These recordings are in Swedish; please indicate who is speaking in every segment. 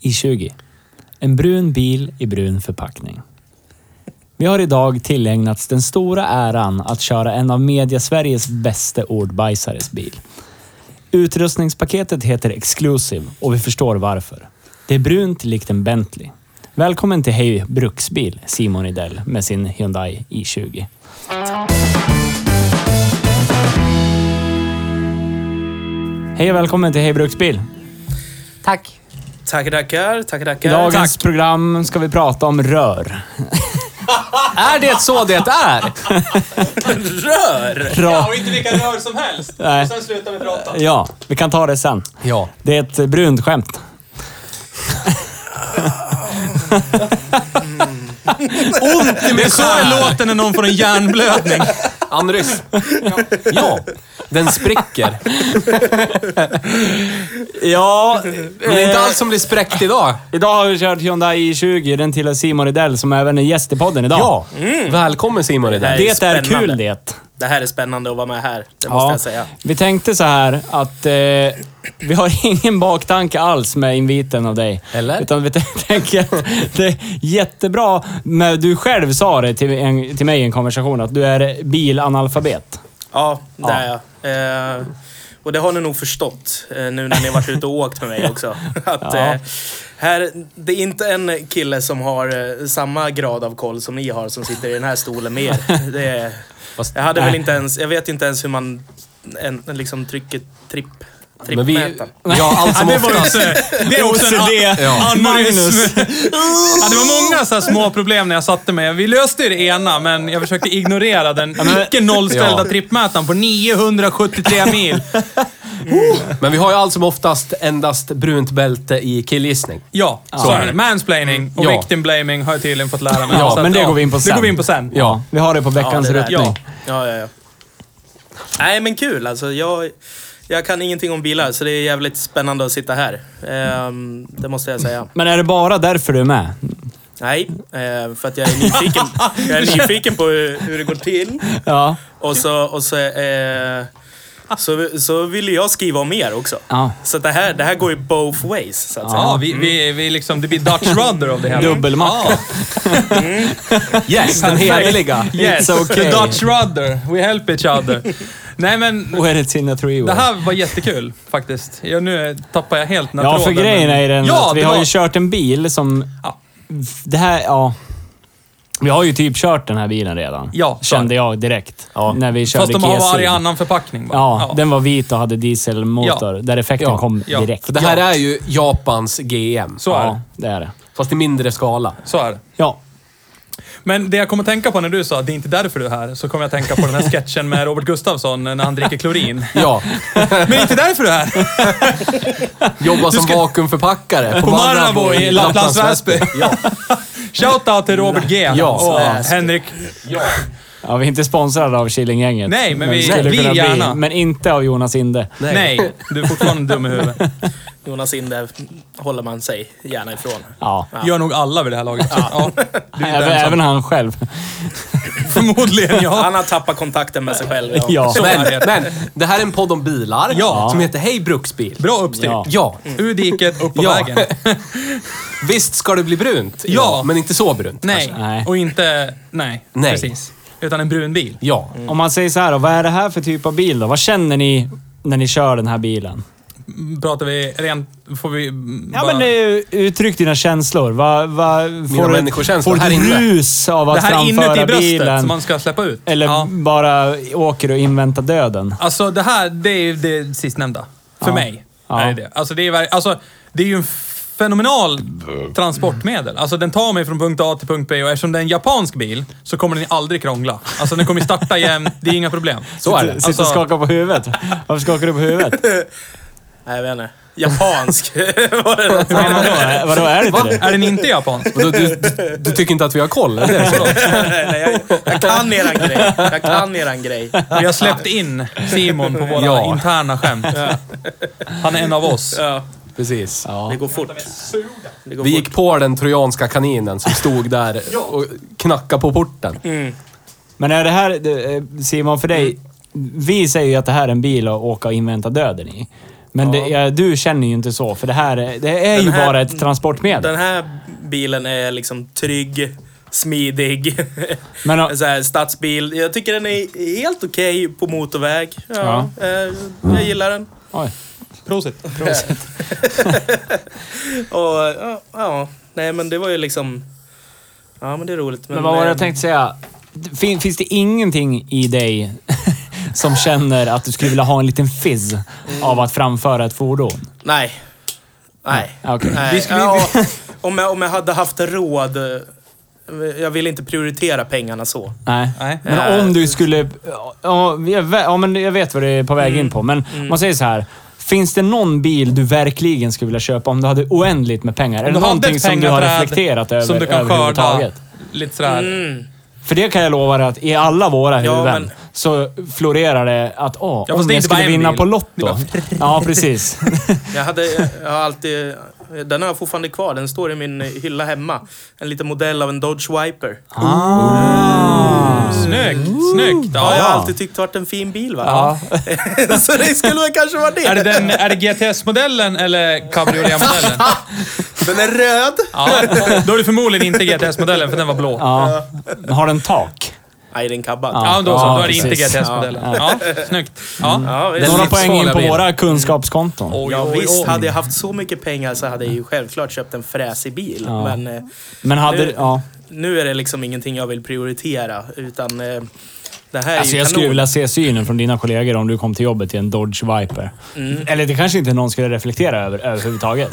Speaker 1: i20. En brun bil i brun förpackning. Vi har idag tillägnats den stora äran att köra en av media-Sveriges bästa ordbajsares bil. Utrustningspaketet heter Exclusive och vi förstår varför. Det är brunt likt en Bentley. Välkommen till Hej Bruksbil, Simon Idell med sin Hyundai i20. Hej och välkommen till Hej Bruksbil!
Speaker 2: Tack.
Speaker 3: Tackar, tackar. Tackar,
Speaker 1: I
Speaker 3: tackar.
Speaker 4: Eh,
Speaker 1: dagens program ska vi prata om rör.
Speaker 2: Är det så det är?
Speaker 3: Rör!
Speaker 1: Bra.
Speaker 4: inte vilka rör som helst.
Speaker 1: Nej.
Speaker 4: Sen slutar vi prata.
Speaker 1: Ja, vi kan ta det sen.
Speaker 2: Ja.
Speaker 1: Det är ett brunt skämt.
Speaker 2: Det är så det låter.
Speaker 4: låter när någon får en hjärnblödning.
Speaker 2: Anrys. Ja. Den spricker.
Speaker 1: Ja,
Speaker 2: Men det
Speaker 4: eh,
Speaker 2: är inte allt som blir spräckt idag.
Speaker 1: idag har vi kört Hyundai i20. Den tillhör Simon Rydell som även är gäst i podden idag.
Speaker 2: Ja. Välkommen Simon idag.
Speaker 3: Nej.
Speaker 1: det är
Speaker 3: spännande.
Speaker 1: kul det.
Speaker 3: Det här är spännande att vara med här. Det måste jag säga.
Speaker 1: Vi tänkte så här att eh, vi har ingen baktanke alls med inviten av dig.
Speaker 2: Eller?
Speaker 1: Utan vi t- tänker att det är jättebra, men du själv sa det till, en, till mig i en konversation, att du är bilanalfabet.
Speaker 3: Ja, det är jag. Eh, och det har ni nog förstått eh, nu när ni varit ute och åkt med mig också. Att,
Speaker 1: Ja.
Speaker 3: eh, här, det är inte en kille som har eh, samma grad av koll som ni har som sitter i den här stolen med er. Det är,
Speaker 2: Fast-
Speaker 3: jag hade väl
Speaker 1: nej.
Speaker 3: inte ens, jag vet inte ens hur man en, liksom trycker tripp,
Speaker 2: Men vi,
Speaker 3: trippmätaren.
Speaker 2: ja, allt som oftast.
Speaker 4: Det är också en
Speaker 1: OCD.
Speaker 2: Ja.
Speaker 4: Magnus. Ja, det var många så här små problem när jag satte mig. Vi löste ju det ena, men jag försökte ignorera den icke nollställda
Speaker 2: Ja.
Speaker 4: trippmätaren på 973 mil.
Speaker 2: Men vi har ju allt som oftast endast brunt bälte i killgissning.
Speaker 4: Ja, så är det. Mansplaining och
Speaker 2: Ja.
Speaker 4: victim blaming har jag tydligen fått lära mig.
Speaker 1: Mm. Ja,
Speaker 4: Så att,
Speaker 1: men det går vi in på sen.
Speaker 4: Det går vi in på sen.
Speaker 1: Ja, vi har det på veckans
Speaker 3: det där.
Speaker 1: ruttning.
Speaker 3: Ja. Ja, ja, ja. Nej, men kul alltså. Jag, jag kan ingenting om bilar, så det är jävligt spännande att sitta här. Ehm, det måste jag säga.
Speaker 1: Men är det bara därför du är med?
Speaker 3: Nej, eh, för att jag är nyfiken. Jag är nyfiken på hur, hur det går till.
Speaker 1: Ja.
Speaker 3: Och så, och så, eh, så, så ville jag skriva om er också.
Speaker 1: Ja.
Speaker 3: Så det här, det här går ju both ways, så att säga.
Speaker 4: Ja, vi, vi, vi liksom, det blir Dutch rudder av det här.
Speaker 1: Dubbelmacka.
Speaker 2: Yes, den heliga.
Speaker 4: Yes,
Speaker 1: It's okay.
Speaker 4: the Dutch rudder. We help each other. Nej, men
Speaker 1: Och Oh, är det Tina Trio?
Speaker 4: det här var jättekul faktiskt. Jag, nu tappar jag helt den här
Speaker 1: Ja, för
Speaker 4: tråden,
Speaker 1: grejen
Speaker 4: men-
Speaker 1: är den
Speaker 4: ja,
Speaker 1: att vi
Speaker 4: det
Speaker 1: har
Speaker 4: var-
Speaker 1: ju kört en bil som...
Speaker 4: Ja.
Speaker 1: Det här, ja. Vi har ju typ kört den här bilen redan.
Speaker 4: Ja, så.
Speaker 1: Kände jag direkt. När vi körde
Speaker 4: Fast de har
Speaker 1: GSI.
Speaker 4: varje annan förpackning bara.
Speaker 1: E Ja, den var vit och hade dieselmotor.
Speaker 4: Ja.
Speaker 1: Där effekten
Speaker 2: Ja.
Speaker 1: kom
Speaker 4: Ja.
Speaker 1: direkt.
Speaker 2: För det här är ju Japans GM.
Speaker 4: Så är
Speaker 1: ja,
Speaker 4: det.
Speaker 1: det är det.
Speaker 2: Fast i mindre skala.
Speaker 4: Så är det.
Speaker 1: Ja.
Speaker 4: Men det jag kommer att tänka på när du sa att det är inte därför du är här, så kommer jag att tänka på den här sketchen med Robert Gustafsson när han dricker klorin.
Speaker 2: Ja.
Speaker 4: Men det är inte därför du är här!
Speaker 2: Jobbar som vakuumförpackare på,
Speaker 4: På Marabou i Lapplands Väsby.
Speaker 2: Ja.
Speaker 4: Shoutout till Robert G.
Speaker 2: Ja,
Speaker 4: och
Speaker 2: Väsby.
Speaker 4: Henrik.
Speaker 1: ja, vi är inte sponsrade av Killinggänget.
Speaker 4: Nej, men vi-
Speaker 1: skulle
Speaker 4: vi
Speaker 1: kunna
Speaker 4: gärna.
Speaker 1: Bli, men inte av Jonas Inde.
Speaker 4: Nej. du är fortfarande dum i huvudet.
Speaker 3: Jonas Inde håller man sig gärna ifrån.
Speaker 1: Ja.
Speaker 4: Gör nog alla vid det här laget. Ja. Du är
Speaker 1: Även,
Speaker 4: den som-
Speaker 1: även han själv.
Speaker 4: Förmodligen, ja.
Speaker 3: Han har tappat kontakten med sig själv.
Speaker 1: Ja.
Speaker 4: Så är
Speaker 2: Men,
Speaker 4: det.
Speaker 2: men, det här är en podd om bilar
Speaker 4: Ja.
Speaker 2: som heter Hej Bruksbil.
Speaker 4: Bra uppstyrt.
Speaker 1: Ja.
Speaker 2: Ja,
Speaker 4: Ur diket, upp på
Speaker 2: Ja.
Speaker 4: vägen.
Speaker 2: visst ska det bli brunt.
Speaker 4: Ja.
Speaker 2: Men inte så brunt.
Speaker 4: Nej.
Speaker 1: Nej.
Speaker 4: och inte... Nej.
Speaker 2: Nej.
Speaker 4: precis. Utan en brun bil.
Speaker 2: Ja.
Speaker 1: Om man säger så här, då, vad är det här för typ av bil då? Vad känner ni när ni kör den här bilen?
Speaker 4: pratar vi rent... Får vi mm,
Speaker 1: Ja,
Speaker 4: bara...
Speaker 1: men eh, uttryck dina känslor. Va, va, får du,
Speaker 2: människokänslor
Speaker 1: får
Speaker 2: här inne.
Speaker 1: du rus av
Speaker 4: det
Speaker 1: att
Speaker 4: här inuti
Speaker 1: framföra
Speaker 4: bröstet
Speaker 1: bilen?
Speaker 4: som man ska släppa ut.
Speaker 1: Eller
Speaker 4: Ja.
Speaker 1: bara åker och inväntar döden?
Speaker 4: Alltså det här, det är ju det sistnämnda. För
Speaker 1: Ja.
Speaker 4: mig.
Speaker 1: Ja.
Speaker 4: Är det. det. Alltså, det är, ver- alltså det är ju en fenomenal transportmedel. Alltså den tar mig från punkt A till punkt B och eftersom det är en japansk bil så kommer den aldrig krångla. Alltså den kommer ju starta jämnt, det är inga problem. Alltså,
Speaker 2: Så är det.
Speaker 1: Sitter och skakar på huvudet. Varför skakar du på huvudet?
Speaker 3: Nej, jag vet inte. Japansk. Var det det?
Speaker 1: Men vadå? Är- vadå, är det inte det?
Speaker 4: Är den inte japansk?
Speaker 2: Du, du, du, du tycker inte att vi har koll? Är det så?
Speaker 3: Nej, nej, jag, jag kan eran grej. Jag kan eran grej.
Speaker 4: Vi har släppt in Simon på våra
Speaker 2: Ja.
Speaker 4: interna skämt. Han är en av oss.
Speaker 3: Ja,
Speaker 2: Precis.
Speaker 3: det går fort. Det går
Speaker 2: Vi
Speaker 3: fort.
Speaker 2: gick på den trojanska kaninen som stod där och knackade på porten.
Speaker 1: Men är det här, det, eh, Simon, för dig.
Speaker 3: Mm.
Speaker 1: Vi säger ju att det här är en bil att åka och invänta döden i. Men det, ja, du känner ju inte så, för det här är- det är ju
Speaker 3: Den här-
Speaker 1: bara ett transportmedel.
Speaker 3: Den här bilen är liksom trygg, smidig.
Speaker 1: Men,
Speaker 3: En så här stadsbil. Jag tycker den är helt okej på motorväg. Ja, Eh, jag gillar den.
Speaker 1: oj.
Speaker 4: Prosit.
Speaker 3: Och ja, ja, nej men det var ju liksom... Ja men det är roligt.
Speaker 1: Men vad var det jag
Speaker 3: eh,
Speaker 1: tänkte säga? Fin, finns det ingenting i dig som känner att du skulle vilja ha en liten fizz av att framföra ett fordon?
Speaker 3: Nej. Nej.
Speaker 1: Okej.
Speaker 3: nej.
Speaker 4: Vi skulle-
Speaker 3: ja, om, jag, om jag hade haft råd. eh, Jag vill inte prioritera pengarna så.
Speaker 1: Nej.
Speaker 4: Nej.
Speaker 1: Men om du skulle... Ja, jag vä- ja, men jag vet vad du är på väg in på, men man säger så här. Finns det någon bil du verkligen skulle vilja köpa om du hade oändligt med pengar? Är det
Speaker 4: Du hade
Speaker 1: någonting
Speaker 4: ett
Speaker 1: som du har
Speaker 4: pengaträd
Speaker 1: reflekterat över
Speaker 4: Som du kan skörda.
Speaker 1: överhuvudtaget?
Speaker 4: Lite sådär.
Speaker 1: För det kan jag lova dig att i alla våra
Speaker 3: Ja,
Speaker 1: huvuden
Speaker 3: men-
Speaker 1: så florerar det att åh,
Speaker 4: Ja, fast
Speaker 1: om
Speaker 4: det är
Speaker 1: jag
Speaker 4: inte bara
Speaker 1: skulle
Speaker 4: en
Speaker 1: vinna
Speaker 4: bil.
Speaker 1: på
Speaker 4: Det
Speaker 1: Lotto.
Speaker 4: är
Speaker 1: Ja, precis.
Speaker 3: Jag, hade, jag har alltid... Den har jag fortfarande kvar. Den står i min hylla hemma. En liten modell av en Dodge Wiper.
Speaker 1: Ah.
Speaker 4: Snyggt, snyggt.
Speaker 3: Ja,
Speaker 4: Ja,
Speaker 3: jag har alltid tyckt det varit en fin bil va? så det skulle väl kanske vara det.
Speaker 4: Är det, den, är det GTS-modellen eller cabriolet-modellen?
Speaker 3: Den är röd.
Speaker 4: Ja, då är det förmodligen inte GTS-modellen för den var blå. Ja,
Speaker 1: Ja. Men Har den tak?
Speaker 3: Nej, den är kabbad.
Speaker 4: då, så,
Speaker 1: Ja,
Speaker 4: då är det inte
Speaker 1: precis. Mm.
Speaker 4: GTS-modellen. Ja, snyggt. Ja.
Speaker 3: Ja, visst.
Speaker 1: Några
Speaker 2: livsfarliga
Speaker 1: poäng in på
Speaker 2: bil.
Speaker 1: våra kunskapskonton.
Speaker 4: Oj,
Speaker 3: Ja,
Speaker 4: oj,
Speaker 3: visst,
Speaker 4: oj.
Speaker 3: hade jag haft så mycket pengar så hade jag ju självklart köpt en fräsig bil. Men eh,
Speaker 1: Men hade...
Speaker 3: Nu-
Speaker 1: Ja.
Speaker 3: nu är det liksom ingenting jag vill prioritera. Utan eh, det här är
Speaker 1: Alltså
Speaker 3: ju
Speaker 1: jag
Speaker 3: kanon.
Speaker 1: skulle vilja se synen från dina kollegor om du kom till jobbet i en Dodge Viper. Eller det kanske inte någon skulle reflektera över överhuvudtaget.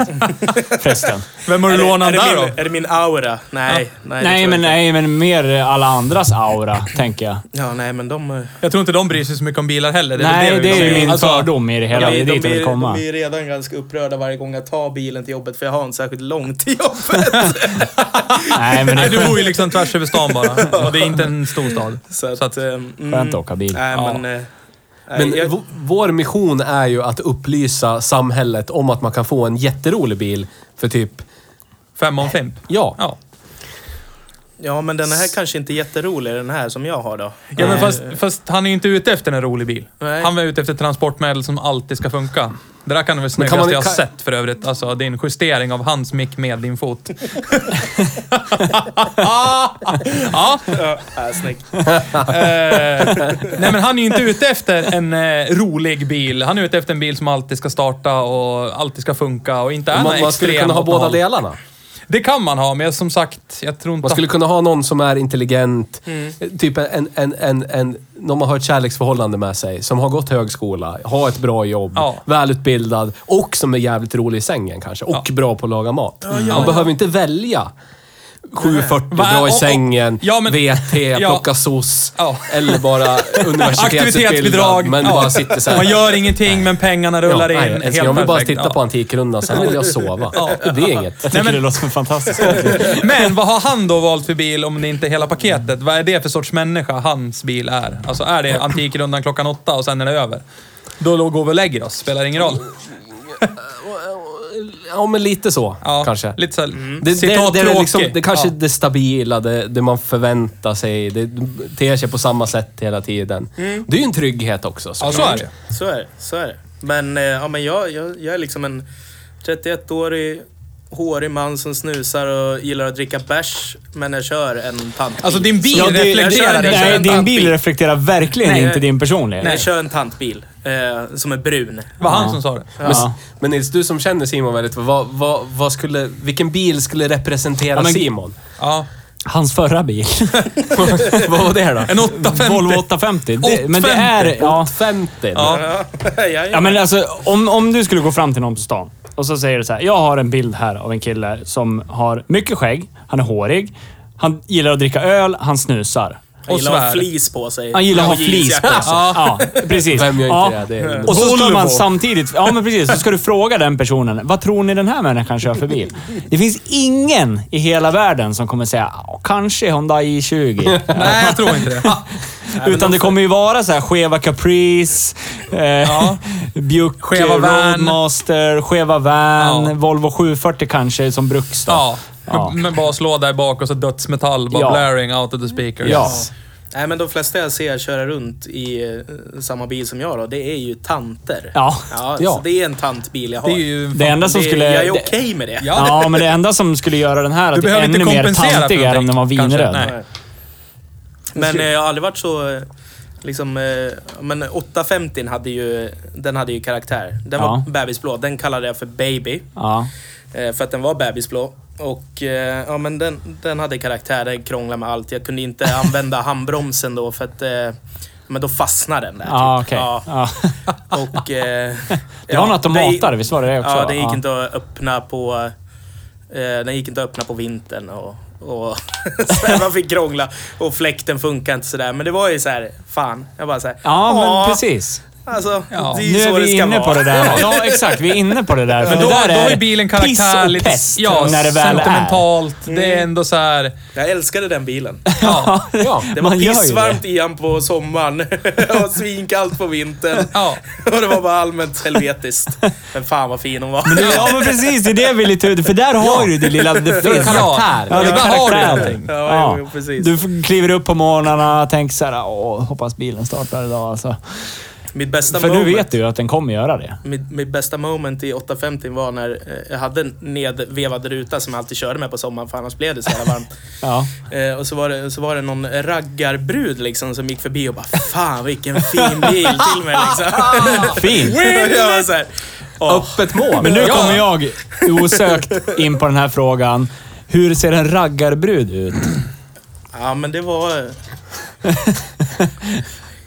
Speaker 1: Förresten.
Speaker 4: Vem har du
Speaker 3: Är det-
Speaker 4: lånat
Speaker 3: är det
Speaker 4: där
Speaker 3: min,
Speaker 4: då?
Speaker 3: Är det min aura? Nej. Nej, det tror
Speaker 1: Nej
Speaker 3: jag
Speaker 1: men,
Speaker 3: inte.
Speaker 1: nej, men mer alla andras aura, tänker jag.
Speaker 3: Ja, nej, men de... eh,
Speaker 4: Jag tror inte de bryr sig så mycket om bilar heller. väl
Speaker 1: Nej, det är
Speaker 4: de
Speaker 1: ju min
Speaker 4: Alltså,
Speaker 1: fördom i det hela. Det är dit jag
Speaker 3: de,
Speaker 1: vill komma.
Speaker 3: de är redan ganska upprörda varje gång jag tar bilen till jobbet för jag har en särskilt lång till jobbet.
Speaker 1: Nej, men det
Speaker 4: Nej,
Speaker 1: är
Speaker 4: du bor ju liksom tvärs över stan bara. Och det är inte en storstad.
Speaker 3: Så att,
Speaker 4: Så att-
Speaker 3: eh, mm,
Speaker 1: skönt att åka bil.
Speaker 3: Nej,
Speaker 4: Ja.
Speaker 3: men... eh, nej,
Speaker 2: Men
Speaker 3: jag-
Speaker 2: v- vår mission är ju att upplysa samhället om att man kan få en jätterolig bil för typ...
Speaker 4: Femman Fimp.
Speaker 2: Ja.
Speaker 4: Ja.
Speaker 3: Ja, men den här kanske inte är jätterolig, den här som jag har då.
Speaker 4: Ja,
Speaker 2: Eh.
Speaker 4: men fast, fast han är ju inte ute efter en rolig bil.
Speaker 3: Nej.
Speaker 4: Han var ute efter ett transportmedel som alltid ska funka. Det där kan vara det
Speaker 2: Men
Speaker 4: snyggaste
Speaker 2: kan man-
Speaker 4: jag har
Speaker 2: kan-
Speaker 4: sett för övrigt. Alltså, det är en justering av hans mick med din fot. ja,
Speaker 3: Ja, äh, snyggt.
Speaker 4: eh, Nej, men han är ju inte ute efter en eh, rolig bil. Han är ute efter en bil som alltid ska starta och alltid ska funka och inte är
Speaker 2: Man,
Speaker 4: någon
Speaker 2: man skulle
Speaker 4: extrem
Speaker 2: kunna ha
Speaker 4: åt
Speaker 2: båda
Speaker 4: håll.
Speaker 2: delarna.
Speaker 4: Det kan man ha, men jag- som sagt, jag tror inte...
Speaker 2: Man skulle kunna ha någon som är intelligent,
Speaker 4: Mm.
Speaker 2: typ en, en, en, en, någon man har ett kärleksförhållande med sig, som har gått högskola, har ett bra jobb,
Speaker 4: Ja.
Speaker 2: välutbildad och som är jävligt rolig i sängen kanske. Och bra på att laga mat. Man behöver inte välja 7.40,
Speaker 4: Va?
Speaker 2: bra i
Speaker 4: Och- och-
Speaker 2: sängen,
Speaker 4: ja, men-
Speaker 2: VT,
Speaker 4: Ja.
Speaker 2: plocka soc.
Speaker 4: Ja.
Speaker 2: Eller bara universitetsutbildad.
Speaker 4: Aktivitetsbidrag.
Speaker 2: Men
Speaker 4: ja.
Speaker 2: bara sitter såhär.
Speaker 4: Man gör ingenting, men pengarna rullar in.
Speaker 2: nej, älskling, jag vill bara
Speaker 4: perfekt.
Speaker 2: titta på Antikrundan, sen vill jag sova. Det blir inget.
Speaker 1: Jag tycker
Speaker 4: men-
Speaker 1: det låter som en fantastisk
Speaker 4: Men vad har han då valt för bil om det inte är hela paketet? Vad är det för sorts människa hans bil är? Alltså är det Antikrundan klockan åtta och sen är det över? Då då går vi och lägger oss, spelar ingen roll.
Speaker 2: Ja, men lite så
Speaker 4: Ja,
Speaker 2: kanske.
Speaker 4: Lite såhär,
Speaker 2: Det, det,
Speaker 4: Mm. citat
Speaker 2: det, är
Speaker 4: tråkig.
Speaker 2: liksom, det kanske är
Speaker 4: ja.
Speaker 2: det stabila, det, det man förväntar sig. Det ter sig på samma sätt hela tiden. Det är ju en trygghet också.
Speaker 4: Mm. ja, så är det.
Speaker 3: Så är det. Så är det. Men, eh, ja, men jag, jag, jag är liksom en 31-årig hårig man som snusar och gillar att dricka bärs, men jag kör en tantbil.
Speaker 4: Alltså din bil
Speaker 1: Ja, det-
Speaker 4: reflekterar
Speaker 3: jag
Speaker 4: inte.
Speaker 3: kör en
Speaker 1: Nej, din bil
Speaker 3: tankbil.
Speaker 1: reflekterar verkligen
Speaker 3: Nej.
Speaker 1: inte din personlighet.
Speaker 3: Nej, jag kör en tantbil. Eh, som är brun.
Speaker 5: Det var han
Speaker 1: Ja.
Speaker 5: som sa det.
Speaker 1: Ja.
Speaker 2: Men, men Nils, du som känner Simon väldigt, vad, vad, vad skulle, vilken bil skulle representera
Speaker 1: Ja, men-
Speaker 2: Simon?
Speaker 5: Ja.
Speaker 1: Hans förra bil.
Speaker 2: vad var det då?
Speaker 5: En 850.
Speaker 1: Volvo 850. Det, men det är... Ja,
Speaker 2: 50?
Speaker 5: Ja.
Speaker 3: Ja, ja,
Speaker 1: ja men alltså om, om du skulle gå fram till någon på stan och så säger du så här. Jag har en bild här av en kille som har mycket skägg, han är hårig, han gillar att dricka öl, han snusar.
Speaker 3: Han
Speaker 5: Och
Speaker 3: gillar att ha
Speaker 5: svär.
Speaker 3: flis på sig.
Speaker 1: Han gillar att ha
Speaker 3: Och
Speaker 1: flis på
Speaker 3: jeansjacka.
Speaker 1: sig. Ja, precis.
Speaker 2: Vem gör inte
Speaker 1: ja.
Speaker 2: det? det är
Speaker 1: Och så skulle
Speaker 2: Volvo.
Speaker 1: man samtidigt... Ja, men precis. Så ska du fråga den personen. Vad tror ni den här människan kör för bil? Det finns ingen i hela världen som kommer säga "Ja, kanske Hyundai i20.
Speaker 5: Nej, jag tror inte det.
Speaker 1: Utan det kommer ju vara så här skeva Caprice, eh, Buick
Speaker 5: Skeva van.
Speaker 1: Roadmaster, skeva van,
Speaker 5: Ja.
Speaker 1: Volvo 740 kanske som bruks då.
Speaker 5: Ja.
Speaker 1: Ja.
Speaker 5: Med- Med baslåda i bak och så dödsmetall, bara
Speaker 1: Ja.
Speaker 5: blaring out of the speakers.
Speaker 1: Ja.
Speaker 3: Nej, men de flesta jag ser köra runt i eh, samma bil som jag då, det är ju tanter.
Speaker 1: Ja.
Speaker 3: ja,
Speaker 1: Ja.
Speaker 3: Så det är en tantbil jag har.
Speaker 5: Det är ju...
Speaker 1: Det enda som
Speaker 3: Det-
Speaker 1: skulle...
Speaker 3: Jag är
Speaker 1: det-
Speaker 3: okej med det.
Speaker 5: Ja.
Speaker 1: Ja, men det enda som skulle göra den här
Speaker 5: Du
Speaker 1: att
Speaker 5: behöver inte
Speaker 1: ännu mer
Speaker 5: kompensera för
Speaker 1: tantig är om
Speaker 5: någonting,
Speaker 1: den var
Speaker 5: kanske.
Speaker 1: vinröd.
Speaker 5: Nej.
Speaker 3: Men eh, jag har aldrig varit så... eh, Liksom, eh, men 850 hade ju, den hade ju karaktär. Den
Speaker 1: Ja.
Speaker 3: var bebisblå. Den kallade jag för baby.
Speaker 1: Ja.
Speaker 3: Eh, för att den var bebisblå. Och eh, ja, men den, den hade karaktär. Den krånglade med allt. Jag kunde inte använda handbromsen då för att... Eh, men då fastnade den där. typ.
Speaker 1: Ja, Ah,
Speaker 5: Typ.
Speaker 1: okej. Ja.
Speaker 3: Ja, och, eh,
Speaker 1: Det var en
Speaker 3: ja,
Speaker 1: automatare,
Speaker 3: det-
Speaker 1: visst var det det också?
Speaker 3: Ja,
Speaker 1: va? Ah.
Speaker 3: den gick inte att öppna på... Eh, den gick inte att öppna på vintern och... och så här, man fick krångla och fläkten funkar inte sådär. Men det var ju så här, fan. Jag bara så här,
Speaker 1: Ja,
Speaker 3: "Åh,
Speaker 1: men precis.
Speaker 3: Alltså,
Speaker 5: Ja.
Speaker 3: det är ju
Speaker 1: Nu
Speaker 3: så
Speaker 1: är
Speaker 3: det
Speaker 1: vi
Speaker 3: ska
Speaker 1: inne
Speaker 3: vara.
Speaker 1: på det där. Ja, exakt. Vi är inne på det där. För
Speaker 5: Men då,
Speaker 1: det där
Speaker 5: då
Speaker 1: är
Speaker 5: har ju bilen karaktär,
Speaker 1: piss och
Speaker 5: lite
Speaker 1: pest
Speaker 5: ja,
Speaker 1: när det väl är.
Speaker 5: sentimentalt. Det
Speaker 3: Mm.
Speaker 5: är ändå så här...
Speaker 3: Jag älskade den bilen.
Speaker 5: Ja.
Speaker 2: Ja.
Speaker 3: Det var
Speaker 1: Man gör ju
Speaker 3: pissvarmt i den på sommaren och svinkallt på vintern.
Speaker 5: ja.
Speaker 3: och det var bara allmänt helvetiskt. Men fan vad fin hon var.
Speaker 1: Men det- Ja, men precis. Det är det vi är lite ute För där har du det lilla... Det finns.
Speaker 5: Karaktär.
Speaker 1: Ja, det är
Speaker 5: Ibland har du
Speaker 1: karaktär.
Speaker 5: någonting.
Speaker 3: Ja,
Speaker 1: Ja.
Speaker 3: Jo, precis.
Speaker 1: Du f- kliver upp på morgnarna och tänker så här, åh, hoppas bilen startar idag alltså.
Speaker 3: Mitt bästa
Speaker 1: För du
Speaker 3: moment.
Speaker 1: vet ju att den kommer göra det.
Speaker 3: Mitt, mitt bästa moment i 850 var när eh, jag hade en nedvevad ruta som jag alltid körde med på sommaren för annars blev det så jävla varmt.
Speaker 1: Ja.
Speaker 3: Eh, och så var, det, så var det någon raggarbrud liksom som gick förbi och bara Fan vilken fin bil till mig liksom.
Speaker 1: Fint.
Speaker 3: och jag var så här, "Åh,
Speaker 2: Öppet mål.
Speaker 1: Men nu
Speaker 5: Ja.
Speaker 1: kommer jag osökt in på den här frågan. Hur ser en raggarbrud ut?
Speaker 3: Ja men det var... eh,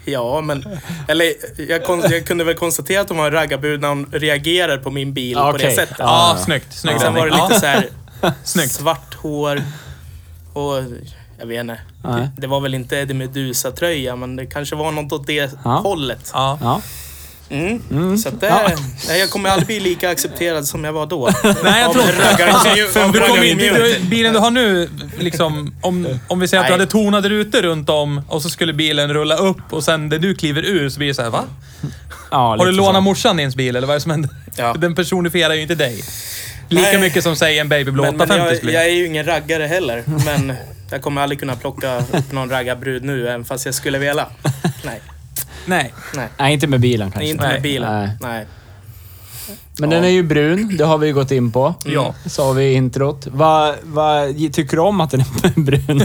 Speaker 3: Ja, men... Eller jag, kon- jag kunde väl konstatera att hon var en raggarbrud när hon reagerar på min bil på det
Speaker 1: Okej.
Speaker 3: sättet.
Speaker 1: Ja.
Speaker 5: Ja, snyggt. Snygg
Speaker 3: Sen var det
Speaker 5: räddning.
Speaker 3: lite
Speaker 5: Ja.
Speaker 3: så här
Speaker 5: Snyggt.
Speaker 3: svart hår och jag vet inte.
Speaker 1: Nej.
Speaker 3: Det, det var väl inte Eddie Meduza-tröja, men det kanske var något åt det
Speaker 1: Ja.
Speaker 3: hållet.
Speaker 5: Ja.
Speaker 1: Ja.
Speaker 3: Mm. Så att det, nej, jag kommer aldrig bli lika accepterad som jag var då.
Speaker 5: Nej, jag
Speaker 3: Av
Speaker 5: tror inte det.
Speaker 3: raggarintervju-
Speaker 5: För
Speaker 3: av
Speaker 5: du kommer in,
Speaker 3: raggarintervjuer.
Speaker 5: du, bilen du har nu, liksom, om, om vi säger att du
Speaker 3: Nej.
Speaker 5: hade tonade rutor runt om och så skulle bilen rulla upp och sen när du kliver ur så blir det så här, va?
Speaker 1: Ja,
Speaker 5: Har
Speaker 1: lite
Speaker 5: du
Speaker 1: så.
Speaker 5: lånat morsan dins bil eller vad är det som händer?
Speaker 3: Ja.
Speaker 5: Den personifierar ju inte dig. Lika
Speaker 3: Nej.
Speaker 5: mycket som säger en babyblå
Speaker 3: Men, men
Speaker 5: 850
Speaker 3: jag,
Speaker 5: skulle
Speaker 3: jag är ju ingen raggare heller, men jag kommer aldrig kunna plocka upp någon raggarbrud nu, även fast jag skulle vilja. Nej,
Speaker 5: Nej.
Speaker 3: nej.
Speaker 1: Nej, inte med bilen kanske.
Speaker 3: Inte med
Speaker 5: Nej.
Speaker 3: bilen.
Speaker 1: Nej.
Speaker 3: Nej.
Speaker 1: Men den är ju brun, det har vi ju gått in på.
Speaker 5: Ja.
Speaker 1: Sa vi i introt. Vad vad tycker du om att den är brun?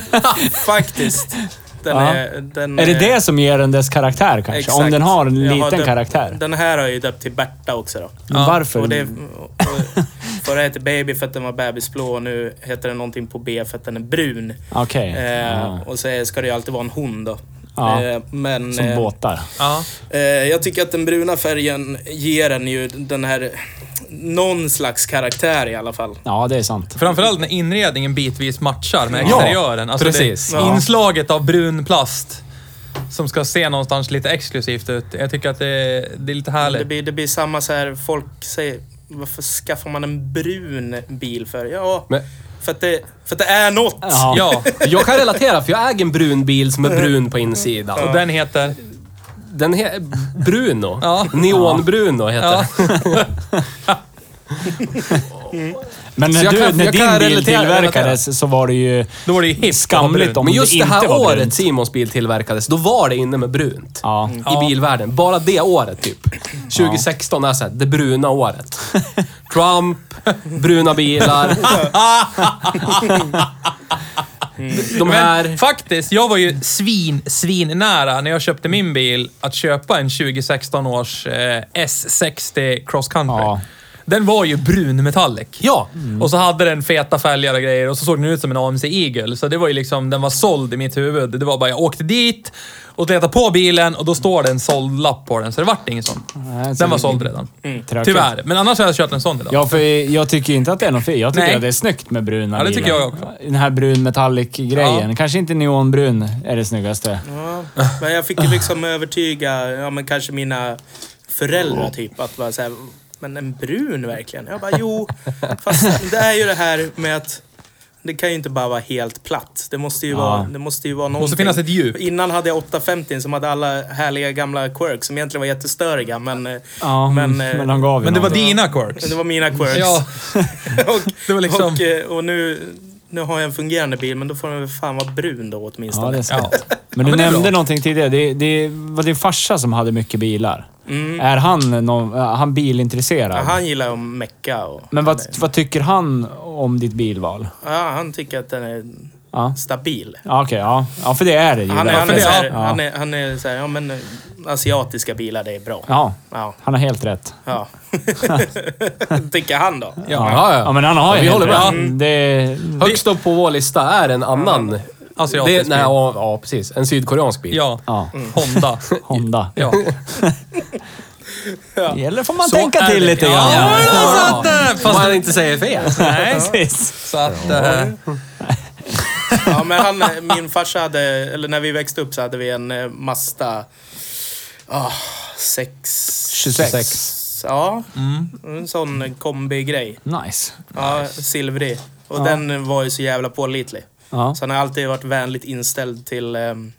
Speaker 3: Faktiskt. Den
Speaker 1: Ja.
Speaker 3: är, den
Speaker 1: är det det som ger den dess karaktär kanske?
Speaker 3: Exakt.
Speaker 1: Om den har en
Speaker 3: Jag
Speaker 1: liten
Speaker 3: döpt-
Speaker 1: karaktär.
Speaker 3: Den här har jag ju döpt till Berta också då.
Speaker 1: Men
Speaker 5: Ja,
Speaker 1: varför?
Speaker 3: Och det, och, och, förra hette Baby för att den var bebisblå och nu heter den någonting på B för att den är brun.
Speaker 1: Okej.
Speaker 3: Eh,
Speaker 1: Ja.
Speaker 3: och så ska det ju alltid vara en hon då.
Speaker 1: Ja.
Speaker 3: Eh, men,
Speaker 1: Som
Speaker 3: eh,
Speaker 1: båtar.
Speaker 5: Ja.
Speaker 3: Eh, jag tycker att den bruna färgen ger den ju den här... Någon slags karaktär i alla fall.
Speaker 1: Ja, det är sant.
Speaker 5: Framförallt när inredningen bitvis matchar med
Speaker 1: Ja,
Speaker 5: exteriören. Alltså
Speaker 2: precis.
Speaker 5: Det,
Speaker 3: Ja.
Speaker 5: Inslaget av brun plast som ska se någonstans lite exklusivt ut. Jag tycker att det är, det är lite
Speaker 3: Det
Speaker 5: härligt.
Speaker 3: blir, det blir samma så här, folk säger varför skaffar man en brun bil för? Ja,
Speaker 2: Men-
Speaker 3: för, att det, för att det är något.
Speaker 1: Ja.
Speaker 5: Ja,
Speaker 2: Jag kan relatera, för jag äger en brun bil som är brun på insidan.
Speaker 5: och den heter...
Speaker 2: Den heter Bruno.
Speaker 5: Ja.
Speaker 2: Neon-Bruno heter
Speaker 5: Ja.
Speaker 2: den.
Speaker 1: Men
Speaker 2: Så
Speaker 1: när,
Speaker 2: jag
Speaker 1: du,
Speaker 2: kan-
Speaker 1: när
Speaker 2: jag kan
Speaker 1: din bil
Speaker 2: relatera-
Speaker 1: tillverkades så var det ju
Speaker 5: Då var det ju hippt att vara
Speaker 1: skamligt
Speaker 5: brun.
Speaker 1: om
Speaker 2: Men just
Speaker 1: det
Speaker 2: det
Speaker 1: inte
Speaker 2: här
Speaker 1: var
Speaker 2: året
Speaker 1: brunt.
Speaker 2: Simons bil tillverkades, då var det inne med brunt.
Speaker 1: Ja.
Speaker 5: Ja.
Speaker 2: I bilvärlden. Bara det året typ. 2016 är såhär, det bruna året. Trump, bruna bilar. De
Speaker 4: Mm. Men
Speaker 2: här...
Speaker 4: faktiskt, jag var ju svin, svin nära när jag köpte min bil att köpa en 2016 års eh, S60 Cross Country.
Speaker 1: Ja.
Speaker 4: Den var ju brun metallic. Mm.
Speaker 2: Ja!
Speaker 4: Och så hade den feta fälgar och grejer och så såg den ut som en AMC Eagle. Så det var ju liksom, den var såld i mitt huvud. Det var bara, jag åkte dit och letade på bilen och då står det en såld lapp på den. Så det vart ingen sån.
Speaker 1: Nej, så
Speaker 4: den var
Speaker 1: det-
Speaker 4: såld redan.
Speaker 3: Mm.
Speaker 1: Tråkigt.
Speaker 4: Tyvärr. Men annars hade jag köpt en sån idag.
Speaker 1: Ja, för jag tycker ju inte att det är något fel. Jag tycker
Speaker 4: Nej.
Speaker 1: att det är snyggt med bruna
Speaker 4: Ja, det tycker
Speaker 1: bilar.
Speaker 4: jag också.
Speaker 1: Den här brun metallic-grejen. Kanske inte neonbrun är det snyggaste.
Speaker 3: Ja, men jag fick ju liksom övertyga, ja men kanske mina föräldrar typ, att bara så här, men en brun verkligen? Jag bara, jo, fast det är ju det här med att det kan ju inte bara vara helt platt. Det måste ju, vara, det måste ju vara någonting.
Speaker 4: finnas ett djup.
Speaker 3: Innan hade jag 850 som hade alla härliga gamla quirks som egentligen var jättestöriga, men, eh,
Speaker 1: Ja, men,
Speaker 3: eh,
Speaker 1: men de gav ju
Speaker 4: Men det var
Speaker 1: något.
Speaker 4: dina quirks.
Speaker 3: men det var mina quirks.
Speaker 4: Ja,
Speaker 3: och,
Speaker 4: det var liksom...
Speaker 3: och, eh, och nu, nu har jag en fungerande bil, men då får den väl fan vara brun då åtminstone.
Speaker 1: Ja, det är sant.
Speaker 4: Ja.
Speaker 1: Men du
Speaker 4: men det är
Speaker 1: nämnde
Speaker 4: bra.
Speaker 1: någonting tidigare. Det, det var din farsa som hade mycket bilar. Är han, någon, är han bilintresserad?
Speaker 3: Mm. Ja, han gillar ju att mecka och...
Speaker 1: Men vad, vad tycker han om ditt bilval?
Speaker 3: Ja, han tycker att den är
Speaker 1: Ja,
Speaker 3: stabil.
Speaker 1: ja okej. Ja. ja, för det är det ju.
Speaker 3: Han är, han är,
Speaker 4: det,
Speaker 3: så här,
Speaker 4: ja.
Speaker 3: han är, han är så här, ja men eh, asiatiska bilar det är bra.
Speaker 1: Ja,
Speaker 3: Ja.
Speaker 1: han har helt rätt.
Speaker 3: ja. tycker han då.
Speaker 1: Ja,
Speaker 2: ja, ja.
Speaker 1: ja men han har
Speaker 2: Ja,
Speaker 1: ju
Speaker 2: vi
Speaker 1: helt
Speaker 2: håller
Speaker 1: rätt.
Speaker 3: Mm.
Speaker 2: med.
Speaker 1: Det,
Speaker 2: Högst upp på vår lista är en annan...
Speaker 4: Asiatisk
Speaker 2: det, nej,
Speaker 4: bil.
Speaker 2: ja, ja, precis. En sydkoreansk bil.
Speaker 4: Ja.
Speaker 1: ja,
Speaker 3: Mm.
Speaker 4: Honda.
Speaker 1: Honda.
Speaker 4: Ja.
Speaker 1: Det gäller får man
Speaker 4: Så
Speaker 1: tänka
Speaker 4: är
Speaker 1: till
Speaker 4: det.
Speaker 1: lite
Speaker 4: Ja,
Speaker 1: grann.
Speaker 4: men alltså att, eh,
Speaker 2: Om
Speaker 4: Fast
Speaker 2: man inte säger fel.
Speaker 4: nej.
Speaker 1: Precis.
Speaker 4: Så att... eh,
Speaker 3: Ja, men han, eh, min farsa hade, eller när vi växte upp så hade vi en eh, Mazda... ah, sex...
Speaker 2: 26.
Speaker 3: Ja, en sån kombigrej.
Speaker 1: Mm. Nice.
Speaker 3: Ja, silvrig. Och den var ju så jävla pålitlig.
Speaker 1: Ja.
Speaker 3: Så han har alltid varit vänligt inställd till, ehm,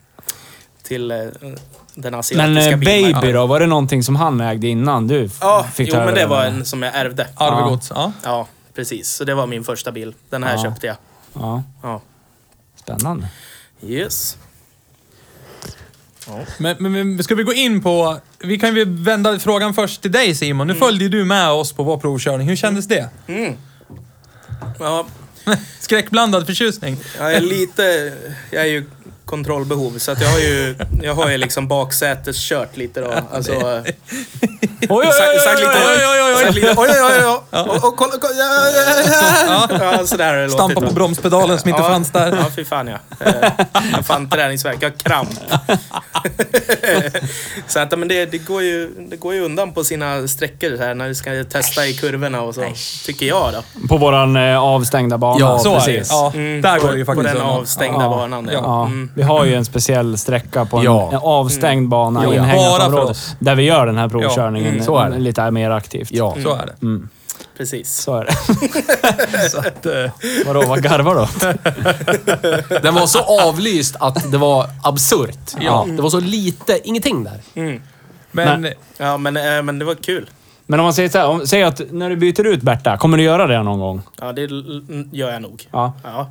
Speaker 3: till eh, den asiatiska
Speaker 1: Men eh,
Speaker 3: bilmärken.
Speaker 1: Baby då? Var det någonting som han ägde innan du f-
Speaker 3: Ja,
Speaker 1: fick
Speaker 3: jo
Speaker 1: ta
Speaker 3: men
Speaker 1: över
Speaker 3: det
Speaker 1: den?
Speaker 3: var en som jag ärvde.
Speaker 4: Arvegods. Ja.
Speaker 3: Ja, precis. Så det var min första bil. Den här
Speaker 1: Ja.
Speaker 3: köpte jag.
Speaker 1: Ja,
Speaker 3: Ja.
Speaker 1: spännande.
Speaker 3: Yes.
Speaker 4: Men, men, men ska vi gå in på... Vi kan ju vända frågan först till dig Simon. Nu följde ju du med oss på vår provkörning. Hur kändes det?
Speaker 3: Ja,
Speaker 4: Skräckblandad förtjusning.
Speaker 3: jag är lite... Jag är ju kontrollbehov, så att jag har ju, jag har ju liksom baksäteskört lite då. Alltså, eh,
Speaker 1: Oj, oj,
Speaker 3: sagt- sagt lite-
Speaker 4: Oj, oj, oj, oj.
Speaker 3: sagt lite, Oj, oj, oj, oj, oj. Och- och kolla, kolla, ja, ja, ja. Ja, sådär har det låtit.
Speaker 4: Stampa på bromspedalen som inte
Speaker 3: ja,
Speaker 4: fanns där.
Speaker 3: Ja, fy fan ja. Eh, Jag fan träningsvärk. Jag har kramp. så att, men det, det, går ju, det går ju undan på sina sträckor så här när du ska testa i kurvorna och så. Tycker jag då.
Speaker 1: På våran eh, avstängda bana.
Speaker 2: Ja,
Speaker 4: så är det.
Speaker 1: precis.
Speaker 4: Ja, där går det ju
Speaker 3: På
Speaker 4: faktiskt
Speaker 3: den
Speaker 4: undan.
Speaker 3: avstängda banan. Ja.
Speaker 1: Ja, vi har ju en speciell sträcka på en,
Speaker 2: Ja.
Speaker 1: en avstängd bana
Speaker 4: Ja,
Speaker 1: i
Speaker 4: bara
Speaker 1: inhägnat
Speaker 4: för
Speaker 1: område.
Speaker 4: oss.
Speaker 1: Där vi gör den här provkörningen
Speaker 2: mm, så är det.
Speaker 1: lite mer aktivt.
Speaker 2: Ja.
Speaker 4: Så är det.
Speaker 3: Precis.
Speaker 1: Så är det. eh, Vadå, vad garvar du åt?
Speaker 2: Den var så avlyst att det var absurt.
Speaker 4: Ja.
Speaker 2: Det var så lite, ingenting där.
Speaker 4: Men
Speaker 3: Ja, men, eh, men det var kul.
Speaker 1: Men om man säger så här, om, säg att när du byter ut Berta, kommer du göra det någon gång?
Speaker 3: Ja, det l- l- gör jag nog.
Speaker 1: Ja.
Speaker 3: Ja.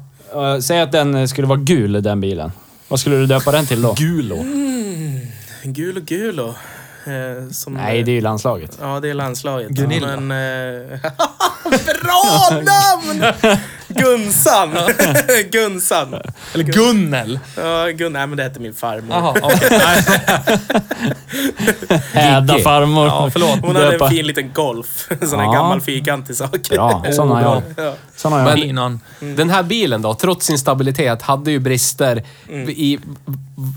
Speaker 1: Eh, säg att den eh, skulle vara gul, den bilen. Vad skulle du döpa den till då?
Speaker 2: Gulo.
Speaker 3: Gul och gul och... Eh, som,
Speaker 1: Nej, det är ju landslaget.
Speaker 3: Ja, det är landslaget.
Speaker 4: Gunilla.
Speaker 3: Men, eh, bra namn! Gunsan. Gunsan.
Speaker 4: Eller Gunnel.
Speaker 3: Ja, Gun, nej men det hette min farmor.
Speaker 4: Jaha, okej. Nej,
Speaker 1: Häda farmor.
Speaker 4: Ja, förlåt.
Speaker 3: Hon hade
Speaker 1: Döpa-
Speaker 3: en fin liten golf. En sån här
Speaker 1: Ja.
Speaker 3: gammal fyrkantig sak.
Speaker 1: Bra, sån har jag.
Speaker 3: Ja.
Speaker 1: Sån har jag.
Speaker 2: Men-
Speaker 4: Innan.
Speaker 2: Mm. Den här bilen då, trots sin stabilitet, hade ju brister
Speaker 4: Mm.
Speaker 2: i v-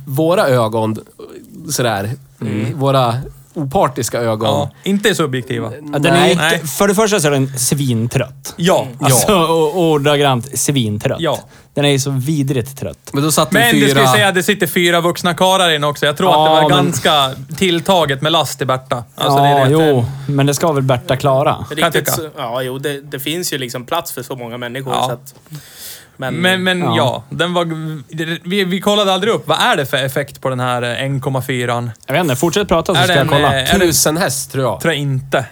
Speaker 2: våra ögon. Sådär. I våra opartiska ögon.
Speaker 4: Mm. Ja, inte subjektiva.
Speaker 1: Ja, den är,
Speaker 4: Nej.
Speaker 1: ju- för det första så är den svintrött.
Speaker 4: Ja,
Speaker 1: Alltså,
Speaker 4: ja.
Speaker 1: och, ordagrant svintrött.
Speaker 4: Ja.
Speaker 1: Den är ju så vidrigt trött.
Speaker 2: Men då satt vi
Speaker 4: Men
Speaker 2: fyra...
Speaker 4: det ska ju säga att det sitter fyra vuxna karlar in också. Jag tror att
Speaker 1: Ja,
Speaker 4: det var
Speaker 1: men-
Speaker 4: ganska tilltaget med last i Berta. Alltså,
Speaker 1: ja,
Speaker 4: det är det.
Speaker 1: jo, men det ska väl Berta klara?
Speaker 4: jag
Speaker 3: Riktigt,
Speaker 4: tycka.
Speaker 3: så, ja, jo, det, det finns ju liksom plats för så många människor.
Speaker 4: Ja.
Speaker 3: Så att, men,
Speaker 4: Men, men ja.
Speaker 1: Ja.
Speaker 4: den var... Vi, vi kollade aldrig upp, vad är det för effekt på den här eh, 1,4?
Speaker 1: Jag vet inte, fortsätt prata så
Speaker 4: Är
Speaker 1: ska
Speaker 4: den,
Speaker 1: jag kolla.
Speaker 4: eh, är det-
Speaker 2: Tusen häst tror jag.
Speaker 4: Tror jag inte.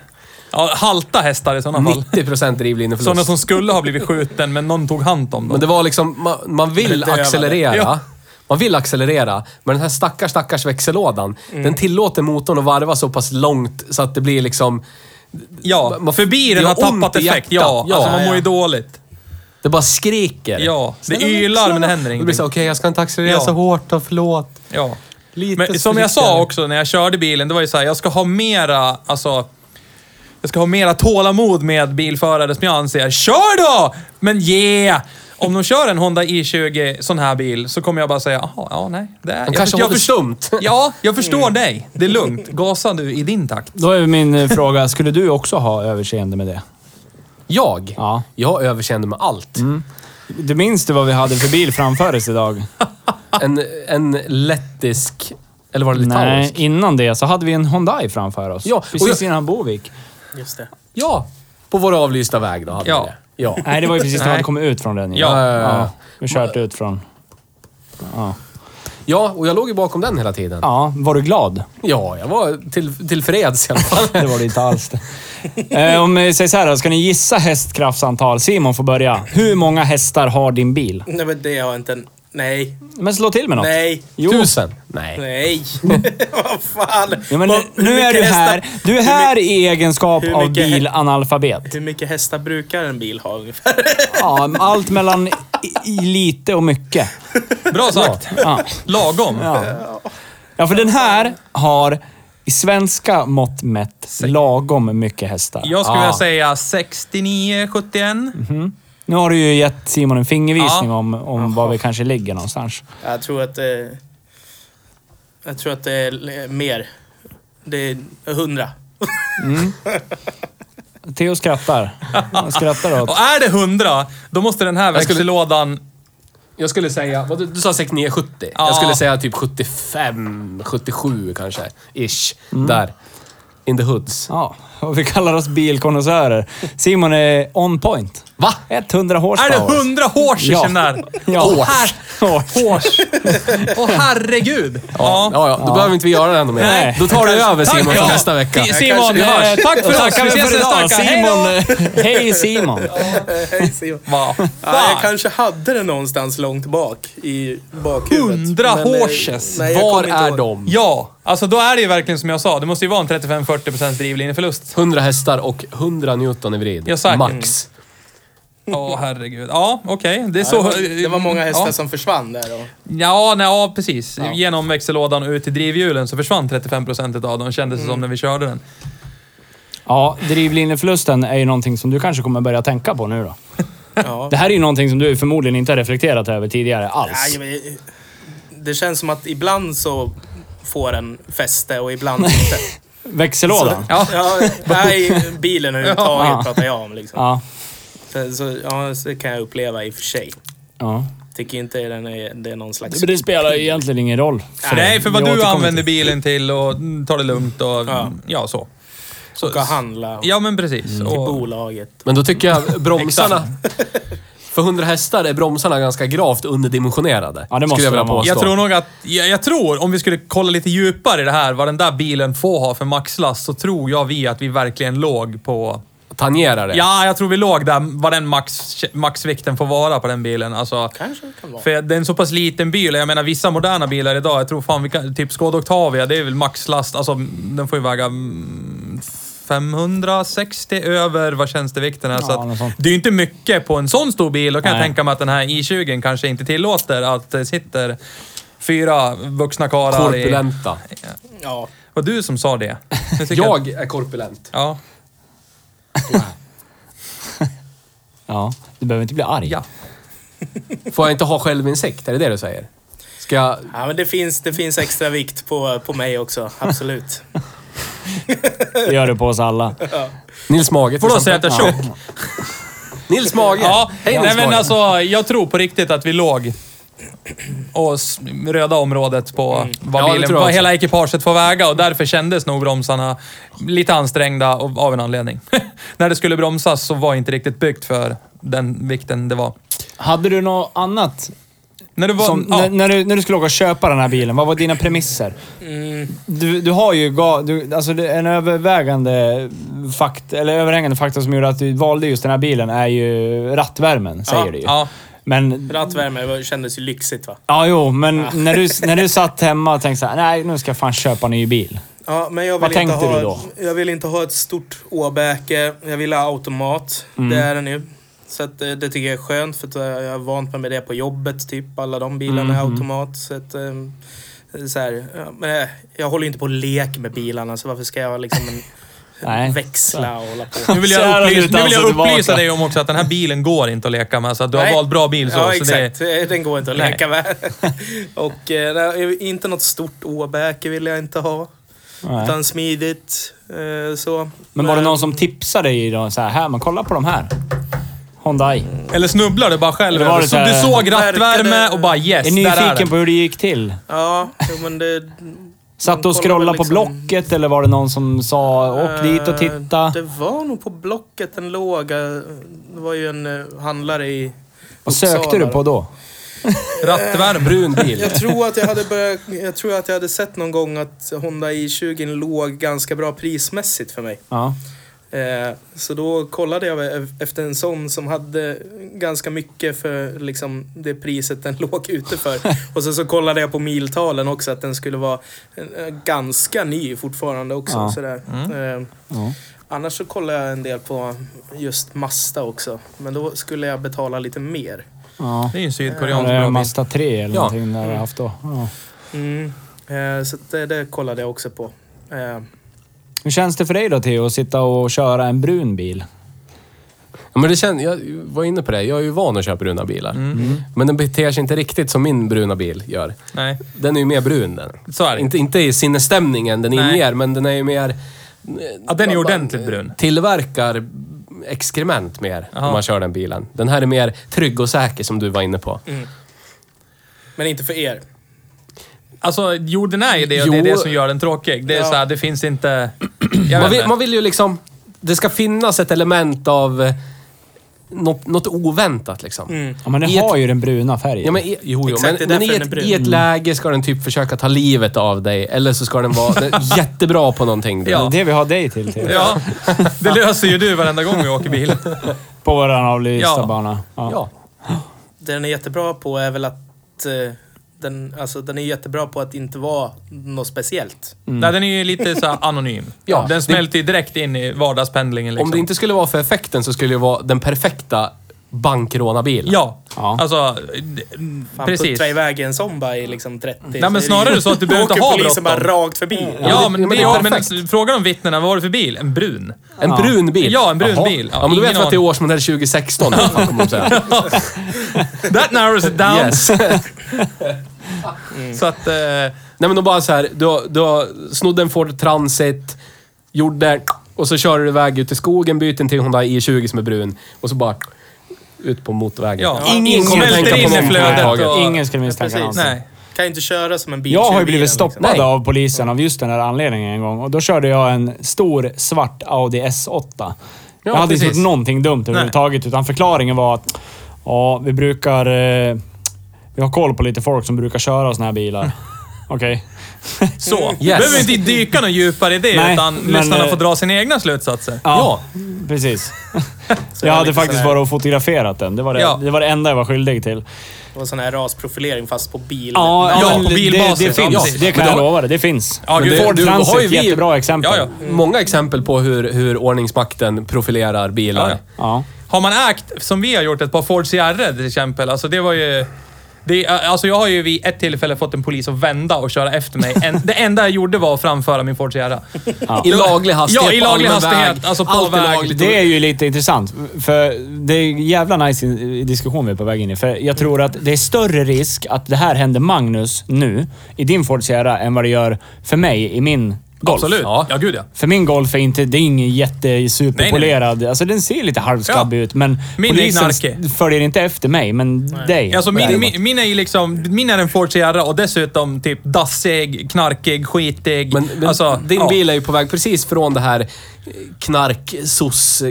Speaker 4: Ja, halta hästar i sådana fall.
Speaker 2: 90 procent drivlinjeförlust.
Speaker 4: Sådana som skulle ha blivit skjuten, men någon tog hand om dem.
Speaker 2: Men det var liksom, man, man vill
Speaker 3: Lite övade.
Speaker 2: accelerera.
Speaker 4: Ja.
Speaker 2: Man vill accelerera, men den här stackars, stackars växellådan,
Speaker 4: Mm.
Speaker 2: den tillåter motorn att varva så pass långt så att det blir liksom...
Speaker 4: ja,
Speaker 2: man-
Speaker 4: förbi den
Speaker 2: det
Speaker 4: har
Speaker 2: gör ont
Speaker 4: tappat
Speaker 2: i
Speaker 4: effekt.
Speaker 2: hjärtat.
Speaker 4: Ja,
Speaker 2: Ja,
Speaker 4: alltså man
Speaker 3: ja.
Speaker 4: mår ju dåligt.
Speaker 2: Det bara skriker.
Speaker 4: Ja, det
Speaker 2: Snälla,
Speaker 4: ylar,
Speaker 2: så.
Speaker 4: men det händer
Speaker 2: Det blir så,
Speaker 4: ingenting.
Speaker 2: okej jag ska inte accelerera
Speaker 4: Ja.
Speaker 2: så hårt då, förlåt.
Speaker 4: Ja.
Speaker 2: Lite
Speaker 4: Men som jag sa
Speaker 2: försiktigare.
Speaker 4: också när jag körde bilen, det var ju så här, jag ska ha mera, alltså... Jag ska ha mera tålamod med bilförare som jag anser. Kör då! Men ge! Om de kör en Honda i20 sån här bil så kommer jag bara säga, jaha, ja nej. Det är,
Speaker 2: De kanske
Speaker 4: jag,
Speaker 2: håller
Speaker 4: förstår-
Speaker 2: stumt.
Speaker 4: Ja, jag förstår dig. Det är lugnt. Gasa du i din takt.
Speaker 1: Då är min eh, fråga, skulle du också ha överseende med det?
Speaker 2: Jag?
Speaker 1: Ja.
Speaker 2: Jag överkände med allt.
Speaker 1: Du minns du vad vi hade för bil framför oss idag?
Speaker 2: En, en lettisk... Eller var det
Speaker 1: Nej,
Speaker 2: litauisk?
Speaker 1: innan det så hade vi en Hyundai framför oss.
Speaker 2: Ja, och
Speaker 1: Precis
Speaker 2: jag-
Speaker 1: innan Bovik.
Speaker 3: Just det.
Speaker 2: Ja. På vår avlysta väg då hade
Speaker 4: Ja.
Speaker 2: vi det. Ja.
Speaker 1: Nej, det var ju precis när vi
Speaker 4: Nej.
Speaker 1: hade kommit ut från den. ju.
Speaker 4: Ja.
Speaker 1: ja. Vi kört ut från...
Speaker 2: ja, och jag låg ju bakom den hela tiden.
Speaker 1: Ja, var du glad?
Speaker 2: Ja, jag var till, till freds i alla fall.
Speaker 1: Det var det inte alls. det. Eh, om vi säger så här då, ska ni gissa hästkraftsantal? Simon får börja. Hur många hästar har din bil?
Speaker 3: Nej, men det har jag inte en... Nej.
Speaker 1: Men slå till med något.
Speaker 3: Nej.
Speaker 1: Jo.
Speaker 2: Tusen? Nej.
Speaker 3: Nej. Vad fan.
Speaker 1: Ja, men
Speaker 3: Vad- hur
Speaker 1: nu är
Speaker 3: mycket
Speaker 1: du här.
Speaker 3: hästar-
Speaker 1: Du är här i egenskap
Speaker 3: hur
Speaker 1: av
Speaker 3: mycket hä-
Speaker 1: bilanalfabet.
Speaker 3: Hur mycket hästar brukar en bil ha ungefär?
Speaker 1: Ja, allt mellan i, i lite och mycket.
Speaker 4: Bra sagt.
Speaker 1: Ja.
Speaker 4: Lagom.
Speaker 1: ja, för den här har i svenska mått mätt lagom mycket hästar.
Speaker 4: Jag skulle
Speaker 2: Ja.
Speaker 4: vilja säga 69, 71.
Speaker 1: Nu har du ju gett Simon en fingervisning
Speaker 4: Ja.
Speaker 1: om, om var vi kanske ligger någonstans.
Speaker 3: Jag tror att... Eh, jag tror att det är l- mer. Det är hundra.
Speaker 1: Theo skrattar. Han skrattar åt.
Speaker 4: Och är det 100, då måste den här
Speaker 2: skulle-
Speaker 4: växellådan...
Speaker 2: Jag skulle säga... Vad, du, du sa 69, 70.
Speaker 4: Ja.
Speaker 2: Jag skulle säga typ 75, 77 kanske. Ish. Där. In the hoods.
Speaker 1: Ja, och vi kallar oss bilkonnässörer. Simon är on point.
Speaker 2: Va?
Speaker 1: 100
Speaker 4: Är
Speaker 1: horsepower.
Speaker 4: det 100 hårs i
Speaker 1: Ja.
Speaker 4: den där?
Speaker 1: Ja.
Speaker 4: Åh, här,
Speaker 1: Horse.
Speaker 4: Hårs. Åh herregud.
Speaker 2: Ja,
Speaker 4: Ja.
Speaker 2: ja, då behöver inte vi göra det ändå mer.
Speaker 1: Nej.
Speaker 2: Då tar du över
Speaker 4: Tack,
Speaker 2: Simon
Speaker 4: ja.
Speaker 2: för nästa vecka.
Speaker 4: Fi- Simon,
Speaker 1: Eh,
Speaker 4: eh, tack för oss.
Speaker 1: tackar
Speaker 4: Vi
Speaker 1: vi
Speaker 4: ses
Speaker 1: för
Speaker 4: nästa
Speaker 1: idag.
Speaker 4: vecka. Hej
Speaker 1: Simon,
Speaker 4: då!
Speaker 1: eh, hej Simon.
Speaker 4: Va?
Speaker 3: Ja, jag kanske hade det någonstans långt bak i bakhuvudet.
Speaker 4: Hundra
Speaker 3: Men, eh,
Speaker 4: horses.
Speaker 3: nej, jag
Speaker 2: Var
Speaker 3: kommer inte
Speaker 2: är
Speaker 3: ihåg.
Speaker 2: de?
Speaker 4: Ja, alltså då är det ju verkligen som jag sa. Det måste ju vara en 35-40% drivlinjeförlust.
Speaker 2: 100 hästar och 100 Newton i vrid.
Speaker 4: Ja, säkert.
Speaker 2: Max.
Speaker 4: Åh herregud. Ja, okej. Det är
Speaker 3: Det
Speaker 4: så...
Speaker 3: var, eh, det var många hästar
Speaker 4: Ja.
Speaker 3: som försvann där. Och,
Speaker 4: Ja, nej, ja precis. Genom växellådan och ut till drivhjulen så försvann 35% av dem, kändes det som när vi körde den.
Speaker 1: Ja, drivlinjeförlusten är ju någonting som du kanske kommer börja tänka på nu då.
Speaker 3: ja.
Speaker 1: Det här är ju någonting som du förmodligen inte har reflekterat över tidigare alls.
Speaker 3: Nej, men, eh, det känns som att ibland så får en fäste och ibland inte.
Speaker 1: Växellådan.
Speaker 4: Ja.
Speaker 3: Ja, nej, bilen överhuvudtaget
Speaker 1: Ja.
Speaker 3: pratar jag om. Liksom.
Speaker 1: Ja.
Speaker 3: Så, så, ja, så kan jag uppleva i och för sig.
Speaker 1: ja.
Speaker 3: Tycker inte den är, det är någon slags...
Speaker 1: Men det spelar ju egentligen ingen roll.
Speaker 4: Nej, för vad
Speaker 1: Vi
Speaker 4: du
Speaker 1: återkommer
Speaker 4: använder
Speaker 1: till-
Speaker 4: bilen till och mm, tar det lugnt och ja, så. så.
Speaker 3: Ska handla och
Speaker 4: Ja, men precis. Och,
Speaker 3: bolaget.
Speaker 2: Men då tycker jag bromsarna... För 100 hästar är bromsarna ganska gravt underdimensionerade.
Speaker 1: Ja, det måste
Speaker 2: skulle jag vilja
Speaker 1: de vara.
Speaker 2: påstå.
Speaker 4: jag tror nog att, jag, jag tror, om vi skulle kolla lite djupare i det här, vad den där bilen får ha för maxlast, så tror jag vi att vi verkligen låg på...
Speaker 2: Tangerar det.
Speaker 4: Ja, jag tror vi låg där, vad den max, maxvikten får vara på den bilen. Alltså,
Speaker 3: Kanske det kan vara.
Speaker 4: För det är en så pass liten bil. Jag menar vissa moderna bilar idag, jag tror fan vi kan, typ Skoda Octavia, det är väl maxlast, alltså den får ju väga mm, 560 över vad tjänstevikten är. så
Speaker 1: något sånt.
Speaker 4: att, det är ju inte mycket på en sån stor bil. Då kan
Speaker 1: Nej.
Speaker 4: jag tänka mig att den här i20 kanske inte tillåter att det sitter fyra vuxna karlar i...
Speaker 2: Korpulenta.
Speaker 3: Ja.
Speaker 4: Vad du som sa det. Jag tycker att-
Speaker 2: Jag är korpulent.
Speaker 4: Ja.
Speaker 1: Ja, du behöver inte bli arg.
Speaker 4: ja.
Speaker 2: Får jag inte ha självinsikt? Är det det du säger? Ska jag...
Speaker 3: ja, men det finns, det finns extra vikt på, på mig också. Absolut.
Speaker 1: Det gör du på oss alla.
Speaker 2: Nils Mage
Speaker 4: Får
Speaker 2: till
Speaker 4: då säga att
Speaker 2: exempel.
Speaker 4: jag är tjock?
Speaker 2: Nils Mage!
Speaker 4: Ja,
Speaker 2: Hej
Speaker 4: nej
Speaker 2: Nils
Speaker 4: men
Speaker 2: Mage!
Speaker 4: alltså jag tror på riktigt att vi låg och s- röda området på
Speaker 1: Mm.
Speaker 4: vad,
Speaker 2: Ja, det
Speaker 4: bilen,
Speaker 2: tror jag
Speaker 4: vad
Speaker 2: också.
Speaker 4: hela ekipaget får väga och därför kändes nog bromsarna lite ansträngda av av en anledning. När det skulle bromsas så var inte riktigt byggt för den vikten det var.
Speaker 1: Hade du något annat?
Speaker 4: När det var
Speaker 1: Som,
Speaker 4: ja,
Speaker 1: när, när, du, när du skulle åka och köpa den här bilen, vad var dina premisser? Du, du har ju ga, du, alltså det- en övervägande fakt, eller överhängande faktor som gjorde att du valde just den här bilen är ju rattvärmen, säger du ju.
Speaker 4: ja.
Speaker 1: Men,
Speaker 3: Rattvärme var- kändes ju lyxigt va?
Speaker 1: ja jo, men när, du, när du satt hemma och tänkte såhär, nej nu ska jag fan köpa en ny bil.
Speaker 3: Ja, men jag vill
Speaker 1: Vad
Speaker 3: inte
Speaker 1: tänkte
Speaker 3: ha,
Speaker 1: du då? Mm.
Speaker 3: Jag vill inte ha ett stort åbäke. Jag vill ha automat. Det är det nu. Så att, eh, det tycker jag är skönt för att eh, jag har vant mig med det på jobbet. Typ alla de bilarna
Speaker 1: Mm.
Speaker 3: är automat. Så att, eh, så här, ja, men, eh, jag håller ju inte på och leker med bilarna så varför ska jag liksom en,
Speaker 1: Nej.
Speaker 3: växla och hålla på?
Speaker 4: Nu vill
Speaker 1: Så här
Speaker 4: jag
Speaker 1: har du
Speaker 4: upplysa, nu vill jag
Speaker 1: dansat
Speaker 4: upplysa
Speaker 1: tillbaka.
Speaker 4: dig om också att den här bilen går inte att leka med. Så att du har
Speaker 3: Nej.
Speaker 4: valt bra bil så.
Speaker 3: Ja,
Speaker 4: så det,
Speaker 3: exakt. Den går inte att leka med. och eh, nej, inte något stort åbäke vill jag inte ha.
Speaker 1: Nej.
Speaker 3: Utan smidigt. Eh, så.
Speaker 1: Men var det någon som tipsade dig idag? Så här, här, men kolla på de här. Hyundai.
Speaker 4: eller snubblar du bara själv?
Speaker 1: Det var
Speaker 4: över?
Speaker 1: det
Speaker 4: så
Speaker 1: så här-
Speaker 4: du såg rattvärme
Speaker 3: Verkade-
Speaker 4: och bara yes,
Speaker 1: är
Speaker 4: där är
Speaker 1: nyfiken
Speaker 4: den.
Speaker 1: på hur det gick till.
Speaker 3: Ja, jo, men det...
Speaker 1: Satt du och
Speaker 3: man kollar
Speaker 1: scrollade
Speaker 3: väl
Speaker 1: på
Speaker 3: liksom-
Speaker 1: Blocket eller var det någon som sa åk dit och titta?
Speaker 3: Eh, Det var nog på Blocket den låg. eh, Det var ju en eh, handlare i
Speaker 1: Vad sökte
Speaker 3: Uppsala.
Speaker 1: du på då?
Speaker 4: Rattvärme.
Speaker 2: Brun bil.
Speaker 3: Jag tror att jag hade börjat, jag tror att jag hade sett någon gång att Honda i20 låg ganska bra prismässigt för mig.
Speaker 1: Ja.
Speaker 3: Eh, Så då kollade jag e- efter en sån som hade ganska mycket för liksom det priset den låg ute för. Och sen så kollade jag på miltalen också att den skulle vara eh, ganska ny fortfarande också.
Speaker 1: Ja.
Speaker 3: Sådär. Eh,
Speaker 1: Ja.
Speaker 3: Annars så kollade jag en del på just Masta också. Men då skulle jag betala lite mer.
Speaker 1: ja.
Speaker 4: Det är ju en
Speaker 1: Var
Speaker 4: sydkoreansk
Speaker 1: det
Speaker 4: bra bil.
Speaker 1: Mazda 3 eller
Speaker 2: Ja.
Speaker 1: någonting där du haft då? Ja.
Speaker 3: Mm. Eh, Så att det, det kollade jag också på. Eh,
Speaker 1: Hur känns det för dig då Theo, att sitta och köra en brun bil?
Speaker 2: Ja, men det känns, jag var inne på det, jag är ju van att köra bruna bilar.
Speaker 4: Mm.
Speaker 2: Mm. Men den beter sig inte riktigt som min bruna bil gör.
Speaker 4: Nej.
Speaker 2: Den är ju mer brun den.
Speaker 4: Så är det.
Speaker 2: Inte, inte i sinnesstämningen den
Speaker 4: Nej.
Speaker 2: inger, men den är ju mer...
Speaker 4: Ja, den är ju ordentligt brun.
Speaker 2: Tillverkar exkrement mer
Speaker 4: Jaha.
Speaker 2: om man kör den bilen. Den här är mer trygg och säker som du var inne på.
Speaker 4: Mm.
Speaker 3: Men inte för er.
Speaker 4: Alltså, jo den är ju det. Det är
Speaker 2: Jo.
Speaker 4: det som gör den tråkig. Det är
Speaker 3: Ja.
Speaker 4: så här, det finns inte... Jag
Speaker 2: Man
Speaker 4: vet
Speaker 2: vill,
Speaker 4: inte.
Speaker 2: man vill ju liksom... Det ska finnas ett element av eh, något, något oväntat liksom.
Speaker 4: Mm.
Speaker 1: Ja, men
Speaker 2: I
Speaker 1: den
Speaker 2: ett-
Speaker 1: har ju den bruna färgen.
Speaker 2: Ja, men i, jo, jo,
Speaker 3: Exakt, det är
Speaker 2: men, men i,
Speaker 3: därför den är
Speaker 2: ett,
Speaker 3: brun.
Speaker 2: i ett läge ska den typ försöka ta livet av dig, eller så ska den vara den är jättebra på någonting.
Speaker 1: Det
Speaker 4: Ja.
Speaker 1: är det vi har dig till, Theo.
Speaker 4: Ja, det löser ju du varenda gång vi åker bil.
Speaker 1: På våran avlysta
Speaker 4: Ja.
Speaker 1: bana.
Speaker 2: ja.
Speaker 3: Det den är jättebra på är väl att eh, den, alltså, den är jättebra på att inte vara något speciellt.
Speaker 4: Nej, den är ju lite så här anonym.
Speaker 2: Mm. Ja,
Speaker 4: den
Speaker 2: det-
Speaker 4: smälter ju direkt in i vardagspendlingen liksom.
Speaker 2: Om det inte skulle vara för effekten så skulle det vara den perfekta bankrånarbilen.
Speaker 4: Ja,
Speaker 1: Ja.
Speaker 4: alltså... d-
Speaker 3: Fan,
Speaker 4: precis.
Speaker 3: puttra iväg en sån bara i liksom 30.
Speaker 4: Nej, men snarare så att du behöver inte ha
Speaker 3: Då åker polisen bara
Speaker 4: bråttom.
Speaker 3: rakt förbi.
Speaker 4: Ja,
Speaker 2: Ja, det-
Speaker 4: men,
Speaker 2: ja, men det är
Speaker 4: ja,
Speaker 2: perfekt.
Speaker 4: men fråga om vittnena. Vad var det för bil? En brun.
Speaker 2: En
Speaker 1: Ja.
Speaker 2: brun bil.
Speaker 4: Ja, en brun bil. Ja,
Speaker 2: Ja, men du vet
Speaker 4: ingen
Speaker 2: att det är
Speaker 4: aning.
Speaker 2: årsmodell 2016. vad fan kommer de säga.
Speaker 4: That narrows it down.
Speaker 2: Yes.
Speaker 4: Så att... Eh,
Speaker 2: Nej men då bara så här, du, har- du har snodde en Ford Transit, gjorde och så kör du iväg ut i skogen, byter den till Honda i20 som är brun och så bara ut på motorvägen.
Speaker 4: Ja.
Speaker 2: Ingen kommer
Speaker 4: Smälter
Speaker 2: tänka på
Speaker 4: in i
Speaker 2: någonting
Speaker 4: flödet
Speaker 2: överhuvudtaget.
Speaker 4: och-
Speaker 1: Ingen skulle misstänka
Speaker 3: Precis.
Speaker 1: någonting.
Speaker 4: nej.
Speaker 3: Kan ju inte köra som en bil.
Speaker 1: Jag har ju
Speaker 3: i bilen,
Speaker 1: blivit
Speaker 3: liksom.
Speaker 1: stoppad
Speaker 2: Nej.
Speaker 1: av polisen av just den här anledningen en gång. Och då körde jag en stor svart Audi S8. jag hade inte
Speaker 2: precis.
Speaker 1: gjort någonting dumt överhuvudtaget, utan förklaringen var att ja, vi brukar... Eh, vi har koll på lite folk som brukar köra såna här bilar. Okej.
Speaker 4: Så.
Speaker 2: Mm.
Speaker 4: Du behöver inte dyka någon djupare i det,
Speaker 1: Nej,
Speaker 4: utan
Speaker 1: men,
Speaker 4: lyssnarna
Speaker 1: eh,
Speaker 4: får dra sina egna slutsatser.
Speaker 1: Ja, precis. jag hade faktiskt varit och fotograferat den. Det var det,
Speaker 4: Ja.
Speaker 1: det var det enda jag var skyldig till.
Speaker 3: Det var sån här rasprofilering fast på bil.
Speaker 4: ja,
Speaker 1: men
Speaker 4: på
Speaker 1: det,
Speaker 4: bilbasis.
Speaker 1: det finns.
Speaker 4: Ja,
Speaker 1: det kan
Speaker 2: men
Speaker 1: jag
Speaker 2: då-
Speaker 1: lova dig. Det finns.
Speaker 4: Ja,
Speaker 1: Men
Speaker 4: gud,
Speaker 1: Ford
Speaker 2: du har ju
Speaker 1: Transit,
Speaker 2: vi-
Speaker 1: jättebra exempel.
Speaker 4: Ja, ja.
Speaker 2: Många exempel på hur, hur ordningsmakten profilerar bilar.
Speaker 4: Ja,
Speaker 1: ja.
Speaker 4: Har man ägt, som vi har gjort, ett par Ford Sierra till exempel. Alltså det var ju... Det, alltså jag har ju vid ett tillfälle fått en polis att vända och köra efter mig. En, det enda jag gjorde var att framföra min Ford Sierra.
Speaker 2: I laglig hastighet,
Speaker 4: Ja, i
Speaker 2: på
Speaker 4: laglig
Speaker 2: allmän
Speaker 4: hastighet, alltså på
Speaker 2: Allt är
Speaker 4: väg.
Speaker 2: lagligt.
Speaker 1: Det är ju lite intressant, för det är en jävla nice in- diskussion vi är på väg in i. För jag tror att det är större risk att det här händer Magnus nu, i din Ford Sierra, än vad det gör för mig i min Golf.
Speaker 4: Absolut. Ja.
Speaker 2: Ja.
Speaker 4: gud ja.
Speaker 1: För min Golf är inte, det är ingen jättesuperpolerad. Alltså den ser lite halvskabbig
Speaker 4: Ja.
Speaker 1: ut, men
Speaker 4: Min är
Speaker 1: polisen
Speaker 4: knarkig.
Speaker 1: följer inte efter mig, men dig.
Speaker 4: Alltså min,
Speaker 1: däremot.
Speaker 4: min, min är ju liksom... Min är en Ford Sierra och dessutom typ dassig, knarkig, skitig.
Speaker 2: Men, men
Speaker 4: alltså,
Speaker 2: din
Speaker 4: ja.
Speaker 2: bil är ju på väg precis från det här knark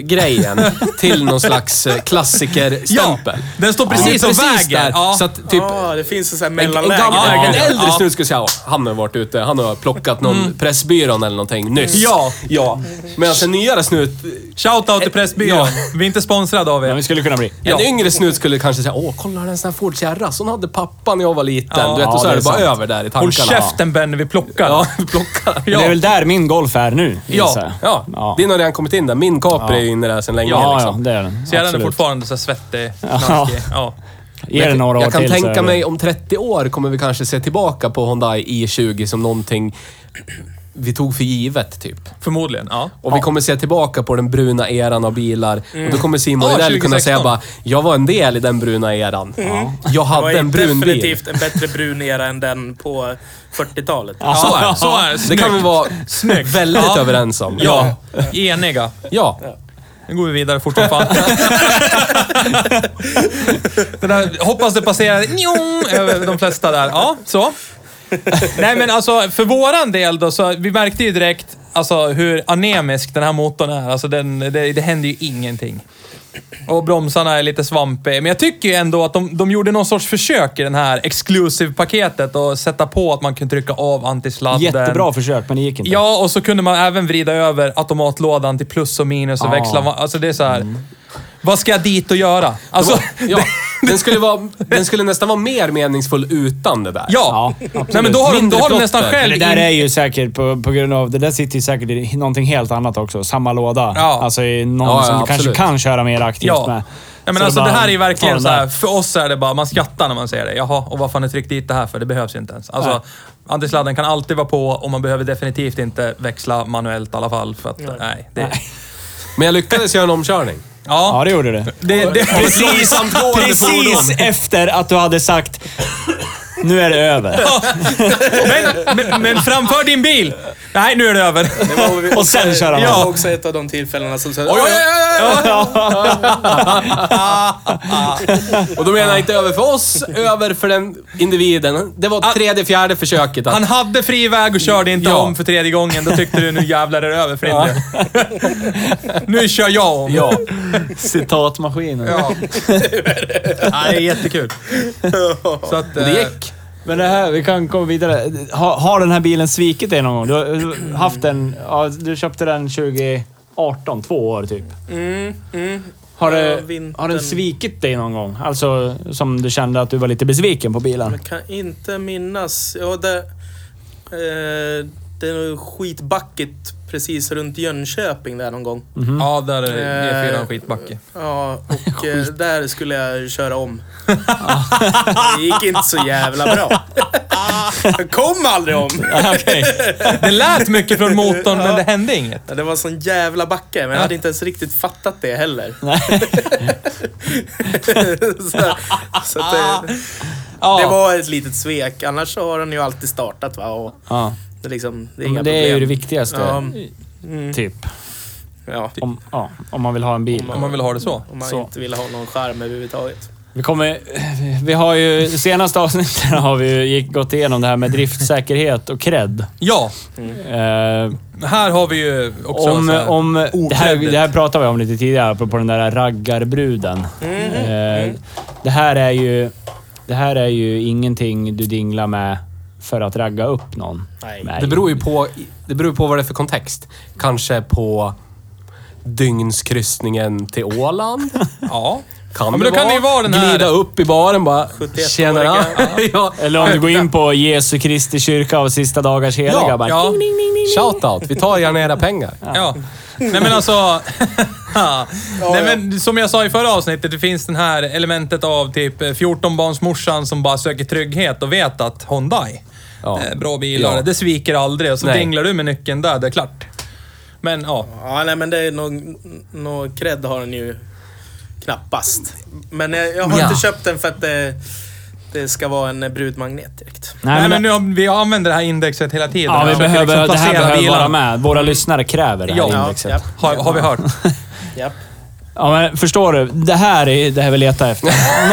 Speaker 2: grejen till någon slags eh,
Speaker 4: Ja,
Speaker 2: klassikerstämpel.
Speaker 4: den står
Speaker 2: Det är
Speaker 4: precis och väger.
Speaker 2: där.
Speaker 4: Ja.
Speaker 2: Så att typ...
Speaker 3: Ja, det finns en sån här
Speaker 2: En, en,
Speaker 3: mellanläge.
Speaker 2: gammal,
Speaker 4: Ja,
Speaker 2: en
Speaker 4: ja.
Speaker 2: äldre
Speaker 4: Ja.
Speaker 2: snut skulle säga "Ja, han har varit ute, han har plockat någon
Speaker 1: Mm.
Speaker 2: Pressbyrån eller någonting nyss.
Speaker 4: Ja.
Speaker 2: ja. Medan en nyare snut,
Speaker 4: Shoutout till Pressbyrån.
Speaker 2: Eh, Ja.
Speaker 4: Vi är inte sponsrade av
Speaker 1: Men
Speaker 4: er.
Speaker 1: vi skulle kunna bli.
Speaker 2: en
Speaker 4: Ja.
Speaker 2: yngre snut skulle kanske säga åh, kolla den sån här Ford Sierra, sån hade pappa när jag var liten.
Speaker 4: Ja.
Speaker 2: du vet, och så
Speaker 1: Ja,
Speaker 2: är det
Speaker 1: det är
Speaker 2: bara
Speaker 1: sant.
Speaker 2: över där i tankarna.
Speaker 4: Håll käften Benny, vi plockar.
Speaker 2: Ja, plocka.
Speaker 1: Det är väl där min Golf är nu, gissar jag.
Speaker 2: ja.
Speaker 1: ja.
Speaker 2: Din har redan kommit in där. Min Capri är ju inne där sedan länge.
Speaker 1: Ja,
Speaker 2: liksom.
Speaker 1: ja, det är den.
Speaker 4: Så jag är
Speaker 1: Absolut.
Speaker 4: fortfarande så här svettig,
Speaker 1: Ja.
Speaker 4: knaskig. Ja.
Speaker 1: Ge den några år
Speaker 2: jag kan
Speaker 1: till så är
Speaker 2: tänka
Speaker 1: det-
Speaker 2: mig om 30 år kommer vi kanske se tillbaka på Hyundai i20 som någonting vi tog för givet, typ.
Speaker 4: Förmodligen, ja.
Speaker 2: Och vi kommer se tillbaka på den bruna eran av bilar. Och då kommer Simon
Speaker 4: Ah,
Speaker 2: Widell kunna
Speaker 4: 2016.
Speaker 2: säga bara, jag var en del i den bruna eran.
Speaker 4: Mm.
Speaker 2: Jag
Speaker 3: Det var
Speaker 2: hade en brun bil.
Speaker 3: definitivt en bättre brun era än den på 40-talet.
Speaker 4: Så är det. Så är det.
Speaker 2: Det
Speaker 4: Snyggt.
Speaker 2: kan vi vara
Speaker 4: Snyggt.
Speaker 2: väldigt
Speaker 4: Ja.
Speaker 2: överens om.
Speaker 4: Ja, eniga.
Speaker 2: Ja.
Speaker 4: Nu går vi vidare fort som fan. det där, hoppas det passerar njong, över de flesta där. Ja, så. Nej men alltså, för våran del då, så vi märkte ju direkt alltså, hur anemisk den här motorn är. Alltså, den, det, det händer ju ingenting. Och bromsarna är lite svampiga. Men jag tycker ju ändå att de, de gjorde någon sorts försök i den här exclusive-paketet och sätta på att man kunde trycka av antisladden.
Speaker 1: Jättebra försök, men det gick inte.
Speaker 4: Ja, och så kunde man även vrida över automatlådan till plus och minus och
Speaker 1: Ja. Mm.
Speaker 4: växla. Alltså det är så här. Vad ska jag dit och göra? Alltså,
Speaker 2: ja. Den, skulle vara, den skulle nästan vara mer meningsfull utan det där.
Speaker 4: ja.
Speaker 1: Ja,
Speaker 4: Nej, men då har de, då har de
Speaker 2: Mindre
Speaker 4: nästan
Speaker 2: plotter.
Speaker 4: själv...
Speaker 1: Men det där
Speaker 4: in-
Speaker 1: är ju säkert på, på grund av... Det där sitter ju säkert i någonting helt annat också. Samma låda.
Speaker 4: Ja.
Speaker 1: Alltså i någon
Speaker 2: Ja, ja,
Speaker 1: som
Speaker 2: absolut.
Speaker 1: kanske kan köra mer aktivt med.
Speaker 4: Ja. ja, men
Speaker 1: Så
Speaker 4: alltså
Speaker 1: bara
Speaker 4: det här är ju
Speaker 1: ta den
Speaker 4: verkligen så
Speaker 1: där.
Speaker 4: här. För oss är det bara, man skrattar när man ser det. Jaha, och vad fan är tryckt dit det här för? Det behövs ju inte ens.
Speaker 1: Nej.
Speaker 4: Alltså, antisladden kan alltid vara på och man behöver definitivt inte växla manuellt i alla fall. För att, nej. det,
Speaker 2: Men jag lyckades göra en omkörning.
Speaker 4: Ja,
Speaker 1: Ja, det gjorde det.
Speaker 4: det, det,
Speaker 1: Precis,
Speaker 2: gående
Speaker 1: precis efter att du hade sagt nu är det över.
Speaker 4: men, men, men framför din bil! Nej, nu är det över.
Speaker 3: Det var
Speaker 1: Och sen kör han
Speaker 3: Det var
Speaker 1: av.
Speaker 3: också ett av de tillfällena som... Så,
Speaker 2: Oj, oj, oj, oj. Och då menar jag inte över för oss, över för den individen. Det var tredje, fjärde försöket. Att,
Speaker 4: Han hade fri väg och körde inte
Speaker 2: Ja.
Speaker 4: om för tredje gången. Då tyckte du nu jävlar är det över för ja. Nu kör jag om.
Speaker 2: ja.
Speaker 1: Citatmaskinen.
Speaker 4: Ja, det är jättekul. Så att,
Speaker 2: Men det
Speaker 4: eh,
Speaker 2: gick.
Speaker 1: Men det här, vi kan komma vidare. Ha, har den här bilen svikit dig någon gång? Du har eh, haft den, ja, du köpte den 2018, två år typ.
Speaker 3: Mm, mm.
Speaker 1: Har,
Speaker 3: Ja,
Speaker 1: det,
Speaker 3: vintern.
Speaker 1: har den svikit dig någon gång? Alltså som du kände att du var lite besviken på bilen?
Speaker 3: Jag kan inte minnas. Ja, det, eh, det är nog skitbackigt precis runt Jönköping där någon gång.
Speaker 1: Mhm.
Speaker 4: eh, Ja, där är det
Speaker 3: Eh,
Speaker 4: E4 en skitbacke.
Speaker 3: Ja, och eh, där skulle jag köra om. Det gick inte så jävla bra. Jag kom aldrig om.
Speaker 4: Det lät mycket från motorn, men det hände inget.
Speaker 3: Ja, Det var sån jävla backe, men jag hade inte ens riktigt fattat det heller. så, så att det, det
Speaker 4: Ja.
Speaker 3: var ett litet svek. Annars så har den ju alltid startat va. Och
Speaker 1: Ja.
Speaker 3: det, är liksom, det är inga
Speaker 1: Men det är ju det
Speaker 3: problem.
Speaker 1: viktigaste.
Speaker 3: Ja. Mm.
Speaker 1: Typ.
Speaker 3: Ja,
Speaker 1: Om, ja, om man vill ha en bil.
Speaker 4: Om man vill ha det så.
Speaker 3: Typ, om man
Speaker 1: Så.
Speaker 3: inte vill ha någon charm överhuvudtaget.
Speaker 1: Vi kommer... Vi har ju... Senaste avsnitten har vi ju gick, gått igenom det här med driftsäkerhet och cred.
Speaker 4: Ja,
Speaker 1: Eh,
Speaker 4: här har vi ju också
Speaker 1: om,
Speaker 4: så här-
Speaker 1: om, det, här,
Speaker 4: okreddigt.
Speaker 1: det här pratade vi om lite tidigare, apropå den där raggarbruden.
Speaker 3: Mm-hmm. Mm.
Speaker 1: Eh, det, här är ju, det här är ju ingenting du dinglar med för att ragga upp någon.
Speaker 3: Nej.
Speaker 1: med.
Speaker 2: Det beror ju på, det beror på vad det är för kontext. Kanske på dygnskryssningen till Åland.
Speaker 4: Ja.
Speaker 2: Kan
Speaker 4: Ja, men
Speaker 2: det
Speaker 4: då kan det ju vara den här-
Speaker 2: Glida upp i baren bara...
Speaker 3: 71-åriga.
Speaker 2: Tjenare. ja.
Speaker 1: Eller om du går in på Jesu Kristi kyrka av sista dagars heliga.
Speaker 2: Ja,
Speaker 1: bara,
Speaker 4: ja.
Speaker 2: Shoutout. Vi tar gärna era pengar.
Speaker 4: Ja. Nej men alltså... Nej men som jag sa i förra avsnittet, det finns den här elementet av typ eh, 14-barnsmorsan som bara söker trygghet och vet att Hyundai,
Speaker 2: Ja.
Speaker 4: eh, bra bilar,
Speaker 2: Ja.
Speaker 4: det sviker aldrig. Och så
Speaker 2: Nej.
Speaker 4: dinglar du med nyckeln där, det är klart. Men ja.
Speaker 3: Ja, nej men det är nog... Någon cred har den ju knappast. Men jag, jag har
Speaker 2: Ja.
Speaker 3: inte köpt den för att det, det ska vara en brudmagnet direkt.
Speaker 4: Nej, men, nu, har- vi använder det här indexet hela tiden.
Speaker 1: Ja,
Speaker 4: Jag
Speaker 1: vi
Speaker 4: försöker
Speaker 1: behöver,
Speaker 4: liksom
Speaker 1: det här
Speaker 4: placera
Speaker 1: behöver vara
Speaker 4: bilarna.
Speaker 1: med. Våra lyssnare kräver det här
Speaker 4: Ja.
Speaker 1: indexet.
Speaker 3: japp,
Speaker 4: Har, har vi hört.
Speaker 3: japp.
Speaker 1: Ja, men förstår du? Det här är det här vi letar efter.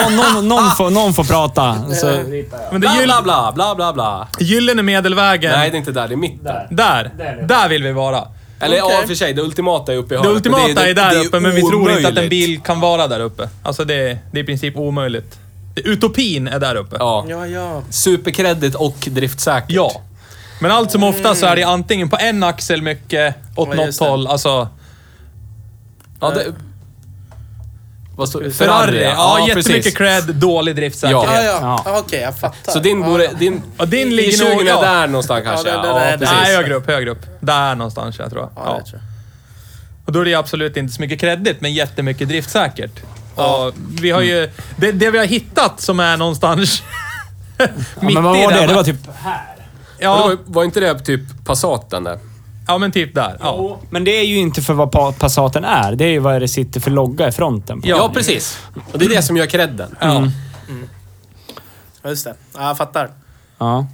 Speaker 1: Någon, någon, någon, får, någon får prata.
Speaker 4: Eh,
Speaker 1: Så,
Speaker 4: Men det
Speaker 2: Bla,
Speaker 4: är gyll,
Speaker 2: bla, bla, bla, bla, bla.
Speaker 4: gyllene medelvägen.
Speaker 2: Nej, det är inte där. Det är mitt.
Speaker 4: Där. Där vill vi vara.
Speaker 2: Eller ja,
Speaker 3: Okej.
Speaker 2: i och för sig. Det ultimata är uppe i
Speaker 4: Det
Speaker 2: hörnet. men
Speaker 4: ultimata
Speaker 2: det
Speaker 4: är där
Speaker 2: det
Speaker 4: uppe, men vi tror inte att en
Speaker 2: omöjligt.
Speaker 4: bil kan vara där uppe. Alltså det, det är i princip omöjligt. Utopin är där uppe.
Speaker 2: Ja.
Speaker 3: Ja, ja.
Speaker 2: Superkredit och driftsäkert.
Speaker 4: Ja. Men allt som ofta så är det antingen på en axel mycket, åt
Speaker 3: Ja,
Speaker 4: något
Speaker 3: just det.
Speaker 4: håll. Alltså,
Speaker 2: ja det, vad står, Ferrari,
Speaker 4: Eh. Ferrari. Ja,
Speaker 2: precis.
Speaker 4: jättemycket cred, dålig driftsäkerhet.
Speaker 3: Ja,
Speaker 2: Ja.
Speaker 4: ja.
Speaker 3: ja.
Speaker 1: Ja.
Speaker 3: Okej, jag fattar.
Speaker 2: Så din borde... Din,
Speaker 4: Ja, din ligger
Speaker 2: i 20
Speaker 4: nog-
Speaker 2: är
Speaker 4: ja.
Speaker 2: där någonstans kanske.
Speaker 3: Ja,
Speaker 2: Ja,
Speaker 3: det- det- det-
Speaker 2: precis.
Speaker 4: Nej, högre upp, högre upp. Där någonstans, jag tror.
Speaker 3: Ja,
Speaker 4: Ja.
Speaker 3: Det tror jag.
Speaker 4: Och då är det absolut inte så mycket kreddigt, men jättemycket driftsäkert. Och vi har ju, det, det vi har hittat som är någonstans
Speaker 1: Ja,
Speaker 4: mitt
Speaker 1: men vad
Speaker 4: i
Speaker 1: var det?
Speaker 4: den-
Speaker 1: Det var typ här.
Speaker 2: Ja.
Speaker 4: ja,
Speaker 2: Var, var inte det typ Passaten där?
Speaker 4: ja, men typ där. Ja.
Speaker 1: Men det är ju inte för vad pa- Passaten är. Det är ju vad det sitter för logga i fronten. På.
Speaker 2: Ja, precis. Och det är det som gör Mm. credden.
Speaker 4: Ja.
Speaker 3: Ja, just det. Ja, jag fattar.
Speaker 1: Ja.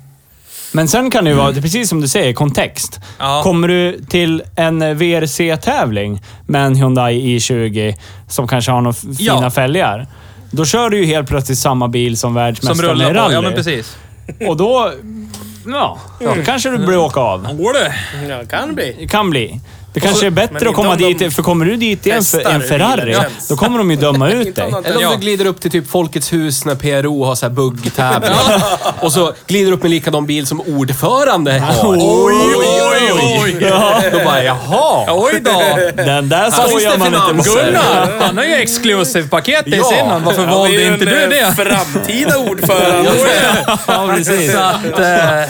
Speaker 1: Men sen kan det ju vara, det är precis som du säger, kontext.
Speaker 4: Ja.
Speaker 1: Kommer du till en VRC-tävling med en Hyundai i20 som kanske har några f-
Speaker 4: Ja.
Speaker 1: fina fälgar. Då kör du ju helt plötsligt samma bil som
Speaker 4: Som
Speaker 1: världsmästaren i
Speaker 4: rullar på.
Speaker 1: rally.
Speaker 4: Ja, men precis.
Speaker 1: Och då... Ja, då kanske du blir åka av.
Speaker 4: Går det?
Speaker 3: Ja, det kan bli.
Speaker 1: Det kan bli. Det kanske är bättre
Speaker 3: men
Speaker 1: att komma
Speaker 3: inte om de
Speaker 1: dit, för kommer du dit i en,
Speaker 3: testar
Speaker 1: en Ferrari,
Speaker 3: bilen ens.
Speaker 1: då kommer de ju döma ut dig.
Speaker 3: Inte om de-
Speaker 2: Eller om
Speaker 4: Ja.
Speaker 2: du glider upp till typ Folkets hus när PRO har så här buggtävling. Och så glider du upp med likadan bil som ordförande har.
Speaker 1: Oj,
Speaker 4: oj, oj.
Speaker 1: Ja.
Speaker 2: Då bara, jaha.
Speaker 4: Oj då!
Speaker 1: Den där
Speaker 2: finns
Speaker 1: skojar
Speaker 2: det
Speaker 1: man inte
Speaker 2: finans.
Speaker 1: med.
Speaker 4: Gunnar, han har ju exklusivpaket i
Speaker 2: Ja.
Speaker 4: sin hand. Varför
Speaker 3: Han är
Speaker 4: valde
Speaker 3: ju
Speaker 4: inte
Speaker 3: en,
Speaker 4: du
Speaker 3: eh,
Speaker 4: det?
Speaker 3: framtida ordförande.
Speaker 1: Ja, precis.
Speaker 4: Så att, eh,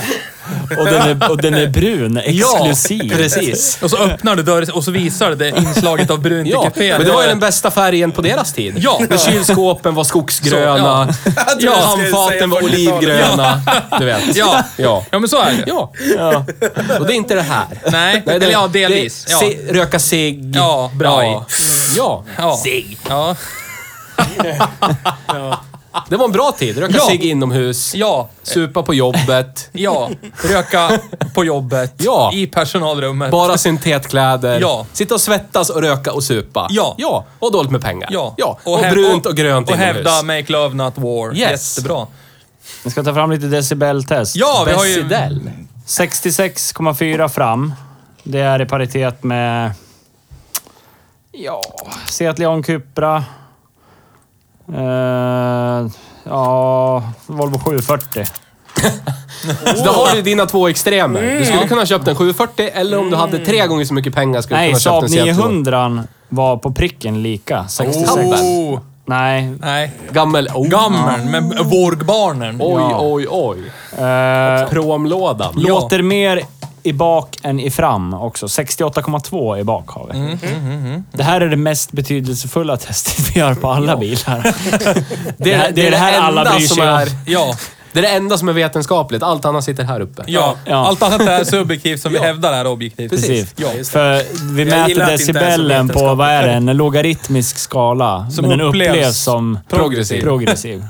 Speaker 1: Och den är, och den är brun, exklusiv.
Speaker 2: Precis.
Speaker 4: eh, och så öppnar du dörren och så visar det inslaget av brunt i
Speaker 2: Ja,
Speaker 4: kupén.
Speaker 2: men det var ju den bästa färgen på deras tid.
Speaker 4: Ja.
Speaker 2: När kylskåpen var skogsgröna,
Speaker 3: trodde du
Speaker 2: ja.
Speaker 3: skulle säga
Speaker 2: handfaten var
Speaker 3: 40-talet.
Speaker 2: olivgröna. Du vet.
Speaker 4: Ja.
Speaker 2: ja.
Speaker 4: Ja, men så är det.
Speaker 2: Ja. Och det är inte det här.
Speaker 4: Nej, eller ja, delvis.
Speaker 2: det-
Speaker 4: Ja.
Speaker 2: se- röka cigg.
Speaker 4: Ja, bra. Mm.
Speaker 2: Ja. ja.
Speaker 4: Ja. Ja.
Speaker 2: Det var en bra tid. Röka
Speaker 4: Ja.
Speaker 2: cigg inomhus.
Speaker 4: ja,
Speaker 2: Supa på jobbet.
Speaker 4: ja. Röka på jobbet,
Speaker 2: Ja.
Speaker 4: i personalrummet.
Speaker 2: Bara syntetkläder.
Speaker 4: Ja.
Speaker 2: Sitta och svettas och röka och supa.
Speaker 4: Ja.
Speaker 2: Ja. Och dåligt med pengar.
Speaker 4: ja.
Speaker 2: ja. Och,
Speaker 4: häv-
Speaker 2: brunt och grönt
Speaker 4: Och
Speaker 2: inomhus.
Speaker 4: hävda make love not war.
Speaker 2: Yes.
Speaker 4: Jättebra.
Speaker 1: Jag ska ta fram lite decibeltest.
Speaker 4: Ja, vi har ju...
Speaker 2: Sidell.
Speaker 1: 66,4 fram. Det är i paritet med... Ja, Seat Leon Cupra. Eh, ja, Volvo 740.
Speaker 2: Så då har du dina två extremer. Du
Speaker 4: Mm.
Speaker 2: skulle kunna ha köpt en 740 eller om du hade tre gånger så mycket pengar skulle du
Speaker 1: Nej,
Speaker 2: kunna ha
Speaker 1: Saab
Speaker 2: köpt en Seattle.
Speaker 1: 900 var på pricken lika. 66.
Speaker 2: Oh.
Speaker 1: Nej.
Speaker 4: Nej.
Speaker 2: Gammel. Oh.
Speaker 4: Gammel, men Vårgbarnen.
Speaker 2: Oj,
Speaker 1: Ja.
Speaker 2: oj, oj.
Speaker 1: Eh,
Speaker 2: Promlådan.
Speaker 1: låter mer i bak än i fram också. 68,2 i bak har vi. Det här är det mest betydelsefulla testet vi gör på alla bilar. Det, här- det är det här alla
Speaker 2: enda
Speaker 1: bryr
Speaker 2: som
Speaker 1: sig om.
Speaker 2: är,
Speaker 4: Ja.
Speaker 2: Det är det enda som är vetenskapligt. Allt annat sitter här uppe.
Speaker 4: Ja.
Speaker 1: Ja.
Speaker 4: allt annat är subjektivt som vi hävdar är objektivt.
Speaker 1: Precis.
Speaker 4: Ja.
Speaker 1: För vi mäter
Speaker 3: gillar att det inte är så
Speaker 1: decibellen på, vad är det, en logaritmisk skala.
Speaker 4: Som
Speaker 1: men den
Speaker 4: upplevs
Speaker 1: upplevs, som
Speaker 2: progressiv.
Speaker 1: progressiv.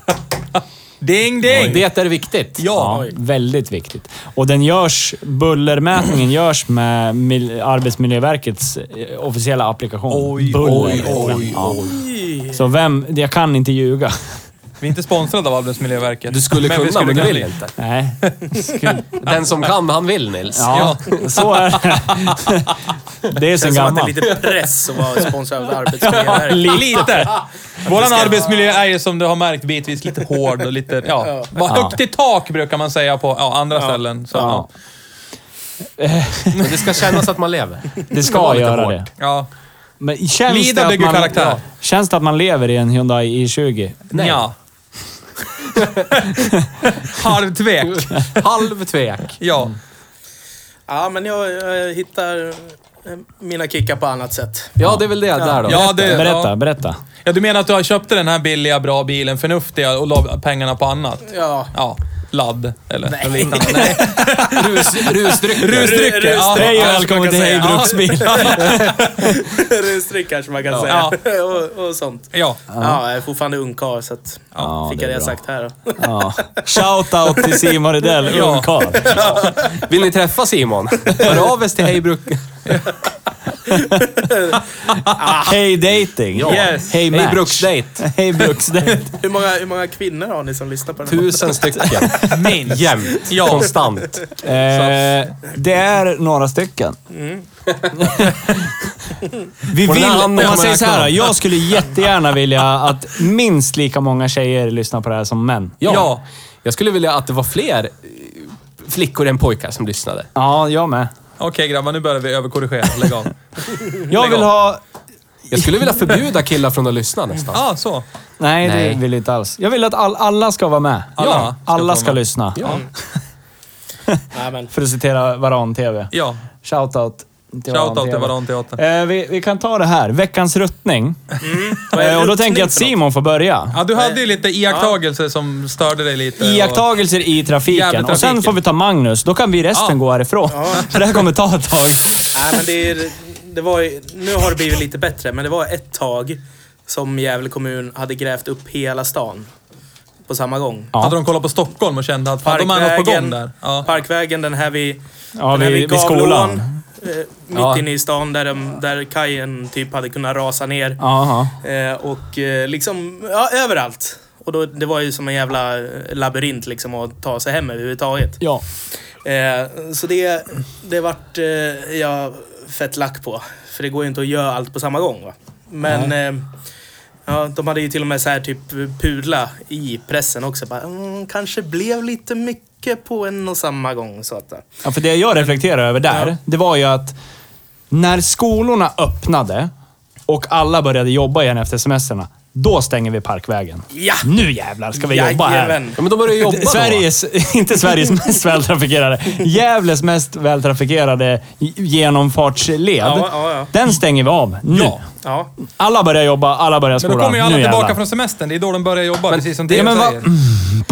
Speaker 4: Ding, ding!
Speaker 2: Det är viktigt.
Speaker 4: Ja.
Speaker 1: Ja, väldigt viktigt. Och den görs, bullermätningen görs med mil, Arbetsmiljöverkets eh, officiella applikation.
Speaker 4: Oj,
Speaker 1: Buller.
Speaker 4: oj, oj,
Speaker 1: Ja. Så vem... Jag kan inte ljuga.
Speaker 4: Vi är inte sponsrade av Arbetsmiljöverket.
Speaker 2: Du skulle
Speaker 4: Men
Speaker 2: kunna,
Speaker 4: vi skulle
Speaker 2: men du
Speaker 4: kunna
Speaker 2: vill
Speaker 4: bli.
Speaker 2: inte.
Speaker 1: Nej.
Speaker 2: Den som kan, han vill Nils.
Speaker 1: Ja, så är det. Det är sen
Speaker 3: Känns som att det är
Speaker 1: gammalt.
Speaker 3: lite press att vara sponsrad av Arbetsmiljöverket.
Speaker 4: Lite! Våran arbetsmiljö är ju som du har märkt bitvis lite hård och lite... Ja. Vad högt i tak brukar man säga på ja, andra ställen. Så, ja.
Speaker 1: Ja.
Speaker 2: Men det ska kännas att man lever.
Speaker 1: Det
Speaker 2: Det var
Speaker 1: ska
Speaker 2: lite
Speaker 1: göra
Speaker 2: hårt.
Speaker 1: det.
Speaker 4: Ja.
Speaker 1: Men känns
Speaker 4: Lida
Speaker 1: det att
Speaker 4: bygger
Speaker 1: man,
Speaker 4: karaktär.
Speaker 1: Ja, känns det att man lever i en Hyundai i20?
Speaker 4: Nej. Ja. Halvtvek.
Speaker 2: Halv tvek.
Speaker 4: Ja.
Speaker 3: Ja, men jag, jag hittar eh, mina kickar på annat sätt.
Speaker 2: Ja, det är väl det där då.
Speaker 4: Ja, det,
Speaker 1: Berätta,
Speaker 4: Ja.
Speaker 1: berätta.
Speaker 4: ja, du menar att du har köpt den här billiga, bra bilen, förnuftiga, och la pengarna på annat?
Speaker 3: Ja.
Speaker 4: Ja. Ladd eller
Speaker 3: Nej.
Speaker 4: något liknande. Nej.
Speaker 2: Rus, rusdrycker.
Speaker 4: Rusdrycker. Ja.
Speaker 1: Hej och
Speaker 4: Ja,
Speaker 1: välkommen till Hej
Speaker 4: skulle jag säga.
Speaker 1: Bruksbil.
Speaker 3: Rusdryck kanske man kan säga. och, och sånt.
Speaker 4: Ja.
Speaker 3: Ja, jag är fortfarande ungkarl så att,
Speaker 1: Ja,
Speaker 3: fick
Speaker 1: det
Speaker 3: jag
Speaker 1: är
Speaker 3: det
Speaker 1: bra.
Speaker 3: sagt här. då.
Speaker 1: Ja. Shout-out till Simon Rydell,
Speaker 4: Ja.
Speaker 1: ungkarl.
Speaker 2: Vill ni träffa Simon? Hör av er till Hejbruk.
Speaker 1: Hej dating!
Speaker 4: Yes.
Speaker 1: Hej match!
Speaker 2: Hej bruksdejt.
Speaker 1: Hej bruksdate!
Speaker 3: Hur många, hur många kvinnor har ni som lyssnar på den? här?
Speaker 2: Tusen stycken.
Speaker 4: Minst.
Speaker 2: Jämt.
Speaker 4: Ja.
Speaker 2: Konstant.
Speaker 1: eh, det är några stycken. Vi
Speaker 2: Och den
Speaker 1: vill,
Speaker 2: här
Speaker 1: om
Speaker 2: handen
Speaker 1: man
Speaker 2: kommer
Speaker 1: säger så här,
Speaker 2: räkna.
Speaker 1: jag skulle jättegärna vilja att minst lika många tjejer lyssnar på det här som män.
Speaker 2: Ja.
Speaker 4: Ja.
Speaker 2: Jag skulle vilja att det var fler eh, flickor än pojkar som lyssnade.
Speaker 1: Ja, jag med.
Speaker 4: Okej grabbar, nu börjar vi överkorrigera. Lägg av.
Speaker 1: Jag vill
Speaker 4: av.
Speaker 1: ha...
Speaker 2: Jag skulle vilja förbjuda killar från att lyssna nästan.
Speaker 4: Ja, ah, så.
Speaker 1: Nej,
Speaker 2: Nej.
Speaker 1: det vill jag inte alls. Jag vill att all, alla ska vara med.
Speaker 4: Alla
Speaker 1: ja,
Speaker 4: ska
Speaker 1: alla
Speaker 4: vara
Speaker 1: ska
Speaker 4: med.
Speaker 1: lyssna.
Speaker 2: Ja.
Speaker 3: Nej, men.
Speaker 1: För att citera Varan TV.
Speaker 4: Ja.
Speaker 1: Shoutout till
Speaker 4: Shoutout
Speaker 1: varann
Speaker 4: till varann teater. Mm.
Speaker 1: Eh, vi, vi kan ta det här. Veckans ruttning. Eh, och då tänker jag att Simon får börja.
Speaker 4: Ja, du hade ju lite iakttagelser som störde dig lite. och-
Speaker 1: Iakttagelser i trafiken.
Speaker 4: Jävligt
Speaker 1: Och sen
Speaker 4: trafiken.
Speaker 1: får vi ta Magnus. Då kan vi resten
Speaker 4: Ja.
Speaker 1: gå härifrån. För det här kommer ta ett tag.
Speaker 3: Nej, men det, är, det var ju, nu har det blivit lite bättre, men det var ett tag som Gävle kommun hade grävt upp hela stan på samma gång.
Speaker 1: Ja.
Speaker 4: Hade de kollat på Stockholm och kände att fan, de har något på gång där. Ja.
Speaker 3: parkvägen, den här vid,
Speaker 1: Ja,
Speaker 3: den här
Speaker 1: vid-
Speaker 3: vid,
Speaker 1: vid
Speaker 3: Gavleån.
Speaker 1: skolan.
Speaker 3: eh, Mitt
Speaker 2: Ja.
Speaker 3: inne i stan där, de, där kajen typ hade kunnat rasa ner.
Speaker 1: Aha.
Speaker 3: Eh, och eh, liksom, ja, överallt. Och då, det var ju som en jävla eh, labyrint liksom att ta sig hem överhuvudtaget.
Speaker 1: Ja.
Speaker 3: Eh, så det, det vart eh, jag fett lack på. För det går ju inte att göra allt på samma gång. Va? Men eh, ja, de hade ju till och med så här typ pudla i pressen också. Bara, mm, kanske blev lite mycket på en och samma gång. Så att, eh.
Speaker 1: Ja, för det jag reflekterar över där,
Speaker 3: Ja.
Speaker 1: det var ju att när skolorna öppnade och alla började jobba igen efter semesterna, då stänger vi parkvägen.
Speaker 3: ja!
Speaker 1: Nu jävlar ska vi jobba här.
Speaker 3: Jajamän.
Speaker 2: Ja, men då börjar jag jobba då.
Speaker 1: Sveriges, inte Sveriges mest vältrafikerade, Gävles mest vältrafikerade genomfartsled.
Speaker 3: Ja, ja, ja.
Speaker 1: Den stänger vi av nu.
Speaker 3: Ja,
Speaker 1: Alla börjar jobba, alla börjar
Speaker 4: Men
Speaker 1: skolan.
Speaker 4: då kommer ju alla
Speaker 1: nu
Speaker 4: tillbaka
Speaker 1: jävlar.
Speaker 4: från semestern. Det är då de börjar jobba, precis som
Speaker 2: det-
Speaker 4: Theo
Speaker 2: men va-
Speaker 4: säger.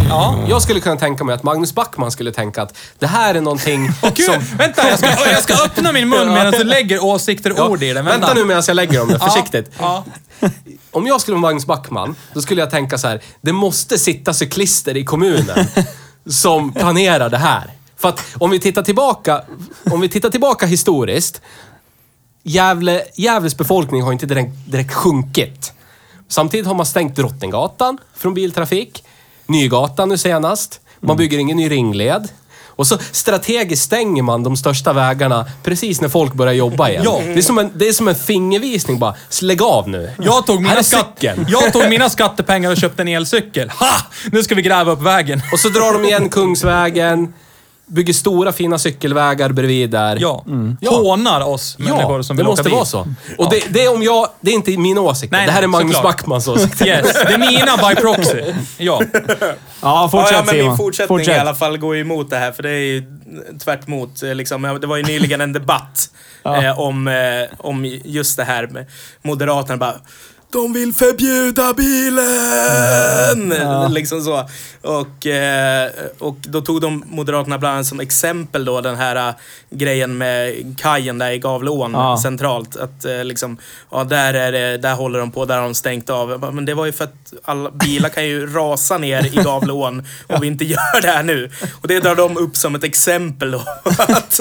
Speaker 4: Ja.
Speaker 2: Jag skulle kunna tänka mig att Magnus Backman skulle tänka att det här är någonting
Speaker 4: Gud,
Speaker 2: som...
Speaker 4: vänta, jag ska, jag ska öppna min mun medan du lägger åsikter och
Speaker 2: Ja,
Speaker 4: ord i den.
Speaker 2: vänta nu medan jag lägger dem, försiktigt.
Speaker 4: Ja.
Speaker 2: Om jag skulle vara Magnus Backman, då skulle jag tänka så här. Det måste sitta cyklister i kommunen som planerar det här. För att om vi tittar tillbaka, om vi tittar tillbaka historiskt. Gävle, Gävles befolkning har inte direkt, direkt sjunkit. Samtidigt har man stängt Drottninggatan från biltrafik. Nygatan nu senast.
Speaker 4: Mm.
Speaker 2: Man bygger ingen ny ringled. Och så strategiskt stänger man de största vägarna precis när folk börjar jobba igen.
Speaker 4: Ja.
Speaker 2: Det, är som en, det är som en fingervisning bara. Lägg av nu.
Speaker 4: Jag tog,
Speaker 2: Här är
Speaker 4: mina skatt,
Speaker 2: cykeln.
Speaker 4: jag tog mina skattepengar och köpte en elcykel. Ha! Nu ska vi gräva upp vägen.
Speaker 2: Och så drar de igen Kungsvägen. Bygger stora fina cykelvägar bredvid där.
Speaker 4: Ja. Mm.
Speaker 2: Ja.
Speaker 4: Hånar oss människor
Speaker 2: Ja,
Speaker 4: som
Speaker 2: det
Speaker 4: vill åka
Speaker 2: måste
Speaker 4: bil. Mm.
Speaker 2: vara så. Och det, det är om jag... Det är inte mina åsikter.
Speaker 4: Nej,
Speaker 2: det här
Speaker 4: nej,
Speaker 2: är Magnus
Speaker 4: såklart.
Speaker 2: Backmans åsikter.
Speaker 4: Yes, det är mina by proxy. Ja.
Speaker 1: Ja,
Speaker 3: ja,
Speaker 1: fortsätt
Speaker 3: ja men
Speaker 1: Simon.
Speaker 3: min fortsättning
Speaker 1: Fortsätt.
Speaker 3: i alla fall går ju emot det här. För det är ju tvärt emot. eh, Liksom. Ja, Det var ju nyligen en debatt eh, om, eh, om just det här med Moderaterna bara de vill förbjuda bilen!
Speaker 1: Mm,
Speaker 3: Liksom så. Och, eh, och då tog de Moderaterna bland annat som exempel då den här eh, grejen med kajen där i Gavleån
Speaker 1: Ja.
Speaker 3: centralt. Att eh, liksom, ja där är det, där håller de på, där har de stängt av. Jag bara, Men det var ju för att alla bilar kan ju rasa ner i Gavleån om vi inte gör det här nu. Och det drar de upp som ett exempel då. på att,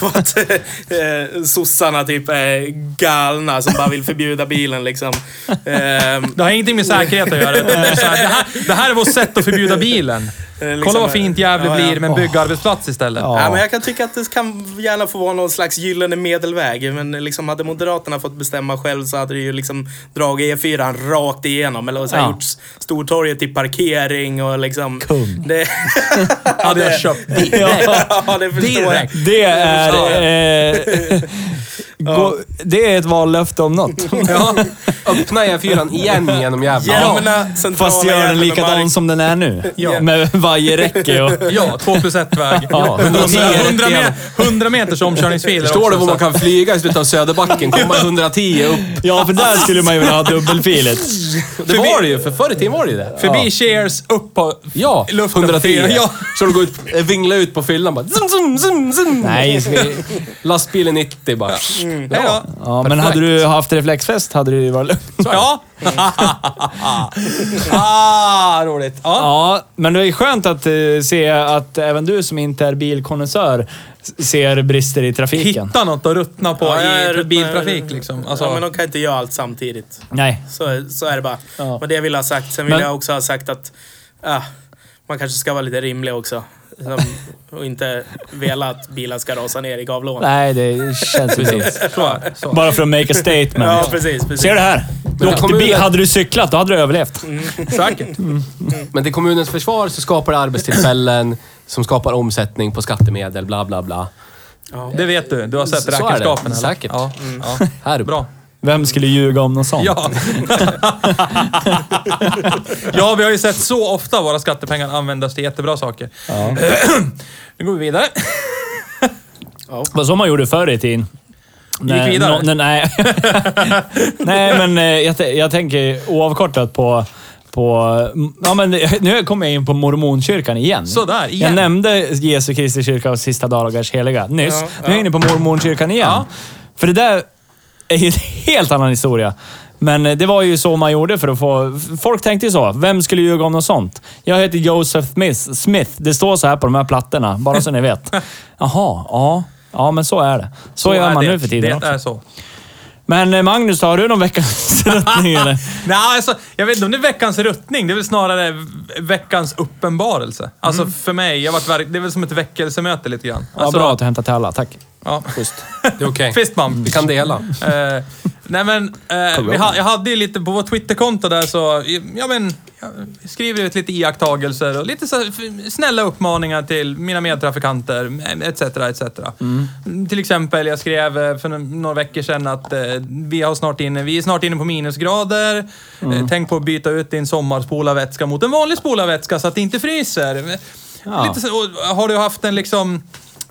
Speaker 3: på att eh, sossarna typ är galna som bara vill förbjuda bilen liksom. Ehm,
Speaker 4: Det har ingenting med säkerhet att göra. utan Det, är så här, det, här, det här är vårt sätt att förbjuda bilen.
Speaker 3: eh, liksom-
Speaker 4: Kolla vad fint Gävle
Speaker 3: Ja, ja.
Speaker 4: blir med en byggarbetsplats istället.
Speaker 1: Ja.
Speaker 3: Ja, men jag kan tycka att det kan gärna få vara någon slags gyllene medelväg. Men liksom hade Moderaterna fått bestämma själv så hade det ju liksom dragit E4 rakt igenom. Eller så här
Speaker 1: Ja.
Speaker 3: gjort Stortorget till parkering och liksom...
Speaker 1: Kung.
Speaker 3: Det,
Speaker 4: Hade jag köpt bil.
Speaker 3: ja, det förstår jag.
Speaker 4: Direkt.
Speaker 1: Det är... Eh, gå, det är ett vallöfte om något.
Speaker 2: Ja. Öppna E4 igen genom Gävle.
Speaker 3: Jämna, äh, centrala
Speaker 1: Fast gör den
Speaker 3: Gävle
Speaker 1: likadan
Speaker 3: mark.
Speaker 1: som den är nu.
Speaker 3: Ja.
Speaker 1: Med vajerräcke och...
Speaker 4: Ja, två plus ett väg.
Speaker 1: Ja.
Speaker 4: 100, me- 100 meters omkörningsfil. är
Speaker 2: Förstår du
Speaker 4: också
Speaker 2: var man
Speaker 4: så här.
Speaker 2: kan flyga i slutet av Söderbacken? Komma 110 upp.
Speaker 1: Ja, för där skulle man ju vilja ha dubbelfilet.
Speaker 2: Det var det ju. För förr i tiden var det ju det.
Speaker 4: Förbi Cheers, upp på...
Speaker 2: Ja,
Speaker 4: I luften.
Speaker 2: 110.
Speaker 4: Ja.
Speaker 2: Så de går ut, eh, vinglar ut på fyllan bara. Zum, zum, zum, zum.
Speaker 1: Nej, ska vi...
Speaker 2: Lastbilen 90 bara.
Speaker 4: Hej då.
Speaker 1: Ja, men hade du haft reflexväst hade det ju varit lugnt.
Speaker 4: Ja. ah, roligt. Ja.
Speaker 1: Ja, men det är skönt att eh, se att även du som inte är bilkonnässör s- ser brister i trafiken.
Speaker 4: Hitta något att ruttna på
Speaker 3: Ja, jag
Speaker 4: i
Speaker 3: är-
Speaker 4: biltrafik liksom. Alltså,
Speaker 3: Ja, men de kan inte göra allt samtidigt.
Speaker 1: Nej.
Speaker 3: Så, så är det bara.
Speaker 1: Ja.
Speaker 3: Och det jag vill ha sagt. Sen vill
Speaker 1: Men-
Speaker 3: jag också ha sagt att ah, man kanske ska vara lite rimlig också. Som, och inte vela att bilar ska rasa ner i gavlån.
Speaker 1: Nej, det känns ju så.
Speaker 4: så, så.
Speaker 1: Bara för att make a statement.
Speaker 3: Ja, precis. precis.
Speaker 1: Ser du här? Du
Speaker 2: Men
Speaker 1: åkte
Speaker 2: kommunen-
Speaker 1: bil. Hade du cyklat, då hade du överlevt.
Speaker 4: Säkert.
Speaker 2: Men till kommunens försvar så skapar det arbetstillfällen som skapar omsättning på skattemedel, bla bla bla.
Speaker 3: Ja.
Speaker 4: Det vet du. Du har sett
Speaker 2: Så är det.
Speaker 4: räkenskapen. eller?
Speaker 2: Säkert.
Speaker 4: Ja.
Speaker 1: Mm.
Speaker 4: Ja.
Speaker 2: Här uppe.
Speaker 4: Bra.
Speaker 1: Vem skulle ljuga om något sånt?
Speaker 4: Ja. ja, vi har ju sett så ofta våra skattepengar användas till jättebra saker. nu går vi vidare.
Speaker 1: Det var så man gjorde förr i tiden.
Speaker 4: Du gick vidare?
Speaker 1: nå- nej. nej, men eh, jag, t- jag tänker oavkortat på... på ja, men, det- nu kommer jag in på mormonkyrkan igen.
Speaker 4: Sådär, igen.
Speaker 1: Jag nämnde Jesu Kristi kyrka och sista dagars heliga nyss.
Speaker 3: Ja,
Speaker 1: Nu är jag inne på mormonkyrkan igen. För det där är ju en helt annan historia. Men eh, det var ju så man gjorde för att få... Folk tänkte ju så. Vem skulle ljuga om något sånt? Jag heter Joseph Smith. Smith. Det står så här på de här plattorna, bara så ni vet. Jaha, ja. Ja, men så är det. Så, gör
Speaker 4: är
Speaker 1: man
Speaker 4: det.
Speaker 1: nu för tiden
Speaker 4: Det
Speaker 1: också.
Speaker 4: är så.
Speaker 1: Men eh, Magnus, har du någon veckans ruttning eller?
Speaker 4: Nej, alltså, jag vet inte om det är veckans ruttning. Det är väl snarare ve- veckans uppenbarelse. Alltså för mig, jag har varit, verk- det är väl som ett väckelsemöte lite grann.
Speaker 1: Mm. Ja,
Speaker 4: Alltså,
Speaker 1: bra att du hämtar till alla. Tack.
Speaker 4: Ja.
Speaker 2: Det är okej.
Speaker 4: Fist bump.
Speaker 2: Vi kan dela.
Speaker 4: Eh, nej men, eh, vi ha, jag hade ju lite på vårt Twitterkonto där så, ja men, jag skriver ut lite iakttagelser och lite så här f- snälla uppmaningar till mina medtrafikanter, eh, etc. etc. Mm. Till exempel, jag skrev eh, för n- några veckor sedan att eh, vi, har snart inne, vi är snart inne på minusgrader. Eh, tänk på att byta ut din sommarspolarvätska mot en vanlig spolarvätska så att det inte fryser.
Speaker 1: Ja.
Speaker 4: Lite så, och har du haft en liksom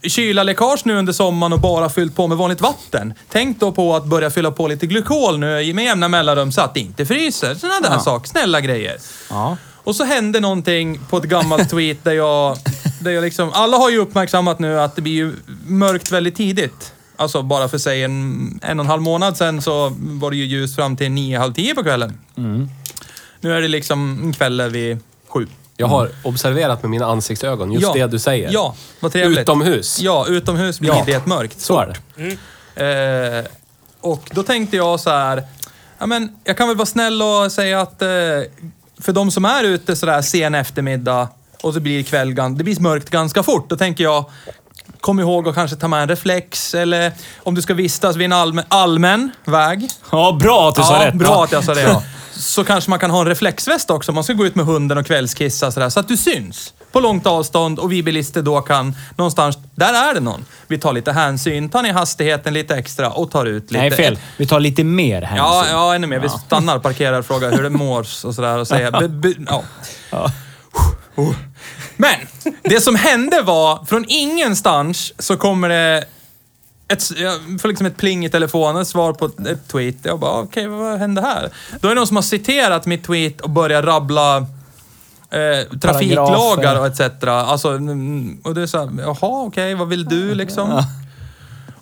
Speaker 4: kylaläckage nu under sommaren och bara fyllt på med vanligt vatten. Tänk då på att börja fylla på lite glykol nu med jämna mellanrum så att det inte fryser. Sådana där saker. Snälla grejer.
Speaker 1: Ja.
Speaker 4: Och så hände någonting på ett gammalt tweet där jag... Där jag liksom, alla har ju uppmärksammat nu att det blir ju mörkt väldigt tidigt. Alltså bara för sig en, en och en halv månad sedan så var det ju ljust fram till nio, halv tio på kvällen.
Speaker 2: Mm.
Speaker 4: Nu är det liksom kvällen vid sju.
Speaker 2: Jag har observerat med mina ansiktsögon just det du säger.
Speaker 4: Ja, vad trevligt.
Speaker 2: Utomhus.
Speaker 4: Ja, utomhus blir
Speaker 2: Ja.
Speaker 4: det mörkt.
Speaker 2: Så är det.
Speaker 4: Eh, och då tänkte jag så här, ja, men jag kan väl vara snäll och säga att eh, för de som är ute sådär sen eftermiddag och så blir kväll, gan- det blir mörkt ganska fort, då tänker jag Kom ihåg att kanske ta med en reflex eller om du ska vistas vid en allmän, allmän väg.
Speaker 1: Ja, bra att du sa rätt.
Speaker 4: Bra att jag sa det. Ja. Så kanske man kan ha en reflexväst också om man ska gå ut med hunden och kvällskissa sådär, så att du syns på långt avstånd och vi bilister då kan någonstans, där är det någon. Vi tar lite hänsyn, tar ner hastigheten lite extra och tar ut lite...
Speaker 1: Nej, fel. Vi tar lite mer Alltså, hänsyn.
Speaker 4: Ja, ja, ännu mer. Vi stannar, parkerar, frågar hur det mår och sådär och säger... be- be- ja. Men det som hände var, från ingenstans så kommer det ett, jag får liksom ett pling i telefonen, ett svar på ett- ett tweet. Jag bara, okej, vad hände här? Då är det någon som har citerat mitt tweet och börjar rabbla eh, trafiklagar och etc. Alltså, mm, och det är såhär, jaha, okej, vad vill du liksom?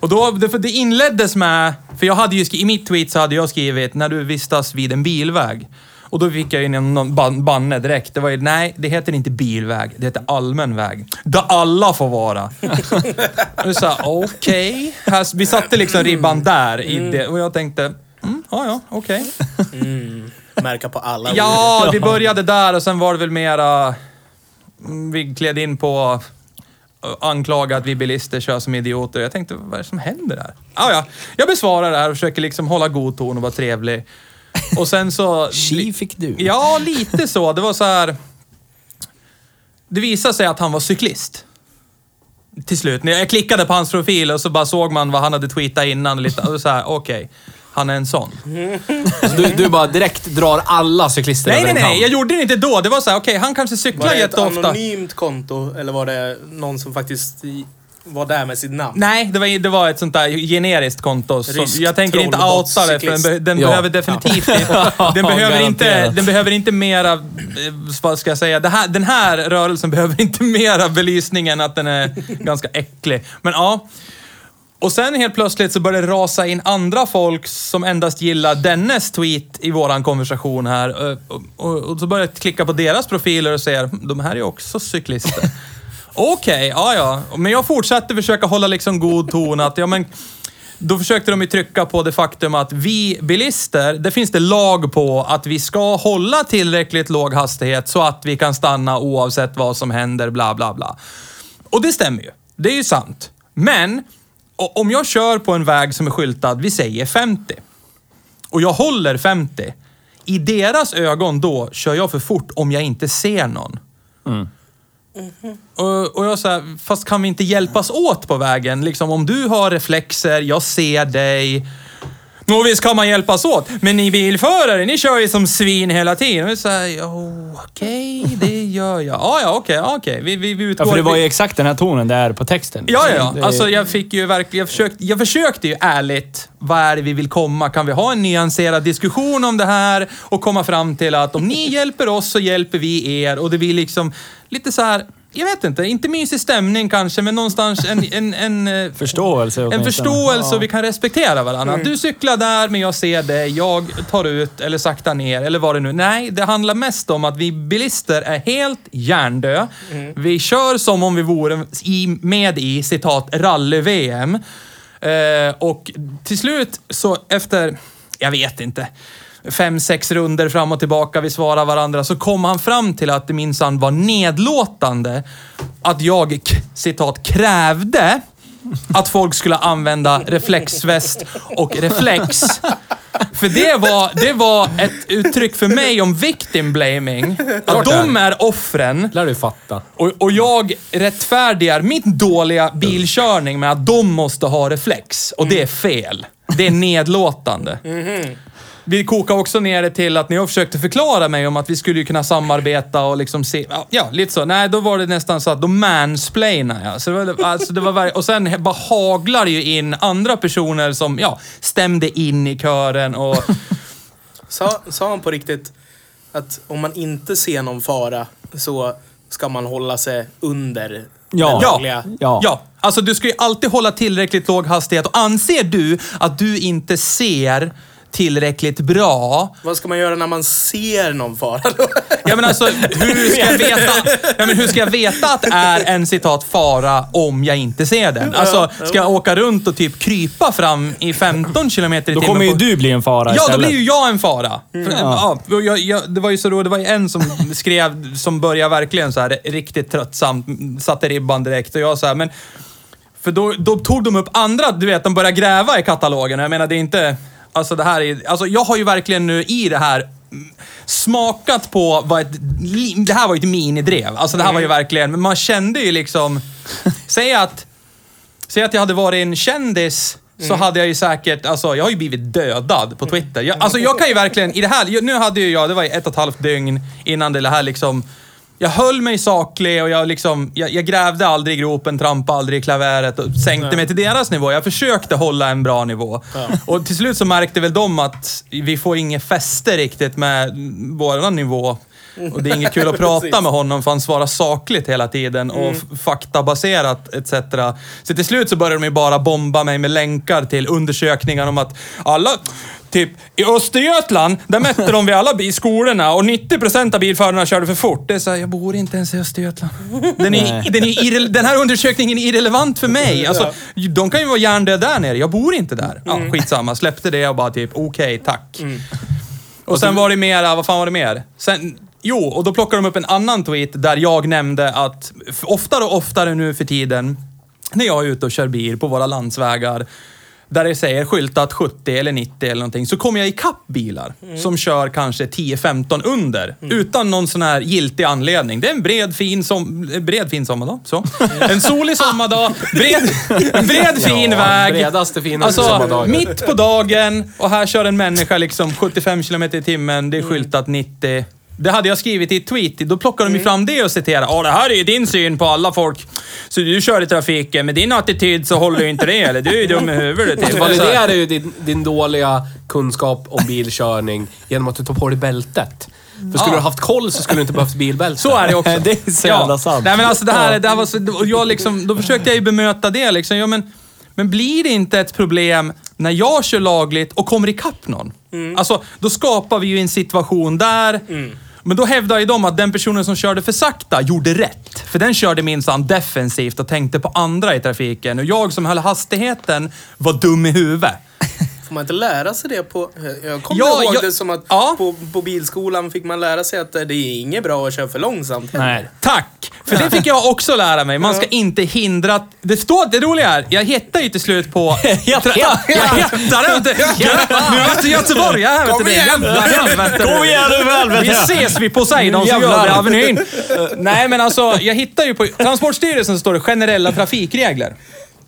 Speaker 4: Och då, det, för det inleddes med, för jag hade ju skri- i mitt tweet så hade jag skrivit när du vistas vid en bilväg. Och då fick jag ju någon- någon ban, banne direkt. Det var ju, nej, det heter inte bilväg, det heter allmän väg. Där alla får vara. Och så här, okej. Här- Vi satte liksom ribban där i det och jag tänkte, mm, ja, ja, okej.
Speaker 3: Märka på alla ord.
Speaker 4: Ja, vi började där och sen var det väl mera... mm, Vi klädde in på eh, anklaga att vi bilister kör som idioter. Jag tänkte, vad är det som händer här? Ah, ja. Jag besvarar det här och försöker liksom hålla god ton och vara trevlig. Och sen så...
Speaker 1: Tji fick du.
Speaker 4: Ja, lite så. Det var så här... Det visade sig att han var cyklist. Till slut. När jag klickade på hans profil och så bara såg man vad han hade tweetat innan. och Lite, och så här, okej. Han är en sån.
Speaker 2: Så du, du bara direkt drar alla cyklister
Speaker 4: Nej,
Speaker 2: över
Speaker 4: nej,
Speaker 2: en kam.
Speaker 4: nej. Jag gjorde det inte då. Det var så här, okej, han kanske
Speaker 3: Var
Speaker 4: cyklar
Speaker 3: det ett
Speaker 4: jätteofta.
Speaker 3: anonymt konto eller var det någon som faktiskt i- var där med sitt namn?
Speaker 4: Nej, det var, det var ett sånt där generiskt konto. Som,
Speaker 3: Rysk
Speaker 4: jag tänker inte
Speaker 3: trollbots-
Speaker 4: outa det, för den, be, den
Speaker 2: Ja.
Speaker 4: behöver definitivt den, behöver inte,
Speaker 1: Garanterat.
Speaker 4: den behöver inte mera, eh, vad ska jag säga, det här, den här rörelsen behöver inte mera belysning än att den är ganska äcklig. Men ja. Och sen helt plötsligt så började det rasa in andra folk som endast gillar dennes tweet i våran konversation här. Eh, Och, och, och så började jag klicka på deras profiler och säga, de här är ju också cyklister. Okej, ja ja. Men jag fortsatte försöka hålla liksom god ton att, ja men... Då försökte de ju trycka på det faktum att vi bilister, det finns det lag på att vi ska hålla tillräckligt låg hastighet så att vi kan stanna oavsett vad som händer, bla bla bla. Och det stämmer ju. Det är ju sant. Men o- om jag kör på en väg som är skyltad, vi säger 50, och jag håller 50, i deras ögon då kör jag för fort om jag inte ser någon.
Speaker 1: Mm.
Speaker 4: Mm-hmm. Och, och jag sa, fast kan vi inte hjälpas åt på vägen? Liksom om du har reflexer, jag ser dig. Och visst kan man hjälpas åt, men ni bilförare, ni kör ju som svin hela tiden. Och vi säger, oh, okej, det gör jag. Ja, ja, okej, ja, okej. Vi, vi, vi utgår...
Speaker 1: Ja, för det var
Speaker 4: vi-
Speaker 1: ju exakt den här tonen där på texten.
Speaker 4: Ja, ja,
Speaker 1: Det-
Speaker 4: ja. Alltså jag fick ju verkligen... Jag försökte, jag försökte ju ärligt, vad är det vi vill komma? Kan vi ha en nyanserad diskussion om det här och komma fram till att om ni hjälper oss så hjälper vi er och det blir liksom lite så här... Jag vet inte, inte mysig stämning kanske, men någonstans en... en, en eh,
Speaker 1: Förståelse
Speaker 4: en
Speaker 1: åtminstone.
Speaker 4: förståelse och vi kan respektera varandra. Du cyklar där, men jag ser dig. Jag tar ut eller saktar ner eller vad det nu Nej, det handlar mest om att vi bilister är helt hjärndö. Vi kör som om vi vore i, med i citat rally-VM. Eh, och till slut så efter, jag vet inte, fem, sex runder fram och tillbaka, vi svarar varandra, så kom han fram till att det minsann var nedlåtande att jag, k- citat, krävde att folk skulle använda reflexväst och reflex. För det var, det var ett uttryck för mig om victim blaming. Att de är offren
Speaker 2: lär du fatta.
Speaker 4: och, och jag rättfärdigar mitt dåliga bilkörning med att de måste ha reflex. Och det är fel. Det är nedlåtande. Vi kokar också ner det till att när jag försökte förklara mig om att vi skulle ju kunna samarbeta och liksom se... ja, Ja, lite så. Nej, då var det nästan så att då mansplainade jag. Så det var, alltså, det var värre. och sen bara haglar det ju in andra personer som ja, stämde in i kören och...
Speaker 3: Sa, sa han på riktigt att om man inte ser någon fara så ska man hålla sig under
Speaker 1: Ja.
Speaker 3: den
Speaker 4: Ja,
Speaker 3: lagliga...
Speaker 4: ja.
Speaker 1: Ja.
Speaker 4: Alltså du ska ju alltid hålla tillräckligt låg hastighet och anser du att du inte ser tillräckligt bra.
Speaker 3: Vad ska man göra när man ser någon fara då?
Speaker 4: Ja men alltså, hur ska jag veta, ja, men hur ska jag veta att det är en citat fara om jag inte ser den? Alltså, ska jag åka runt och typ krypa fram i 15 kilometer i
Speaker 1: Då
Speaker 4: timmen?
Speaker 1: kommer ju
Speaker 4: på-
Speaker 1: du bli en fara
Speaker 4: Ja, då
Speaker 1: istället. Mm.
Speaker 4: blir ju jag en fara. För, ja. och jag, jag, det var ju så roligt, det var ju en som skrev, som började verkligen så här riktigt tröttsamt, satte ribban direkt och jag så här, men... För då, då tog de upp andra, du vet, de började gräva i katalogen. Jag menar, det är inte... Alltså det här är Alltså jag har ju verkligen nu i det här mm, smakat på vad ett... li- Det här var ju ett minidrev. Alltså det här var
Speaker 1: Mm.
Speaker 4: ju verkligen... Men man kände ju liksom... Säg att... Säg att jag hade varit en kändis så hade jag ju säkert, alltså jag har ju blivit dödad på Twitter. Jag, alltså jag kan ju verkligen, i det här, nu hade ju jag, det var ju ett och ett halvt dygn innan det här liksom, jag höll mig saklig och jag liksom, jag, jag grävde aldrig i gropen, trampade aldrig i klaveret och sänkte mig till deras nivå. Jag försökte hålla en bra nivå. Och till slut så märkte väl de att vi får inget fäste riktigt med våran nivå. Och det är inget kul att prata
Speaker 3: Precis.
Speaker 4: med honom för han svarar sakligt hela tiden och f- faktabaserat etc. Så till slut så började de ju bara bomba mig med länkar till undersökningar om att alla... Typ, i Östergötland, där mätte de vid alla bi- skolorna och 90% av bilförarna körde för fort. Det är såhär, jag bor inte ens i Östergötland. Den, är, den, är irre, den här undersökningen är irrelevant för mig. Alltså, de kan ju vara hjärndöda där nere, jag bor inte där. Ja, skitsamma, släppte det och bara typ, okej, tack. Och sen var det mera, vad fan var det mer? Sen, jo, och då plockade de upp en annan tweet där jag nämnde att f- oftare och oftare nu för tiden, när jag är ute och kör bil på våra landsvägar, där det säger skyltat 70 eller 90 eller någonting, så kommer jag ikapp bilar som kör kanske 10-15 under. Utan någon sån här giltig anledning. Det är en bred fin, som, bred, fin sommardag. Så. En solig sommardag, bred, en bred fin
Speaker 2: Ja,
Speaker 4: väg.
Speaker 2: bredaste, finaste
Speaker 4: Alltså,
Speaker 2: sommardagen.
Speaker 4: mitt på dagen och här kör en människa liksom 75 km i timmen, det är skyltat 90. Det hade jag skrivit i ett tweet, då plockar de ju fram det och citerar. Ja, det här är ju din syn på alla folk. Så du kör i trafiken, med din attityd så håller ju inte det, eller? Du är ju dum i huvudet.
Speaker 2: Du
Speaker 4: typ.
Speaker 2: validerar ju din, din dåliga kunskap om bilkörning genom att du tar på dig bältet. För skulle
Speaker 4: Ja.
Speaker 2: du haft koll så skulle du inte behövt bilbälte.
Speaker 4: Så är det också.
Speaker 1: Det är så jävla sant.
Speaker 4: Nej, men alltså det här, det här var så, och jag liksom, då försökte jag ju bemöta det liksom. Ja, men, men blir det inte ett problem när jag kör lagligt och kommer ikapp någon? Alltså, då skapar vi ju en situation där. Men då hävdar ju de att den personen som körde för sakta gjorde rätt. För den körde minsann defensivt och tänkte på andra i trafiken. Och jag som höll hastigheten var dum i huvudet.
Speaker 3: Får man inte lära sig det på... Jag kommer
Speaker 4: Ja,
Speaker 3: ihåg
Speaker 4: jag-
Speaker 3: det som att
Speaker 4: Ja.
Speaker 3: på, på bilskolan fick man lära sig att eh, det är inget bra att köra för långsamt.
Speaker 1: Nej.
Speaker 4: Tack! För det fick jag också lära mig. Man ska inte hindra... Det står... Det roliga är, jag hittar ju till slut på... Jag hittar det inte! Jag- Nu är jag till Göteborg, jag är här vet du
Speaker 3: Kom
Speaker 4: det.
Speaker 3: igen.
Speaker 4: Jävla helvete.
Speaker 1: Kom igen nu för
Speaker 4: Vi
Speaker 1: helvete!
Speaker 4: ses vid Poseidon som
Speaker 1: Jävlar.
Speaker 4: gör avenyn. Eh, Nej, men alltså, jag hittar ju på... Transportstyrelsen står det generella trafikregler.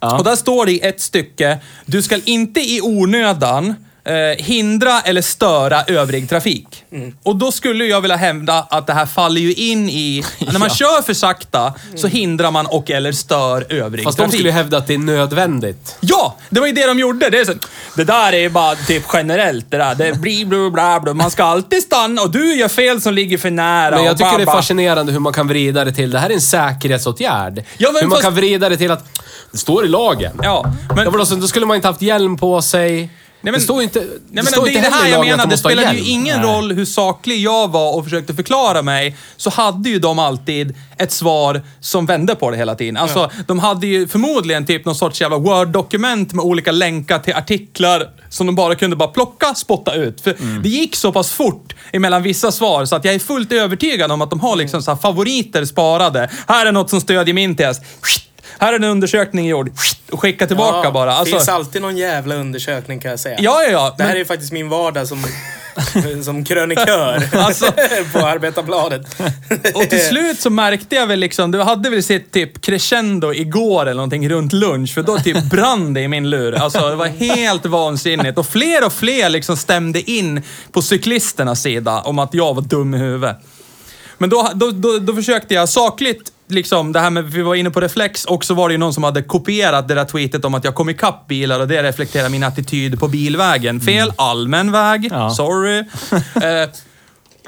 Speaker 4: Och där står det i ett stycke, du ska inte i onödan eh, hindra eller störa övrig trafik.
Speaker 2: Mm.
Speaker 4: Och då skulle jag vilja hävda att det här faller ju in i... När man kör för sakta så hindrar man och eller stör övrig
Speaker 2: Fast de
Speaker 4: trafik.
Speaker 2: skulle ju hävda att det är nödvändigt.
Speaker 4: Ja! Det var ju det de gjorde. Det, är så, det där är ju bara typ generellt det där. Det blir bla bla bla. Man ska alltid stanna och du gör fel som ligger för nära.
Speaker 2: Men jag
Speaker 4: och
Speaker 2: tycker det är
Speaker 4: ba, ba.
Speaker 2: fascinerande hur man kan vrida det till, det här är en säkerhetsåtgärd.
Speaker 4: Ja, men
Speaker 2: hur man
Speaker 4: fast-
Speaker 2: kan vrida det till att, det står i lagen.
Speaker 4: Ja, men...
Speaker 2: Men... Då skulle man inte haft hjälm på sig.
Speaker 4: men-
Speaker 2: det står ju inte,
Speaker 4: Nej,
Speaker 2: det
Speaker 4: men
Speaker 2: står
Speaker 4: det
Speaker 2: inte
Speaker 4: är det
Speaker 2: heller
Speaker 4: här
Speaker 2: i
Speaker 4: jag
Speaker 2: lagen
Speaker 4: menar.
Speaker 2: att de
Speaker 4: Det
Speaker 2: måste ha
Speaker 4: spelade
Speaker 2: hjälm.
Speaker 4: ju ingen roll hur saklig jag var och försökte förklara mig, så hade ju de alltid ett svar som vände på det hela tiden. Alltså, de hade ju förmodligen typ någon sorts jävla Word-dokument med olika länkar till artiklar som de bara kunde bara plocka, spotta ut. För
Speaker 2: Mm.
Speaker 4: det gick så pass fort emellan vissa svar så att jag är fullt övertygad om att de har
Speaker 2: Mm.
Speaker 4: liksom så här favoriter sparade. Här är något som stödjer min tes. Här är en undersökning gjord. Och skicka tillbaka
Speaker 3: Ja,
Speaker 4: bara.
Speaker 3: Det finns
Speaker 4: Alltså,
Speaker 3: alltid någon jävla undersökning kan jag säga.
Speaker 4: ja, ja, ja.
Speaker 3: Det här
Speaker 4: Men-
Speaker 3: är faktiskt min vardag som, som krönikör på Arbetarbladet.
Speaker 4: Alltså- Och till slut så märkte jag väl liksom, du hade väl sitt typ crescendo igår eller någonting runt lunch, för då typ brann det i min lur. Alltså det var helt vansinnigt. Och fler och fler liksom stämde in på cyklisternas sida om att jag var dum i huvudet. Men då, då, då, då försökte jag sakligt, liksom det här med, vi var inne på reflex, och så var det ju någon som hade kopierat det där tweetet om att jag kom ikapp bilar och det reflekterar min attityd på bilvägen. Fel, allmän väg.
Speaker 1: Ja.
Speaker 4: Sorry. Eh,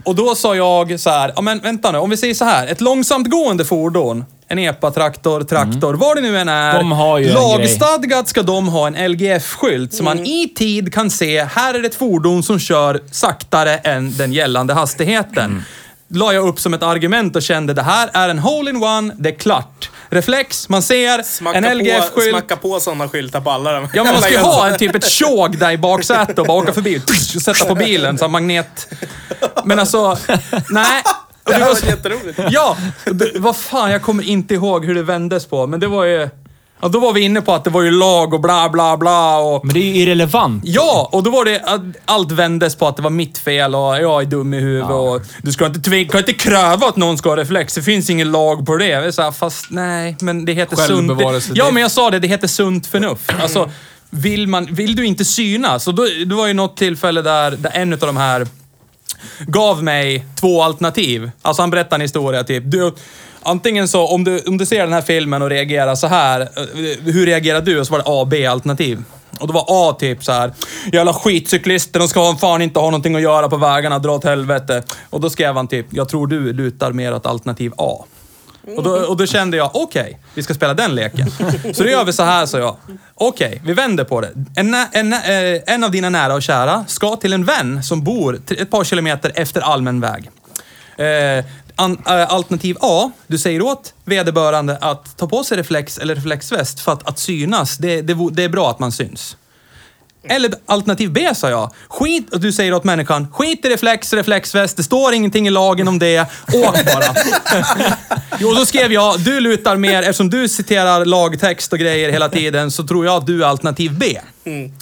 Speaker 4: och då sa jag så här, ja men vänta nu, om vi säger så här. Ett långsamtgående fordon, en epa-traktor, traktor, vad det nu än är.
Speaker 1: De har ju en grej.
Speaker 4: lagstadgat ska de ha en LGF-skylt så
Speaker 3: Mm.
Speaker 4: man i tid kan se, här är ett fordon som kör saktare än den gällande hastigheten. La jag upp som ett argument och kände, det här är en hole-in-one, det är klart. Reflex, man ser,
Speaker 3: Smacka,
Speaker 4: en
Speaker 3: på,
Speaker 4: LGF-skylt.
Speaker 3: smacka på sådana skyltar på alla de
Speaker 4: Ja, men man ska ju
Speaker 3: alla
Speaker 4: ha en, typ ett tjog där i baksätet och bara åka förbi och sätta på bilen som magnet. Men alltså, nej. Och det
Speaker 3: Det här
Speaker 4: var
Speaker 3: var
Speaker 4: så,
Speaker 3: jätteroligt.
Speaker 4: ja, och det, vad fan, jag kommer inte ihåg hur det vändes på, men det var ju... Ja, då var vi inne på att det var ju lag och bla bla bla och...
Speaker 1: Men det är ju irrelevant.
Speaker 4: Ja, och då var det att allt vändes på att det var mitt fel och jag är dum i huvudet och du ska inte, tvinga, kan inte kräva att någon ska ha reflex. Det finns ingen lag på det. Jag är så här, fast nej, men det heter sunt...
Speaker 2: Självbevarelse,
Speaker 4: Ja,
Speaker 2: det-
Speaker 4: men jag sa det, det heter sunt förnuft. Alltså, vill, man, vill du inte synas? Och då, det var ju något tillfälle där, där en av de här gav mig två alternativ. Alltså han berättar en historia typ. Du, antingen så, om du, om du ser den här filmen och reagerar så här, eh, hur reagerar du? Och så var det A, B-alternativ. Och då var A typ så här. jävla skitcyklister, de ska ha- fan inte ha någonting att göra på vägarna, dra åt helvete. Och då skrev han typ, jag tror du lutar mer åt alternativ A. Och då, och då kände jag, okej, vi ska spela den leken. Så då gör vi så här, sa jag. Okej, vi vänder på det. En, nä- en, nä- eh, en av dina nära och kära ska till en vän som bor t- ett par kilometer efter allmän väg. Eh, an, eh, alternativ A, du säger åt vederbörande att ta på sig reflex eller reflexväst för att, att synas, det, det, vo- det är bra att man syns. Eller alternativ B sa jag. Skit, och du säger åt människan, skit i reflex, reflexväst, det står ingenting i lagen om det, åk bara. Jo, då skrev jag, du lutar mer, eftersom du citerar lagtext och grejer hela tiden, så tror jag att du är alternativ B.
Speaker 3: Mm.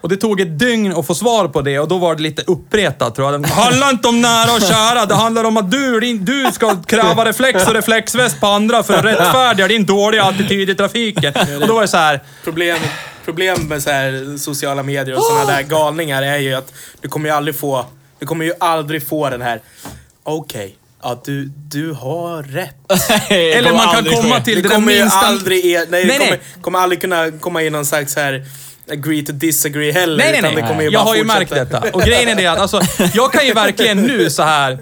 Speaker 4: Och det tog ett dygn att få svar på det och då var det lite uppretat tror jag. Det handlar inte om nära och kära, det handlar om att du, din, du ska kräva reflex och reflexväst på andra för att rättfärdiga din dåliga attityd i trafiken. Och då var det så här,
Speaker 3: Problem, problem med så här sociala medier och sådana där galningar är ju att du kommer ju aldrig få, du kommer ju aldrig få den här, okej, ja du, du har rätt.
Speaker 4: eller Alltså, man kan komma till
Speaker 3: Det
Speaker 4: det där
Speaker 3: kommer ju
Speaker 4: minsta...
Speaker 3: aldrig, er, nej,
Speaker 4: Nej,
Speaker 3: det kommer,
Speaker 4: nej.
Speaker 3: kommer aldrig kunna komma in någon slags så här agree to disagree heller.
Speaker 4: Nej, nej,
Speaker 3: utan
Speaker 4: nej.
Speaker 3: Det kommer ju
Speaker 4: jag
Speaker 3: bara
Speaker 4: har ju
Speaker 3: fortsätta.
Speaker 4: märkt detta. Och grejen är det att alltså, jag kan ju verkligen nu så här...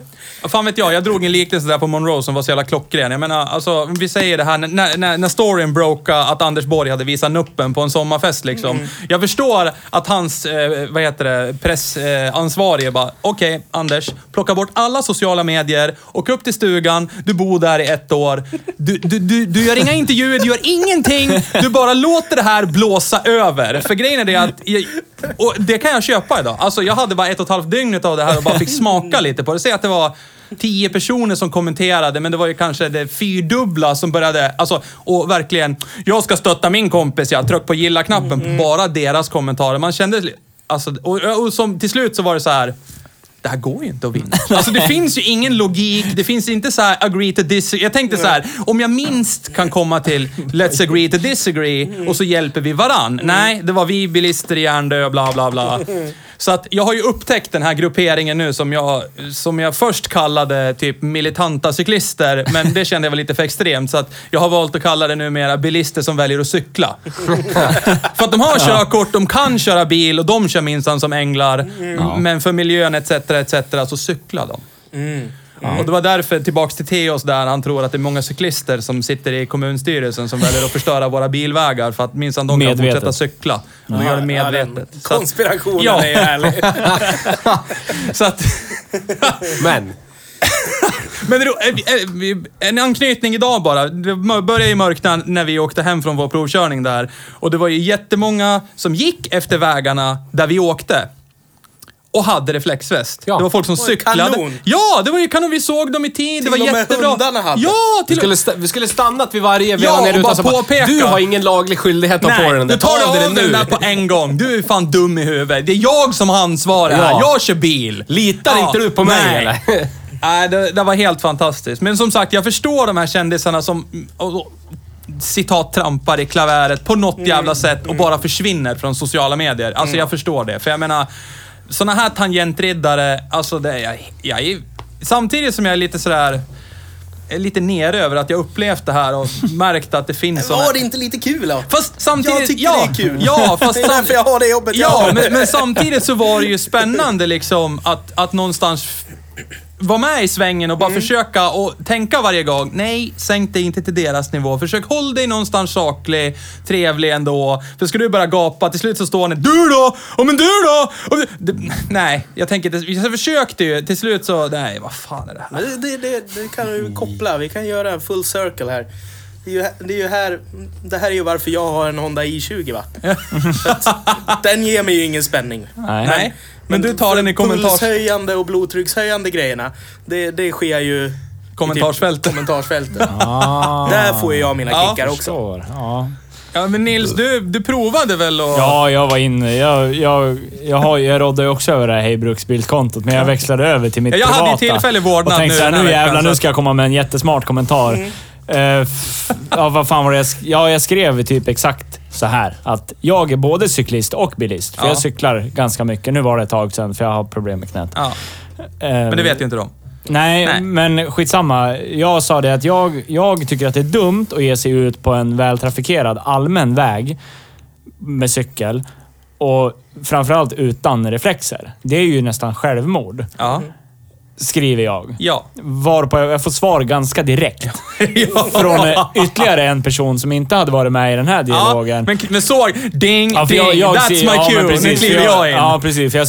Speaker 4: Fan vet jag, jag drog en liknelse där på Monroe som var så jävla klockren. Jag menar, alltså, om vi säger det här när- när, när, när storyn broke att Anders Borg hade visat nuppen på en sommarfest liksom.
Speaker 3: Mm.
Speaker 4: Jag förstår att hans, eh, vad heter det, pressansvarige bara, okej Anders, plocka bort alla sociala medier, åk upp till stugan, du bor där i ett år. Du, du, du, du gör inga intervjuer, du gör ingenting, du bara låter det här blåsa över. För grejen är det att, jag, och det kan jag köpa idag. Alltså jag hade bara ett och ett halvt dygn av det här och bara fick smaka lite på det. Säg att det var tio personer som kommenterade, men det var ju kanske det fyrdubbla som började, alltså, och verkligen, jag ska stötta min kompis, jag tryck på gilla-knappen, på bara deras kommentarer. Man kände, alltså, och, och som, till slut så var det så här, det här går ju inte att vinna. Alltså det finns ju ingen logik, det finns inte så här agree to disagree. Jag tänkte så här, om jag minst kan komma till let's agree to disagree och så hjälper vi varann. Nej, det var vi bilister i järndö, bla bla bla. Så att jag har ju upptäckt den här grupperingen nu som jag, som jag först kallade typ militanta cyklister, men det kände jag var lite för extremt. Så att jag har valt att kalla det numera bilister som väljer att cykla. för att de har körkort, de kan köra bil och de kör minsann som änglar. Men för miljön etc, etc så cyklar de. Och det var därför, tillbaks till Theos där, han tror att det är många cyklister som sitter i kommunstyrelsen som väljer att förstöra våra bilvägar för att minsann de kan
Speaker 1: Medvetet.
Speaker 4: fortsätta cykla. Och de gör det medvetet.
Speaker 3: den
Speaker 4: Så att-
Speaker 3: konspirationen
Speaker 4: Ja.
Speaker 3: är ju härlig.
Speaker 4: så att,
Speaker 2: Men,
Speaker 4: men det är ro- eh, eh, en anknytning idag bara. Det mör- började ju mörkna när vi åkte hem från vår provkörning där. Och det var ju jättemånga som gick efter vägarna där vi åkte. Och hade reflexväst.
Speaker 2: Ja.
Speaker 4: Det var folk som
Speaker 3: var ju
Speaker 4: cyklade.
Speaker 3: kanon.
Speaker 4: Ja, det var ju kanon. Vi såg dem i tid.
Speaker 3: Till
Speaker 4: det var
Speaker 3: och med
Speaker 4: jättebra.
Speaker 3: hundarna hade.
Speaker 4: Ja,
Speaker 2: vi
Speaker 4: till och
Speaker 2: skulle, sta- vi skulle stannat vid varje
Speaker 4: Ja,
Speaker 2: vela
Speaker 4: och
Speaker 2: ner
Speaker 4: bara
Speaker 2: utan så bara,
Speaker 4: påpeka.
Speaker 2: Du har ingen laglig skyldighet att ha på dig den
Speaker 4: du tar
Speaker 2: Ta
Speaker 4: dig av
Speaker 2: nu.
Speaker 4: den där på en gång. Du är fan dum i huvudet. Det är jag som har ansvar här.
Speaker 2: Ja.
Speaker 4: Jag kör bil.
Speaker 2: Litar
Speaker 4: Ja,
Speaker 2: inte du på mig
Speaker 4: nej.
Speaker 2: eller?
Speaker 4: Nej, det, det var helt fantastiskt. Men som sagt, jag förstår de här kändisarna som mm, och, och, citat trampar i klaväret på
Speaker 2: Mm.
Speaker 4: något jävla sätt och bara försvinner från sociala medier. Alltså jag förstår det. För jag menar, såna här tangentriddare, alltså det är jag, jag är, Samtidigt som jag är lite sådär, är lite nere över att jag upplevt det här och märkt att det finns såna...
Speaker 3: Var det inte lite kul då?
Speaker 4: Fast samtidigt...
Speaker 3: Jag tycker
Speaker 4: ja,
Speaker 3: det är kul.
Speaker 4: Ja, fast
Speaker 3: Det är därför jag har det jobbet jag
Speaker 4: Ja,
Speaker 3: har.
Speaker 4: men, men samtidigt så var det ju spännande liksom att, att någonstans f- vara med i svängen och bara
Speaker 3: Mm.
Speaker 4: försöka och tänka varje gång. Nej, sänk dig inte till deras nivå. Försök håll dig någonstans saklig, trevlig ändå. För ska du börja gapa, till slut så står ni Du då? Ja, men du då? Och du, det, nej, jag tänker inte... Jag försökte ju. Till slut så... Nej, vad fan är det här?
Speaker 3: Men Det, det, det, det kan
Speaker 1: Mm.
Speaker 3: vi koppla. Vi kan göra en full circle här. Det är ju, här- det är ju här... Det här är ju varför jag har en Honda i20 va? För att den ger mig ju ingen spänning.
Speaker 1: Nej.
Speaker 4: Nej. Men, du tar den i kommentars...
Speaker 3: Pulshöjande och blodtryckshöjande grejerna, det, det sker ju... i typ
Speaker 4: Kommentarsfältet.
Speaker 3: kommentarsfältet.
Speaker 1: Ah,
Speaker 3: Där får ju jag mina
Speaker 4: Ja,
Speaker 3: kickar också.
Speaker 1: förstår. Ja.
Speaker 4: Ja, men Nils, du, du provade väl och...
Speaker 1: Ja, jag var inne. Jag, jag, jag, har, jag rådde ju också över det här Hej Bruksbilkontot, men jag växlade över till mitt
Speaker 4: Ja, jag hade ju
Speaker 1: privata.
Speaker 4: tillfällig vårdnad
Speaker 1: och
Speaker 4: nu
Speaker 1: tänkte så här,
Speaker 4: den här
Speaker 1: nu
Speaker 4: veckan,
Speaker 1: jävlar,
Speaker 4: så Mm.
Speaker 1: nu
Speaker 4: att-
Speaker 1: ska jag komma med en jättesmart kommentar. Eh, f- ja, vad fan var det jag sk- Ja, jag skrev typ exakt så här. Att jag är både cyklist och bilist. För
Speaker 4: Ja.
Speaker 1: jag cyklar ganska mycket. Nu var det ett tag sedan, för jag har problem med knät.
Speaker 4: ja.
Speaker 1: Eh,
Speaker 4: Men det vet ju inte de.
Speaker 1: Nej,
Speaker 4: Nej.
Speaker 1: men skitsamma. Jag sa det att jag, jag tycker att det är dumt att ge sig ut på en vältrafikerad allmän väg med cykel. Och framförallt utan reflexer. Det är ju nästan självmord,
Speaker 4: Ja.
Speaker 1: skriver jag.
Speaker 4: Ja.
Speaker 1: Varpå jag, jag får svar ganska direkt. Från eh, ytterligare en person som inte hade varit med i den här
Speaker 4: ja.
Speaker 1: dialogen.
Speaker 4: Men, men såg... Ding,
Speaker 1: Ja, för
Speaker 4: ding.
Speaker 1: jag- jag
Speaker 4: That's
Speaker 1: ser-
Speaker 4: my
Speaker 1: ja, men
Speaker 4: cue. nu
Speaker 1: precis, för
Speaker 4: kliver jag in.
Speaker 1: Ja, precis. För jag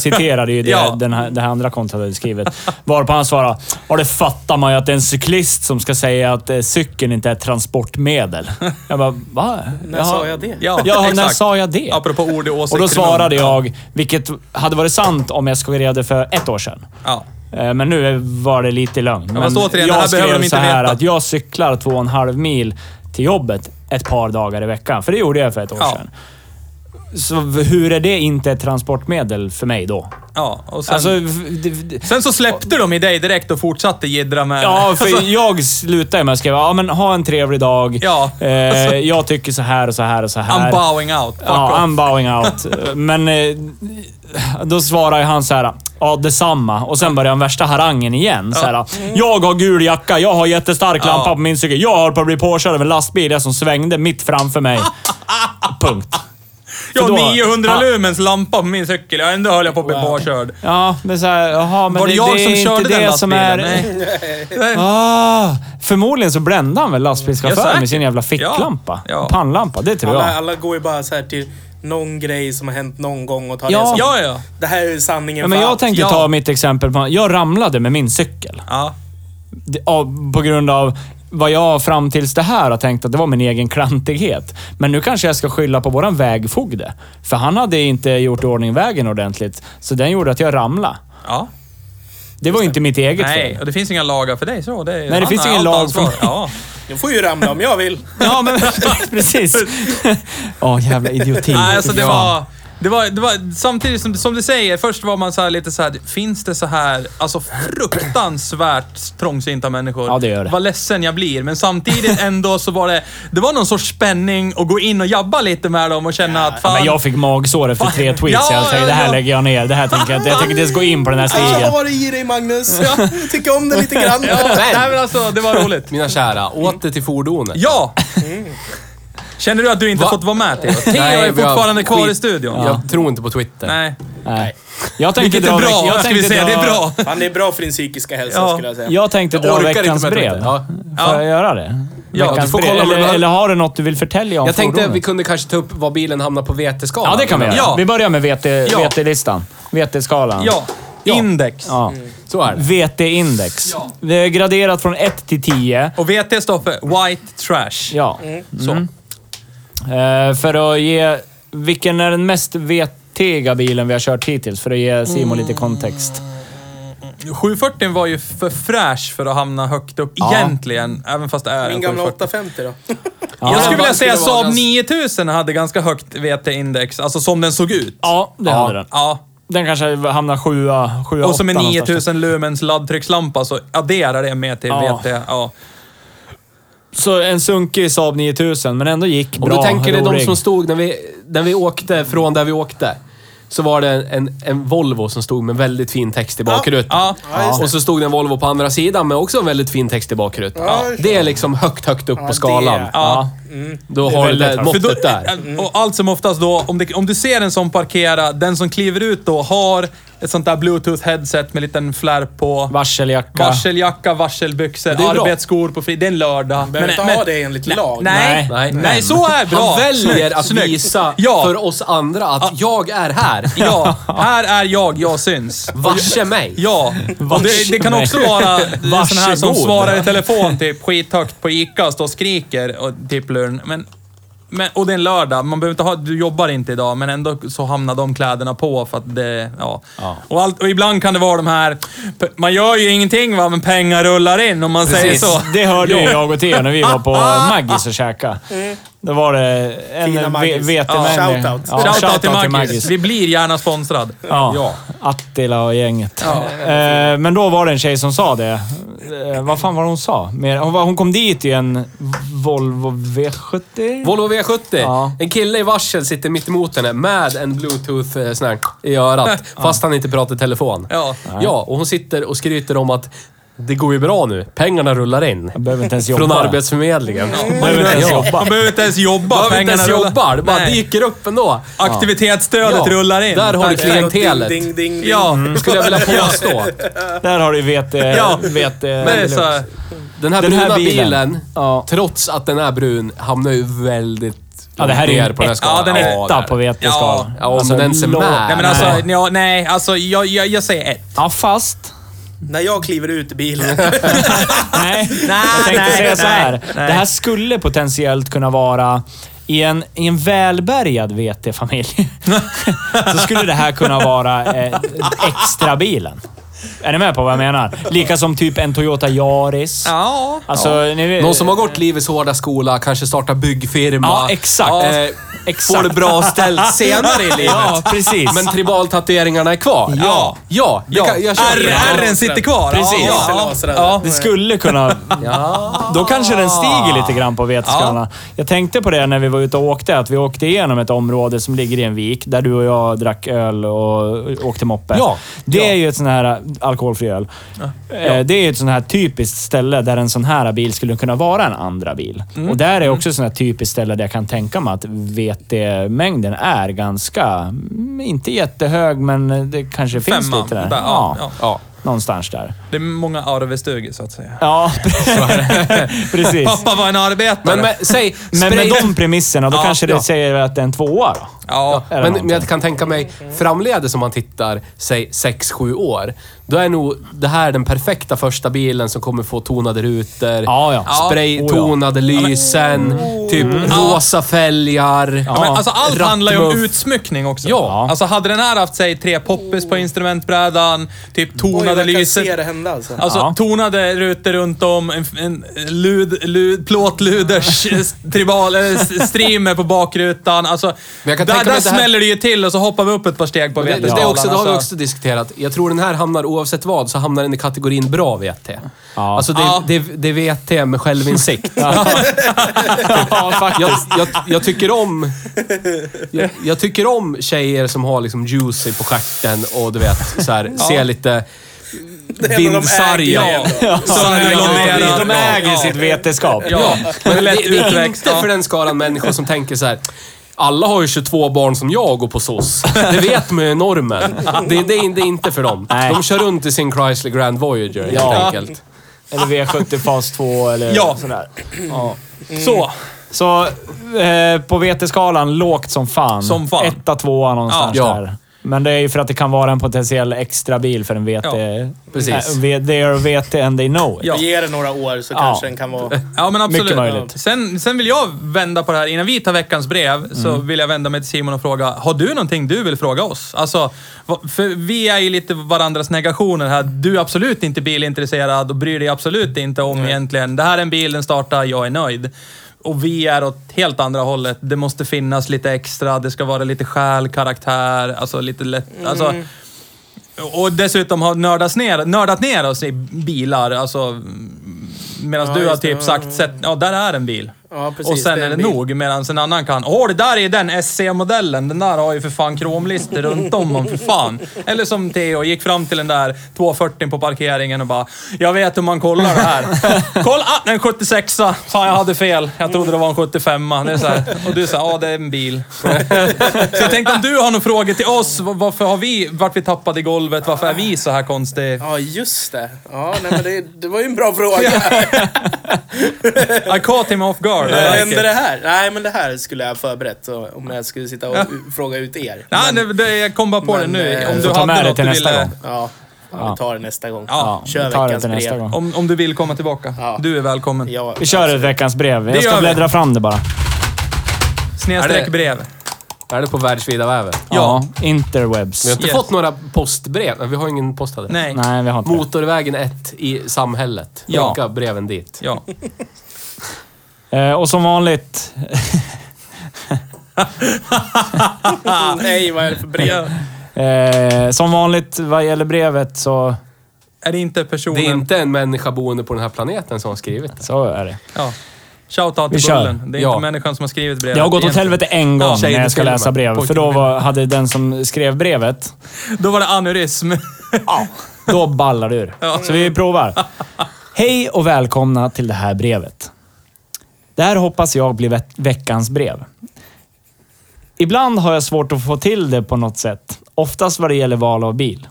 Speaker 1: citerade ju det,
Speaker 4: Ja.
Speaker 1: den här, det här andra kontot hade skrivit. Varpå han svarade, ja det fattar man ju att det är en cyklist som ska säga att eh, cykeln inte är ett transportmedel. Jag bara, va?
Speaker 3: När
Speaker 1: Jaha.
Speaker 3: sa jag det?
Speaker 4: Ja,
Speaker 1: Ja, när
Speaker 4: exakt.
Speaker 1: sa jag det?
Speaker 4: Apropå ord och åsikter.
Speaker 1: Och då svarade jag, vilket hade varit sant om jag skojade för ett år sedan.
Speaker 4: Ja.
Speaker 1: Eh, Men nu var det lite lögn. Men
Speaker 4: fast återigen, det här
Speaker 1: jag
Speaker 4: behöver de
Speaker 1: skrev
Speaker 4: inte
Speaker 1: så här
Speaker 4: veta.
Speaker 1: att jag cyklar två och en halv mil till jobbet ett par dagar i veckan. För det gjorde jag för ett år
Speaker 4: Ja.
Speaker 1: sedan. Så v- hur är det inte ett transportmedel för mig då?
Speaker 4: Ja, och sen,
Speaker 1: Alltså, v- d- d-
Speaker 4: sen så släppte de i dig direkt och fortsatte jiddra med...
Speaker 1: ja, för
Speaker 4: Alltså-
Speaker 1: jag slutar ju med att skriva ja, men ha en trevlig dag.
Speaker 4: Ja,
Speaker 1: Eh,
Speaker 4: alltså-
Speaker 1: jag tycker så här och så här och så
Speaker 4: I'm
Speaker 1: här.
Speaker 4: bowing out. Fuck
Speaker 1: Ja,
Speaker 4: off.
Speaker 1: I'm bowing out. Men eh, då svarar ju han så här. Ja, detsamma. Och sen börjar han värsta harangen igen. Så här, jag har gul jacka, jag har jättestark
Speaker 4: Ja.
Speaker 1: lampa på min cykel. Jag har på att bli påkörd av en lastbil jag som svängde mitt framför mig. Punkt.
Speaker 4: jag har
Speaker 1: då-
Speaker 4: 900
Speaker 1: Ja.
Speaker 4: lumens lampa på min cykel. Jag ändå höll jag på att bli påkörd.
Speaker 1: Ja, men så här, jaha, men
Speaker 4: Var det,
Speaker 1: det,
Speaker 4: jag
Speaker 1: det är
Speaker 4: som
Speaker 1: inte
Speaker 4: körde
Speaker 1: det
Speaker 4: den
Speaker 1: som
Speaker 4: lastbilen?
Speaker 1: är...
Speaker 4: Nej. Nej.
Speaker 1: Ah, förmodligen så brände han väl
Speaker 4: Ja,
Speaker 1: lastbilschauffören
Speaker 4: säkert.
Speaker 1: med sin jävla ficklampa.
Speaker 4: Ja. Ja.
Speaker 1: Pannlampa, det tror jag.
Speaker 3: Alla, alla går ju bara så här till någon grej som har hänt någon gång och tar
Speaker 1: Ja.
Speaker 3: det som...
Speaker 4: Ja, ja.
Speaker 3: Det här är ju sanningen
Speaker 1: Ja, men
Speaker 3: för
Speaker 1: jag
Speaker 3: allt.
Speaker 1: tänkte
Speaker 4: ja.
Speaker 1: ta mitt exempel. På, jag ramlade med min cykel.
Speaker 4: Ja.
Speaker 1: Det- av- på grund av vad jag fram tills det här har tänkt att det var min egen klantighet. Men nu kanske jag ska skylla på våran vägfogde. För han hade inte gjort i ordning vägen ordentligt, så den gjorde att jag ramlade.
Speaker 4: ja.
Speaker 1: Det var ju inte mitt eget
Speaker 4: Nej,
Speaker 1: fel.
Speaker 4: och det finns inga lagar för dig så. Det är,
Speaker 1: det
Speaker 4: han
Speaker 1: finns
Speaker 4: har
Speaker 1: ingen
Speaker 4: allt
Speaker 1: lag
Speaker 4: ansvar.
Speaker 1: för-
Speaker 4: Ja.
Speaker 3: Jag får ju ramla om jag vill.
Speaker 1: Ja, men precis. Åh, jävla idioti.
Speaker 4: Nej, alltså det
Speaker 1: Fy fan.
Speaker 4: var... Det var, det var, samtidigt som, som du säger, först var man så här lite så här, finns det så här, alltså fruktansvärt trångsynta människor?
Speaker 1: Ja, det gör det.
Speaker 4: Vad ledsen jag blir. Men samtidigt ändå så var det, det var någon sorts spänning att gå in och jabba lite med dem och känna att fan...
Speaker 1: Men jag fick magsår efter tre tweets.
Speaker 4: Ja,
Speaker 1: jag tänkte, det här
Speaker 4: ja. Alltså,
Speaker 1: lägger jag ner. Det här tänker jag inte. Jag tänker inte ens gå in på den här
Speaker 3: Alltså, Jag
Speaker 1: stigen.
Speaker 3: har det i dig Magnus. Jag tycker om det lite grann.
Speaker 4: ja,
Speaker 2: Men-
Speaker 4: nej men alltså, det var roligt.
Speaker 2: Mina kära, åter till fordonet.
Speaker 4: Ja! Känner du att du inte
Speaker 2: Va?
Speaker 4: fått vara med Theo? Theo är
Speaker 2: vi har
Speaker 4: fortfarande kvar i
Speaker 2: skit-
Speaker 4: studion.
Speaker 2: Jag tror inte på Twitter.
Speaker 4: Nej.
Speaker 1: Nej. Jag tänkte
Speaker 4: Vilket är
Speaker 1: dra veck-
Speaker 4: bra,
Speaker 1: jag
Speaker 4: ska vi
Speaker 1: tänkte
Speaker 4: säga. Det är
Speaker 1: dra-
Speaker 4: bra.
Speaker 3: Fan, det är bra för din psykiska hälsa
Speaker 4: Ja.
Speaker 3: skulle jag säga.
Speaker 1: Jag tänkte
Speaker 2: Eh, Jag
Speaker 1: dra
Speaker 2: orkar inte
Speaker 1: veckans
Speaker 2: med
Speaker 1: brev.
Speaker 2: Twitter. Ja.
Speaker 1: Får jag göra det?
Speaker 4: Ja,
Speaker 1: veckans
Speaker 2: du får
Speaker 1: brev.
Speaker 2: kolla om du
Speaker 1: eller,
Speaker 2: behöver-
Speaker 1: eller har du något du vill förtälja om
Speaker 2: Jag tänkte att
Speaker 1: fordonet?
Speaker 2: vi kunde kanske ta upp var bilen hamnar på VT-skalan.
Speaker 1: Ja, det kan vi göra.
Speaker 4: Ja.
Speaker 1: Vi börjar med VT,
Speaker 4: Ja.
Speaker 1: VT-listan. VT-skalan.
Speaker 4: Ja. Index.
Speaker 1: Ja.
Speaker 2: Så är det.
Speaker 1: VT-index. Det är graderat från 1 till 10.
Speaker 4: Och VT står för White Trash.
Speaker 1: Ja.
Speaker 2: Mm.
Speaker 1: Mm.
Speaker 4: Så.
Speaker 1: Eh, för att ge... Vilken är den mest VT-iga bilen vi har kört hittills? För att ge Simon
Speaker 2: Mm.
Speaker 1: lite kontext.
Speaker 4: 740 var ju för fräsch för att hamna högt upp
Speaker 1: Ja.
Speaker 4: egentligen, även fast det är
Speaker 3: Min
Speaker 4: en
Speaker 3: gamla
Speaker 4: 740.
Speaker 3: 850 då.
Speaker 4: Jag
Speaker 2: Ja,
Speaker 4: skulle vilja
Speaker 2: vad
Speaker 4: säga
Speaker 2: skulle vara
Speaker 4: Saab
Speaker 2: den-
Speaker 4: 9000 hade ganska högt VT-index, alltså som den såg ut.
Speaker 1: Ja, det hade den.
Speaker 4: Ja.
Speaker 1: Den kanske hamnar sjua, sjua
Speaker 4: Och så med
Speaker 1: åtta någonstans där.
Speaker 4: 9000 lumens laddtryckslampa så adderar det med till
Speaker 1: Ja.
Speaker 4: VT. Ja.
Speaker 1: Så en sunkig Saab 9000, men ändå gick
Speaker 2: Om
Speaker 1: bra.
Speaker 2: du tänker dig de
Speaker 1: rolig.
Speaker 2: som stod när vi, när vi åkte från där vi åkte. Så var det en, en Volvo som stod med väldigt fin text i bakrutan.
Speaker 4: Ja.
Speaker 3: Ja, just det.
Speaker 2: Och så stod det en Volvo på andra sidan med också en väldigt fin text i bakrutan.
Speaker 3: Ja, just det.
Speaker 2: Det är liksom högt, högt upp
Speaker 3: Ja,
Speaker 2: på skalan.
Speaker 3: det-
Speaker 4: Ja.
Speaker 2: Då
Speaker 1: Det är
Speaker 2: har
Speaker 1: väldigt
Speaker 2: det
Speaker 1: högt.
Speaker 4: För
Speaker 2: måttet
Speaker 4: då, Eh,
Speaker 2: där.
Speaker 4: Och allt som oftast då, om, det, om du ser en sån parkera, den som kliver ut då har ett sånt där bluetooth-headset med liten flärp på.
Speaker 1: Varseljacka.
Speaker 4: Varseljacka, varselbyxor,
Speaker 2: Det är bra.
Speaker 4: arbetsskor på fri... Det är en lördag.
Speaker 3: Behöver inte ha det enligt
Speaker 4: nej,
Speaker 3: lag.
Speaker 4: Nej, nej,
Speaker 2: Nej.
Speaker 4: nej, så är bra.
Speaker 2: Han väljer att
Speaker 4: Snyggt.
Speaker 2: visa
Speaker 4: Ja.
Speaker 2: för oss andra att jag är här.
Speaker 4: Ja, här är jag, jag syns.
Speaker 2: Varse mig.
Speaker 4: Ja, och det, det kan också vara en sån här som
Speaker 1: Varsågod.
Speaker 4: svarar i telefon typ skithögt på Ica och står och skriker och typ luren. Men, men, och det är en lördag, man behöver inte ha, du jobbar inte idag, men ändå så hamnar de kläderna på för att det, ja. Och, allt, och ibland kan det vara de här, p- man gör ju ingenting va, men pengar rullar in om man säger
Speaker 1: Precis.
Speaker 4: så.
Speaker 1: Det hörde ju jag och Theo när vi var på Maggis och käkade.
Speaker 4: Mm.
Speaker 1: Då var det
Speaker 3: Fina
Speaker 1: en v-
Speaker 3: Maggis.
Speaker 1: vetemänniska.
Speaker 3: Ja, shoutout.
Speaker 4: Shoutout till Maggis.
Speaker 1: Maggis.
Speaker 4: Vi blir gärna sponsrad.
Speaker 1: Ja. Attila och gänget. Eh, men då var det en tjej som sa det. Eh, vad fan var det hon sa? Mer- Hon, var, hon kom dit i en Volvo V70.
Speaker 2: Volvo V70.
Speaker 1: Ja.
Speaker 2: En kille i varsel sitter mitt emot henne med en bluetooth eh, sån här i örat. Fast han inte pratar i telefon.
Speaker 4: Ja.
Speaker 2: ja, och hon sitter och skryter om att det går ju bra nu. Pengarna rullar in.
Speaker 1: Jag behöver inte ens jobba.
Speaker 2: Från Arbetsförmedlingen.
Speaker 1: Jag behöver inte ens jobba.
Speaker 4: Man behöver inte ens jobba.
Speaker 2: Behöver inte ens
Speaker 4: pengarna rullar.
Speaker 2: jobba. Det bara
Speaker 4: Nej.
Speaker 2: dyker upp ändå.
Speaker 4: Aktivitetsstödet
Speaker 2: Ja.
Speaker 4: rullar in.
Speaker 2: Där har du Mm.
Speaker 4: Tack.
Speaker 2: klientelet.
Speaker 3: Ding, ding, ding, ding.
Speaker 4: Ja. Mm.
Speaker 2: Skulle jag vilja påstå.
Speaker 1: Där har du vete...
Speaker 4: Ja.
Speaker 1: vete
Speaker 4: Men det är så här,
Speaker 2: Den här
Speaker 1: Den
Speaker 2: bruna
Speaker 1: här bilen.
Speaker 2: bilen,
Speaker 1: Ja.
Speaker 2: trots att den är brun, hamnar ju väldigt
Speaker 1: Ja, det här är ju
Speaker 2: ner
Speaker 1: en
Speaker 2: på den här
Speaker 1: etta.
Speaker 2: skalan.
Speaker 4: Ja, den är
Speaker 1: etta
Speaker 2: där.
Speaker 1: på veteskalan.
Speaker 2: Ja, om den ser
Speaker 1: låg-
Speaker 2: med.
Speaker 4: Nej men alltså, ja, nej, alltså jag, jag, jag säger ett.
Speaker 1: Ja, fast...
Speaker 3: När jag kliver ut i bilen.
Speaker 1: Nej,
Speaker 4: Nej,
Speaker 1: jag tänkte
Speaker 4: nej,
Speaker 1: säga så
Speaker 4: nej,
Speaker 1: här.
Speaker 4: nej.
Speaker 1: Det här skulle potentiellt kunna vara i en, i en välbärgad VT-familj. så skulle det här kunna vara eh, extra bilen. Är ni med på vad jag menar? Lika som typ en Toyota Yaris.
Speaker 4: Ja.
Speaker 1: Alltså, ni vet-
Speaker 2: Någon som har gått livets hårda skola, kanske startar byggfirma.
Speaker 1: Ja, exakt.
Speaker 2: Eh,
Speaker 1: Exakt.
Speaker 2: Får det bra ställt senare i livet.
Speaker 1: Ja, precis.
Speaker 2: Men tribaltatueringarna är kvar.
Speaker 1: Ja.
Speaker 2: Ja, det
Speaker 4: Ja.
Speaker 2: Kan, jag kör det.
Speaker 4: R, R'n sitter kvar.
Speaker 1: Precis.
Speaker 4: Ja.
Speaker 3: Laser,
Speaker 4: Ja.
Speaker 3: laser.
Speaker 4: Ja.
Speaker 1: Det skulle kunna... Då kanske den stiger lite grann på veteskalan. Jag tänkte på det när vi var ute och åkte, att vi åkte igenom ett område som ligger i en vik, där du och jag drack öl och åkte moppe.
Speaker 2: Ja.
Speaker 1: Det
Speaker 2: Ja.
Speaker 1: är ju ett sån här äh, alkoholfri öl. Eh, Det är ju ett sån här typiskt ställe där en sån här bil skulle kunna vara en andra bil.
Speaker 4: Mm.
Speaker 1: Och där är också ett sån här typiskt ställe där jag kan tänka mig att VT-mängden är ganska... mm, Inte jättehög, men det kanske finns
Speaker 4: Femman.
Speaker 1: lite där.
Speaker 4: Där, ja, ja.
Speaker 2: Ja.
Speaker 1: Någonstans där.
Speaker 4: Det är många arvestugor så att säga.
Speaker 1: Ja, precis.
Speaker 4: Pappa var en arbetare.
Speaker 2: Men, men säg...
Speaker 1: Men med
Speaker 2: spray-
Speaker 1: de premisserna, då
Speaker 4: Ja,
Speaker 1: kanske det
Speaker 4: ja.
Speaker 1: säger att det är en tvåa då.
Speaker 4: ja.
Speaker 1: Eller
Speaker 2: Men, men
Speaker 1: någonting.
Speaker 2: jag kan tänka mig framledes om man tittar, säg 6-7 år. Då är nog det här den perfekta första bilen som kommer få tonade rutor,
Speaker 1: Ja, ja. Mm.
Speaker 2: spraytonade lysen, typ rosa fälgar.
Speaker 1: Ja.
Speaker 4: Men alltså allt handlar ju om
Speaker 2: Rattmuff.
Speaker 4: utsmyckning också.
Speaker 2: Ja.
Speaker 4: Alltså hade den här haft, säg tre poppes på instrumentbrädan, typ
Speaker 3: Oj,
Speaker 4: tonade
Speaker 3: jag kan se
Speaker 4: lyser.
Speaker 3: det hända alltså.
Speaker 4: Alltså
Speaker 1: Ja.
Speaker 4: tonade rutor runt om, en, en lud, lud, plåtluders s- tribal, eller s- streamer på bakrutan. Alltså,
Speaker 2: Men jag kan
Speaker 4: där
Speaker 2: tänka mig
Speaker 4: där
Speaker 2: det här-
Speaker 4: smäller det ju till och så hoppar vi upp ett par steg på
Speaker 2: Det, det,
Speaker 4: veteskalan.
Speaker 2: är också, det har vi
Speaker 4: alltså.
Speaker 2: också diskuterat. Jag tror den här hamnar, oavsett vad, så hamnar den i kategorin bra VT.
Speaker 1: Ja.
Speaker 2: Alltså det,
Speaker 4: Ja.
Speaker 2: det, det är VT med självinsikt.
Speaker 1: ja,
Speaker 2: jag, jag, jag tycker om... Jag, jag tycker om tjejer som har liksom juicy på stjärten och du vet, så här, ser lite
Speaker 3: är när de
Speaker 2: vindsarga.
Speaker 3: äger det.
Speaker 2: Ja.
Speaker 4: de
Speaker 2: Sargade.
Speaker 4: äger-
Speaker 1: De äger
Speaker 4: Ja.
Speaker 1: sitt vetenskap.
Speaker 4: Ja,
Speaker 2: Men det,
Speaker 4: lätt
Speaker 2: det är
Speaker 4: utväxt.
Speaker 2: inte
Speaker 4: Ja.
Speaker 2: för den skaran människor som tänker så här. Alla har ju 22 barn som jag och går på SOS. Det vet man ju är normen. Det, det, är- det är inte för dem.
Speaker 1: Nej.
Speaker 2: De kör runt i sin Chrysler Grand Voyager helt
Speaker 1: Ja.
Speaker 2: enkelt.
Speaker 1: Eller V70 fas 2 eller
Speaker 4: Ja.
Speaker 1: sådär.
Speaker 2: Mm.
Speaker 4: Så.
Speaker 1: Så eh, på VT-skalan, lågt som fan.
Speaker 4: Som fan.
Speaker 1: Etta, tvåa någonstans
Speaker 2: Ja.
Speaker 1: där. Men det är ju för att det kan vara en potentiell extra bil för en Eh, VT. Ja,
Speaker 2: precis.
Speaker 1: they are VT and they know it.
Speaker 4: Ja.
Speaker 3: Ge det några år så
Speaker 1: Ja.
Speaker 3: kanske den kan vara...
Speaker 4: Ja, men absolut.
Speaker 1: Mycket möjligt.
Speaker 4: Sen, sen vill jag vända på det här. Innan vi tar veckans brev så
Speaker 1: Mm.
Speaker 4: vill jag vända mig till Simon och fråga, har du någonting du vill fråga oss? Alltså, va- för vi är ju lite varandras negationer här. Du är absolut inte bilintresserad och bryr dig absolut inte om egentligen. Det här är en bil, den startar, jag är nöjd. Och vi är åt helt andra hållet. Det måste finnas lite extra, det ska vara lite själ, karaktär, alltså lite lätt... Alltså, och dessutom har nördats ner, nördat ner oss i bilar. Alltså, Medan
Speaker 3: Ja,
Speaker 4: du har
Speaker 3: just det.
Speaker 4: typ sagt, sett, ja där är en bil.
Speaker 3: Ja, precis,
Speaker 4: och sen
Speaker 3: det är
Speaker 4: är det
Speaker 3: en bil.
Speaker 4: nog. Medan en annan kan, åh det där är den SC-modellen. Den där har ju för fan kromlister runt om om för fan. Eller som Theo, gick fram till den där 240 på parkeringen och bara, jag vet hur man kollar det här. Kolla, ah, en 76 Fan jag hade fel. Jag trodde det var en 75 det är så här. Och du säger, ja det är en bil. Så jag tänkte om du har några frågor till oss, va- varför har vi, vart vi tappade i golvet, varför är vi så här konstiga?
Speaker 3: Ja, just det. Ja, nej, men det, det var ju en bra fråga.
Speaker 4: I caught him off guard.
Speaker 3: Vad
Speaker 4: I like
Speaker 3: hände
Speaker 4: it.
Speaker 3: det här? Nej, men det här skulle jag ha förberett så- om jag skulle sitta och u- fråga ut er.
Speaker 4: Nej, det, det, jag kom bara på
Speaker 3: men,
Speaker 4: det nu.
Speaker 3: eh,
Speaker 4: Om
Speaker 3: vi
Speaker 4: du
Speaker 1: får ta
Speaker 4: hade
Speaker 1: med det
Speaker 4: något
Speaker 1: till
Speaker 4: du
Speaker 1: nästa
Speaker 4: ville,
Speaker 1: gång.
Speaker 3: Ja, ja, vi tar det nästa gång.
Speaker 4: Ja,
Speaker 3: Kör
Speaker 1: vi tar det
Speaker 3: veckans
Speaker 1: till nästa
Speaker 3: brev.
Speaker 1: gång.
Speaker 4: om, om du vill komma tillbaka.
Speaker 3: Ja.
Speaker 4: Du är välkommen.
Speaker 3: Ja,
Speaker 1: Vi kör ett veckans brev. Jag
Speaker 4: gör
Speaker 1: ska
Speaker 4: vi.
Speaker 1: bläddra fram det bara.
Speaker 4: Snedstreck
Speaker 2: Är det-
Speaker 4: brev.
Speaker 2: Är det på världsvida väven?
Speaker 1: Ja. Interwebs.
Speaker 2: Vi har inte
Speaker 4: Yes.
Speaker 2: fått några postbrev. Vi har ingen postadress.
Speaker 4: Nej.
Speaker 1: Nej, vi har inte det.
Speaker 2: Motorvägen 1 i samhället.
Speaker 4: Ja.
Speaker 2: Skicka breven dit.
Speaker 4: Ja.
Speaker 1: Eh, och som vanligt,
Speaker 3: Mm, nej, vad är det för brev?
Speaker 1: eh, som vanligt vad gäller brevet så,
Speaker 4: Är det inte personen...
Speaker 2: Det är inte en människa boende på den här planeten som har skrivit det.
Speaker 1: så är det.
Speaker 4: Ja. Shoutout
Speaker 1: Vi
Speaker 4: till
Speaker 1: kör.
Speaker 4: Bullen. Det är
Speaker 2: Ja.
Speaker 4: inte människan som har skrivit brevet.
Speaker 1: Det har gått åt
Speaker 4: egentligen.
Speaker 1: helvete en gång
Speaker 4: Ja,
Speaker 1: när
Speaker 4: tjejen
Speaker 1: jag ska
Speaker 4: filmen.
Speaker 1: läsa brev. För
Speaker 4: Pojken
Speaker 1: då
Speaker 4: filmen.
Speaker 1: var, hade den som skrev brevet,
Speaker 4: Då var det aneurysm.
Speaker 1: då ballar det ur. Så vi provar. Hej och välkomna till det här brevet. Det här hoppas jag blir ve- veckans brev. Ibland har jag svårt att få till det på något sätt. Oftast vad det gäller val av bil.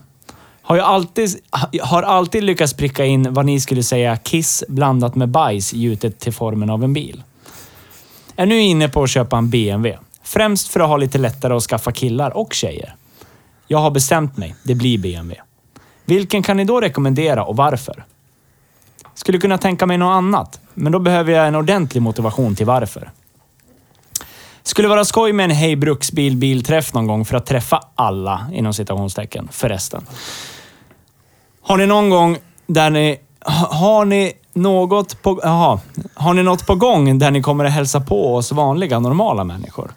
Speaker 1: Har, jag alltid, har alltid lyckats pricka in vad ni skulle säga kiss blandat med bajs gjutet till formen av en bil. Är nu inne på att köpa en BMW. Främst för att ha lite lättare att skaffa killar och tjejer. Jag har bestämt mig. Det blir BMW. Vilken kan ni då rekommendera och varför? Skulle kunna tänka mig något annat, men då behöver jag en ordentlig motivation till varför. Skulle vara skoj med en Hej Bruksbil bilträff någon gång för att träffa alla, inom citationstecken, förresten. Har ni någon gång där ni... ha- Har ni något på... Jaha. Har ni något på gång där ni kommer att hälsa på oss vanliga, normala människor?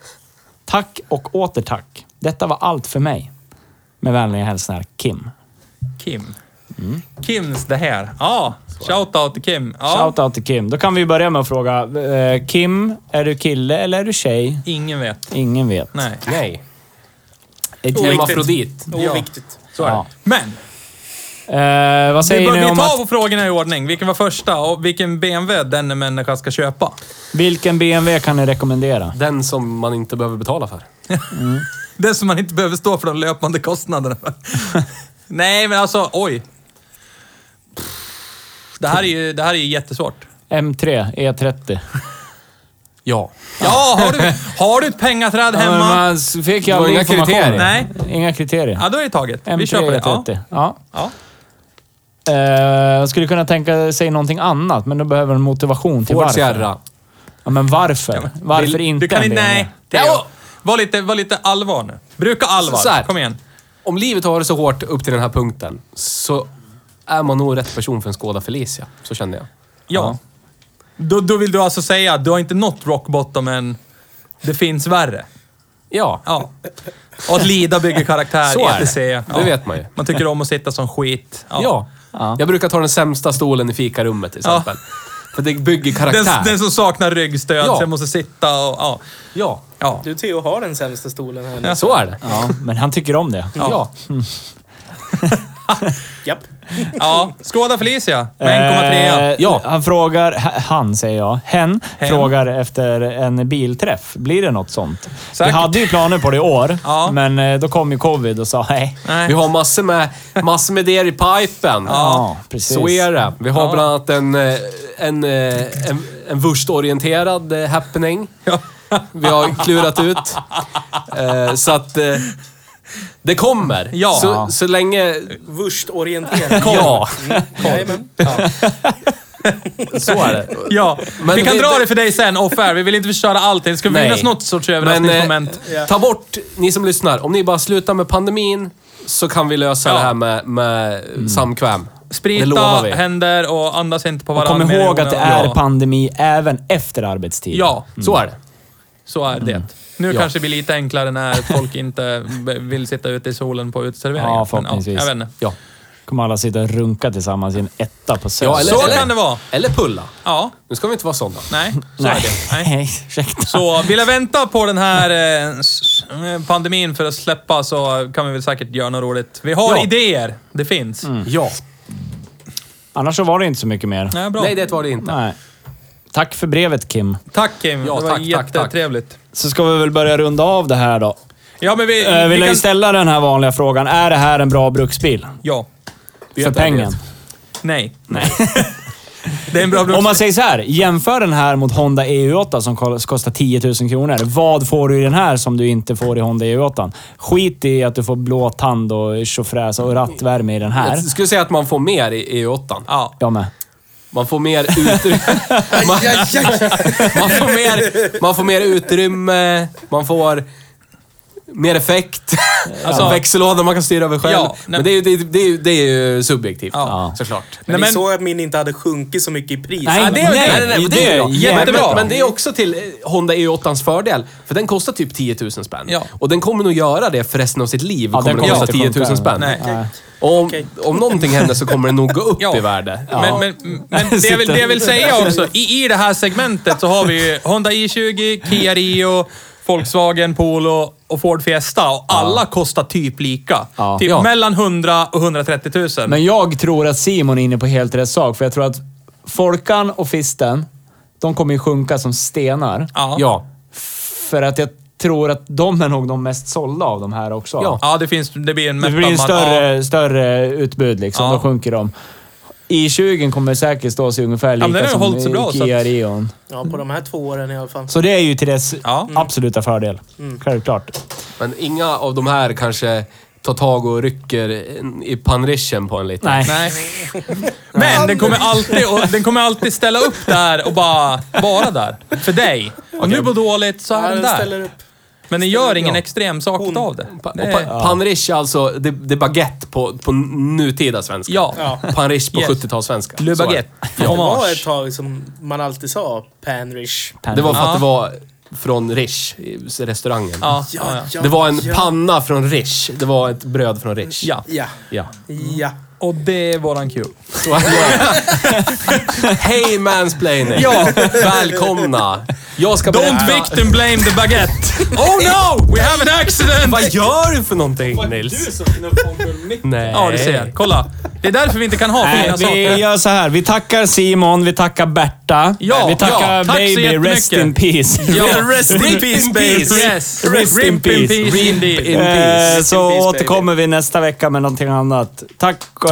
Speaker 1: Tack och åter tack. Detta var allt för mig. Med vänliga hälsningar, Kim.
Speaker 4: Kim.
Speaker 1: Mm.
Speaker 4: Kims det här. Ja. Shoutout till Kim. Ja.
Speaker 1: Shoutout till Kim. Då kan vi börja med att fråga. eh, Kim, är du kille eller är du tjej?
Speaker 4: Ingen vet.
Speaker 1: Ingen vet.
Speaker 4: Nej.
Speaker 2: Nej.
Speaker 1: Ett gäng-
Speaker 2: Hemmafrodit.
Speaker 3: Oviktigt.
Speaker 4: Så är det.
Speaker 1: Ja.
Speaker 4: Men.
Speaker 1: Eh, vad
Speaker 4: Vi,
Speaker 1: säger
Speaker 4: bör,
Speaker 1: ni
Speaker 4: vi
Speaker 1: om
Speaker 4: tar
Speaker 1: att...
Speaker 4: på frågorna i ordning. Vilken var första och vilken BMW den människa ska köpa?
Speaker 1: Vilken BMW kan ni rekommendera?
Speaker 2: Den som man inte behöver betala för.
Speaker 4: Det som man inte behöver stå för de löpande kostnaderna för. Nej, men alltså oj. Det här är ju, det här är ju jättesvårt.
Speaker 1: M3, E30.
Speaker 2: Ja.
Speaker 4: Ja, har du, har du ett pengaträd
Speaker 1: Men
Speaker 4: hemma?
Speaker 1: man fick ju
Speaker 2: Det var
Speaker 1: aldrig
Speaker 2: inga
Speaker 1: information.
Speaker 2: kriterier.
Speaker 4: Nej.
Speaker 1: Inga kriterier.
Speaker 4: Ja, då är det taget.
Speaker 1: M3,
Speaker 4: Vi köper det. Ja.
Speaker 1: E30. Ja.
Speaker 4: Ja.
Speaker 1: Eh, skulle kunna tänka sig någonting annat, men då behöver en motivation till
Speaker 2: Ford
Speaker 1: varför.
Speaker 2: Sierra.
Speaker 1: Ja, men varför? varför inte
Speaker 4: Du kan
Speaker 1: en
Speaker 4: inte...
Speaker 1: BMW?
Speaker 4: Nej. Theo. Var lite, var lite allvar nu. Bruka allvar.
Speaker 2: Så här.
Speaker 4: Kom igen.
Speaker 2: Om livet har varit så hårt upp till den här punkten så är man nog rätt person för en Skoda Felicia. Så kände jag.
Speaker 4: Ja. Då, då vill du alltså säga att du har inte nått rock bottom men det finns värre.
Speaker 2: Ja.
Speaker 4: Ja. Och att lida bygger karaktär,
Speaker 2: Så är
Speaker 4: etc.
Speaker 2: det.
Speaker 4: Ja.
Speaker 2: Det vet man ju.
Speaker 4: Man tycker om att sitta som skit.
Speaker 2: Ja. Jag brukar ta den sämsta stolen i fikarummet till
Speaker 4: Ja.
Speaker 2: exempel. För det bygger karaktär.
Speaker 4: Den, den som saknar ryggstöd,
Speaker 2: Ja.
Speaker 4: sen måste sitta och... Ja.
Speaker 2: Ja.
Speaker 4: ja.
Speaker 3: Du Theo har den sämsta stolen här nu.
Speaker 2: Så är det.
Speaker 1: Ja, men han tycker om det.
Speaker 2: Ja.
Speaker 3: Japp.
Speaker 4: ja. Skåda Felicia med 1,3.
Speaker 1: Eh,
Speaker 2: Ja.
Speaker 1: Han frågar, h- han säger jag, hen, frågar efter en bilträff. Blir det något sånt? Vi
Speaker 4: Säkert.
Speaker 1: hade ju planer på det i år,
Speaker 4: Ja.
Speaker 1: men eh, då kom ju covid och sa hej.
Speaker 4: Nej.
Speaker 2: Vi har massor med, massor med det i pipen.
Speaker 1: Ja, precis.
Speaker 2: Så är det. Vi har
Speaker 4: Ja.
Speaker 2: bland annat en, eh, en, eh, en, en vurstorienterad eh, happening.
Speaker 4: Ja.
Speaker 2: Vi har klurat ut. Eh, Så att eh, det kommer.
Speaker 4: Ja.
Speaker 2: Så, så länge...
Speaker 3: Wurscht-orienterad.
Speaker 2: Ja,
Speaker 3: Mm. Jajamän.
Speaker 2: så är det.
Speaker 4: Ja.
Speaker 2: Men
Speaker 4: vi kan
Speaker 2: det-
Speaker 4: dra det för dig sen off air. Vi vill inte förstöra allting. Det ska
Speaker 2: Nej.
Speaker 4: finnas något sorts
Speaker 2: Men
Speaker 4: överraskningsmoment.
Speaker 2: eh, ta bort, ni som lyssnar, om ni bara slutar med pandemin så kan vi lösa
Speaker 4: Ja.
Speaker 2: det här med, med samkväm. det
Speaker 4: Sprita
Speaker 2: lovar vi.
Speaker 4: händer och andas inte på varandra.
Speaker 1: Kom
Speaker 4: mer än
Speaker 1: ihåg att det är
Speaker 4: onödigt.
Speaker 1: pandemi även efter arbetstid.
Speaker 4: Ja,
Speaker 2: Så är det.
Speaker 4: så är det. Nu
Speaker 2: Mm. Ja.
Speaker 4: kanske det blir lite enklare när folk inte b- vill sitta ute i solen på uteserveringar.
Speaker 1: Ja,
Speaker 4: Men,
Speaker 1: förhoppningsvis.
Speaker 4: Ja, jag vet inte.
Speaker 2: Ja.
Speaker 1: Kommer alla sitta och runka tillsammans i en etta på Söder.
Speaker 2: Ja, eller-
Speaker 4: Så
Speaker 2: eller-
Speaker 4: kan det vara.
Speaker 2: Eller pulla.
Speaker 4: Ja,
Speaker 2: Nu ska vi inte vara sådana.
Speaker 4: nej. Så
Speaker 1: Nej.
Speaker 4: är det. Nej.
Speaker 1: Nej, ursäkta.
Speaker 4: Så vill jag vänta på den här eh, s- eh, pandemin för att släppa så kan vi väl säkert göra något roligt. Vi har
Speaker 2: Ja. Mm.
Speaker 4: idéer. Det finns.
Speaker 2: Ja.
Speaker 1: Annars så var det inte så mycket mer.
Speaker 4: Nej, bra.
Speaker 2: Nej, det var det inte.
Speaker 1: Nej. Tack för brevet Kim.
Speaker 4: Tack Kim.
Speaker 2: Ja,
Speaker 4: det var
Speaker 2: tack, tack, tack.
Speaker 4: jättetrevligt.
Speaker 1: Så ska vi väl börja runda av det här då.
Speaker 4: Ja, men vi,
Speaker 1: Eh,
Speaker 4: vi
Speaker 1: vill
Speaker 4: kan...
Speaker 1: jag ställa den här vanliga frågan. Är det här en bra bruksbil?
Speaker 4: Ja.
Speaker 1: för
Speaker 2: inte, jag
Speaker 1: pengen.
Speaker 2: vet.
Speaker 4: Nej. Nej. det är en bra
Speaker 1: Om
Speaker 4: bror.
Speaker 1: man säger så här, jämför den här mot Honda EU8 som kol- kostar 10 000 kronor. Vad får du i den här som du inte får i Honda EU8? Skit i att du får blå tand och tjofräs och rattvärme i den här.
Speaker 2: Jag skulle säga att man får mer i EU8.
Speaker 4: Ja.
Speaker 1: Jag med.
Speaker 2: Man får mer utrymme. man, man, får mer, man får mer utrymme, man får mer effekt. Alltså, växellådan man kan styra över själv.
Speaker 4: Ja, nej.
Speaker 2: men det är, ju, det, är, det, är, ju- det är ju subjektivt,
Speaker 4: Ja.
Speaker 2: såklart.
Speaker 3: Men,
Speaker 4: Nej, men-
Speaker 3: ni såg att min inte hade sjunkit så mycket i pris.
Speaker 1: Nej,
Speaker 4: det är-
Speaker 1: nej,
Speaker 4: nej, nej, nej,
Speaker 1: det,
Speaker 4: det är
Speaker 1: är
Speaker 4: bra.
Speaker 1: jättebra.
Speaker 4: Jättebra.
Speaker 2: Men det är också till eh, Honda EU8ans fördel, för den kostar typ 10 000 spänn.
Speaker 4: Ja.
Speaker 2: Och den kommer nog göra det för resten av sitt liv.
Speaker 1: Ja,
Speaker 2: kommer
Speaker 1: den
Speaker 2: den
Speaker 1: kommer
Speaker 2: kosta
Speaker 1: inte
Speaker 2: 10 000
Speaker 1: funka.
Speaker 2: spänn.
Speaker 4: Nej.
Speaker 3: Nej.
Speaker 2: Och om,
Speaker 3: Okej.
Speaker 2: om någonting händer så kommer den nog gå upp i värde.
Speaker 4: Men, men, men det, jag vill, det jag vill säga också, i, i det här segmentet så har vi ju Honda i20, Kia Rio, Volkswagen Polo och Ford Fiesta. Och alla kostar typ lika.
Speaker 1: Ja.
Speaker 4: Typ
Speaker 1: Ja.
Speaker 4: mellan 100 och 130 000.
Speaker 1: Men jag tror att Simon är inne på helt rätt sak, för jag tror att Folkan och Fisten, de kommer ju sjunka som stenar.
Speaker 4: ja. Ja.
Speaker 2: Ja.
Speaker 1: För att jag tror att de är nog de mest sålda av de här också.
Speaker 2: Ja.
Speaker 4: det, finns, det blir en
Speaker 1: Det blir en
Speaker 4: mättnad.
Speaker 1: större,
Speaker 4: Ja.
Speaker 1: större utbud liksom.
Speaker 4: Ja.
Speaker 1: Då sjunker de. i 20 kommer säkert stå sig ungefär
Speaker 4: men
Speaker 1: lika
Speaker 4: den har
Speaker 1: som
Speaker 4: hållit sig
Speaker 1: i
Speaker 4: bra, så
Speaker 1: Kia
Speaker 4: att-
Speaker 1: Rion.
Speaker 3: Ja, på de här två åren i alla fall.
Speaker 1: Så det är ju till dess Mm.
Speaker 4: Ja.
Speaker 1: absoluta fördel. Självklart.
Speaker 2: Men inga av de här kanske tar tag och rycker en- i pannrischen på en lite.
Speaker 1: Nej.
Speaker 4: Nej. Men den kommer, alltid, och den kommer alltid ställa upp där och bara vara där. För dig. Om du mår dåligt så är
Speaker 3: Ja,
Speaker 4: den
Speaker 3: den ställer
Speaker 4: där.
Speaker 3: upp.
Speaker 4: Men den gör ingen extrem sak
Speaker 3: Hon-
Speaker 4: av det.
Speaker 2: Pa, och
Speaker 4: Det
Speaker 2: pa,
Speaker 4: är-
Speaker 2: Panrisch är alltså, det, det är baguette på, på nutida svenska.
Speaker 4: Ja.
Speaker 3: Ja.
Speaker 2: Panrisch på
Speaker 4: Yes.
Speaker 2: 70-talssvenska.
Speaker 4: Le
Speaker 2: Så är det.
Speaker 4: baguette.
Speaker 3: Det var
Speaker 4: Hommage.
Speaker 3: ett tag som man alltid sa panrish.
Speaker 2: Det var för
Speaker 4: Ja.
Speaker 2: att det var från Rish, i restaurangen.
Speaker 4: Ja, ja, ja.
Speaker 2: Det var en panna från Rish. Det var ett bröd från Rish.
Speaker 4: Ja,
Speaker 3: Ja.
Speaker 2: ja.
Speaker 3: Ja.
Speaker 4: och det är våran cue.
Speaker 2: Så, ja. Hej mansplaining!
Speaker 4: Ja.
Speaker 2: Välkomna! Jag ska
Speaker 4: Don't victim blame the baguette. Oh no! We have an accident!
Speaker 2: Vad gör du för någonting Nils? Nej.
Speaker 4: Ja, du ser. Kolla. Det är därför vi inte kan ha
Speaker 1: Nej,
Speaker 4: fina
Speaker 1: vi
Speaker 4: saker.
Speaker 1: gör så här. Vi tackar Simon, vi tackar Berta.
Speaker 4: Ja,
Speaker 1: vi tackar
Speaker 4: ja. Tack så
Speaker 1: Baby,
Speaker 4: jättemycket.
Speaker 1: rest in peace.
Speaker 4: Rest in peace, babe. Yes.
Speaker 1: Rest in peace.
Speaker 4: peace indeed.
Speaker 2: in peace.
Speaker 1: Eh,
Speaker 3: in
Speaker 1: Så
Speaker 3: peace, baby.
Speaker 1: återkommer vi nästa vecka med någonting annat. Tack och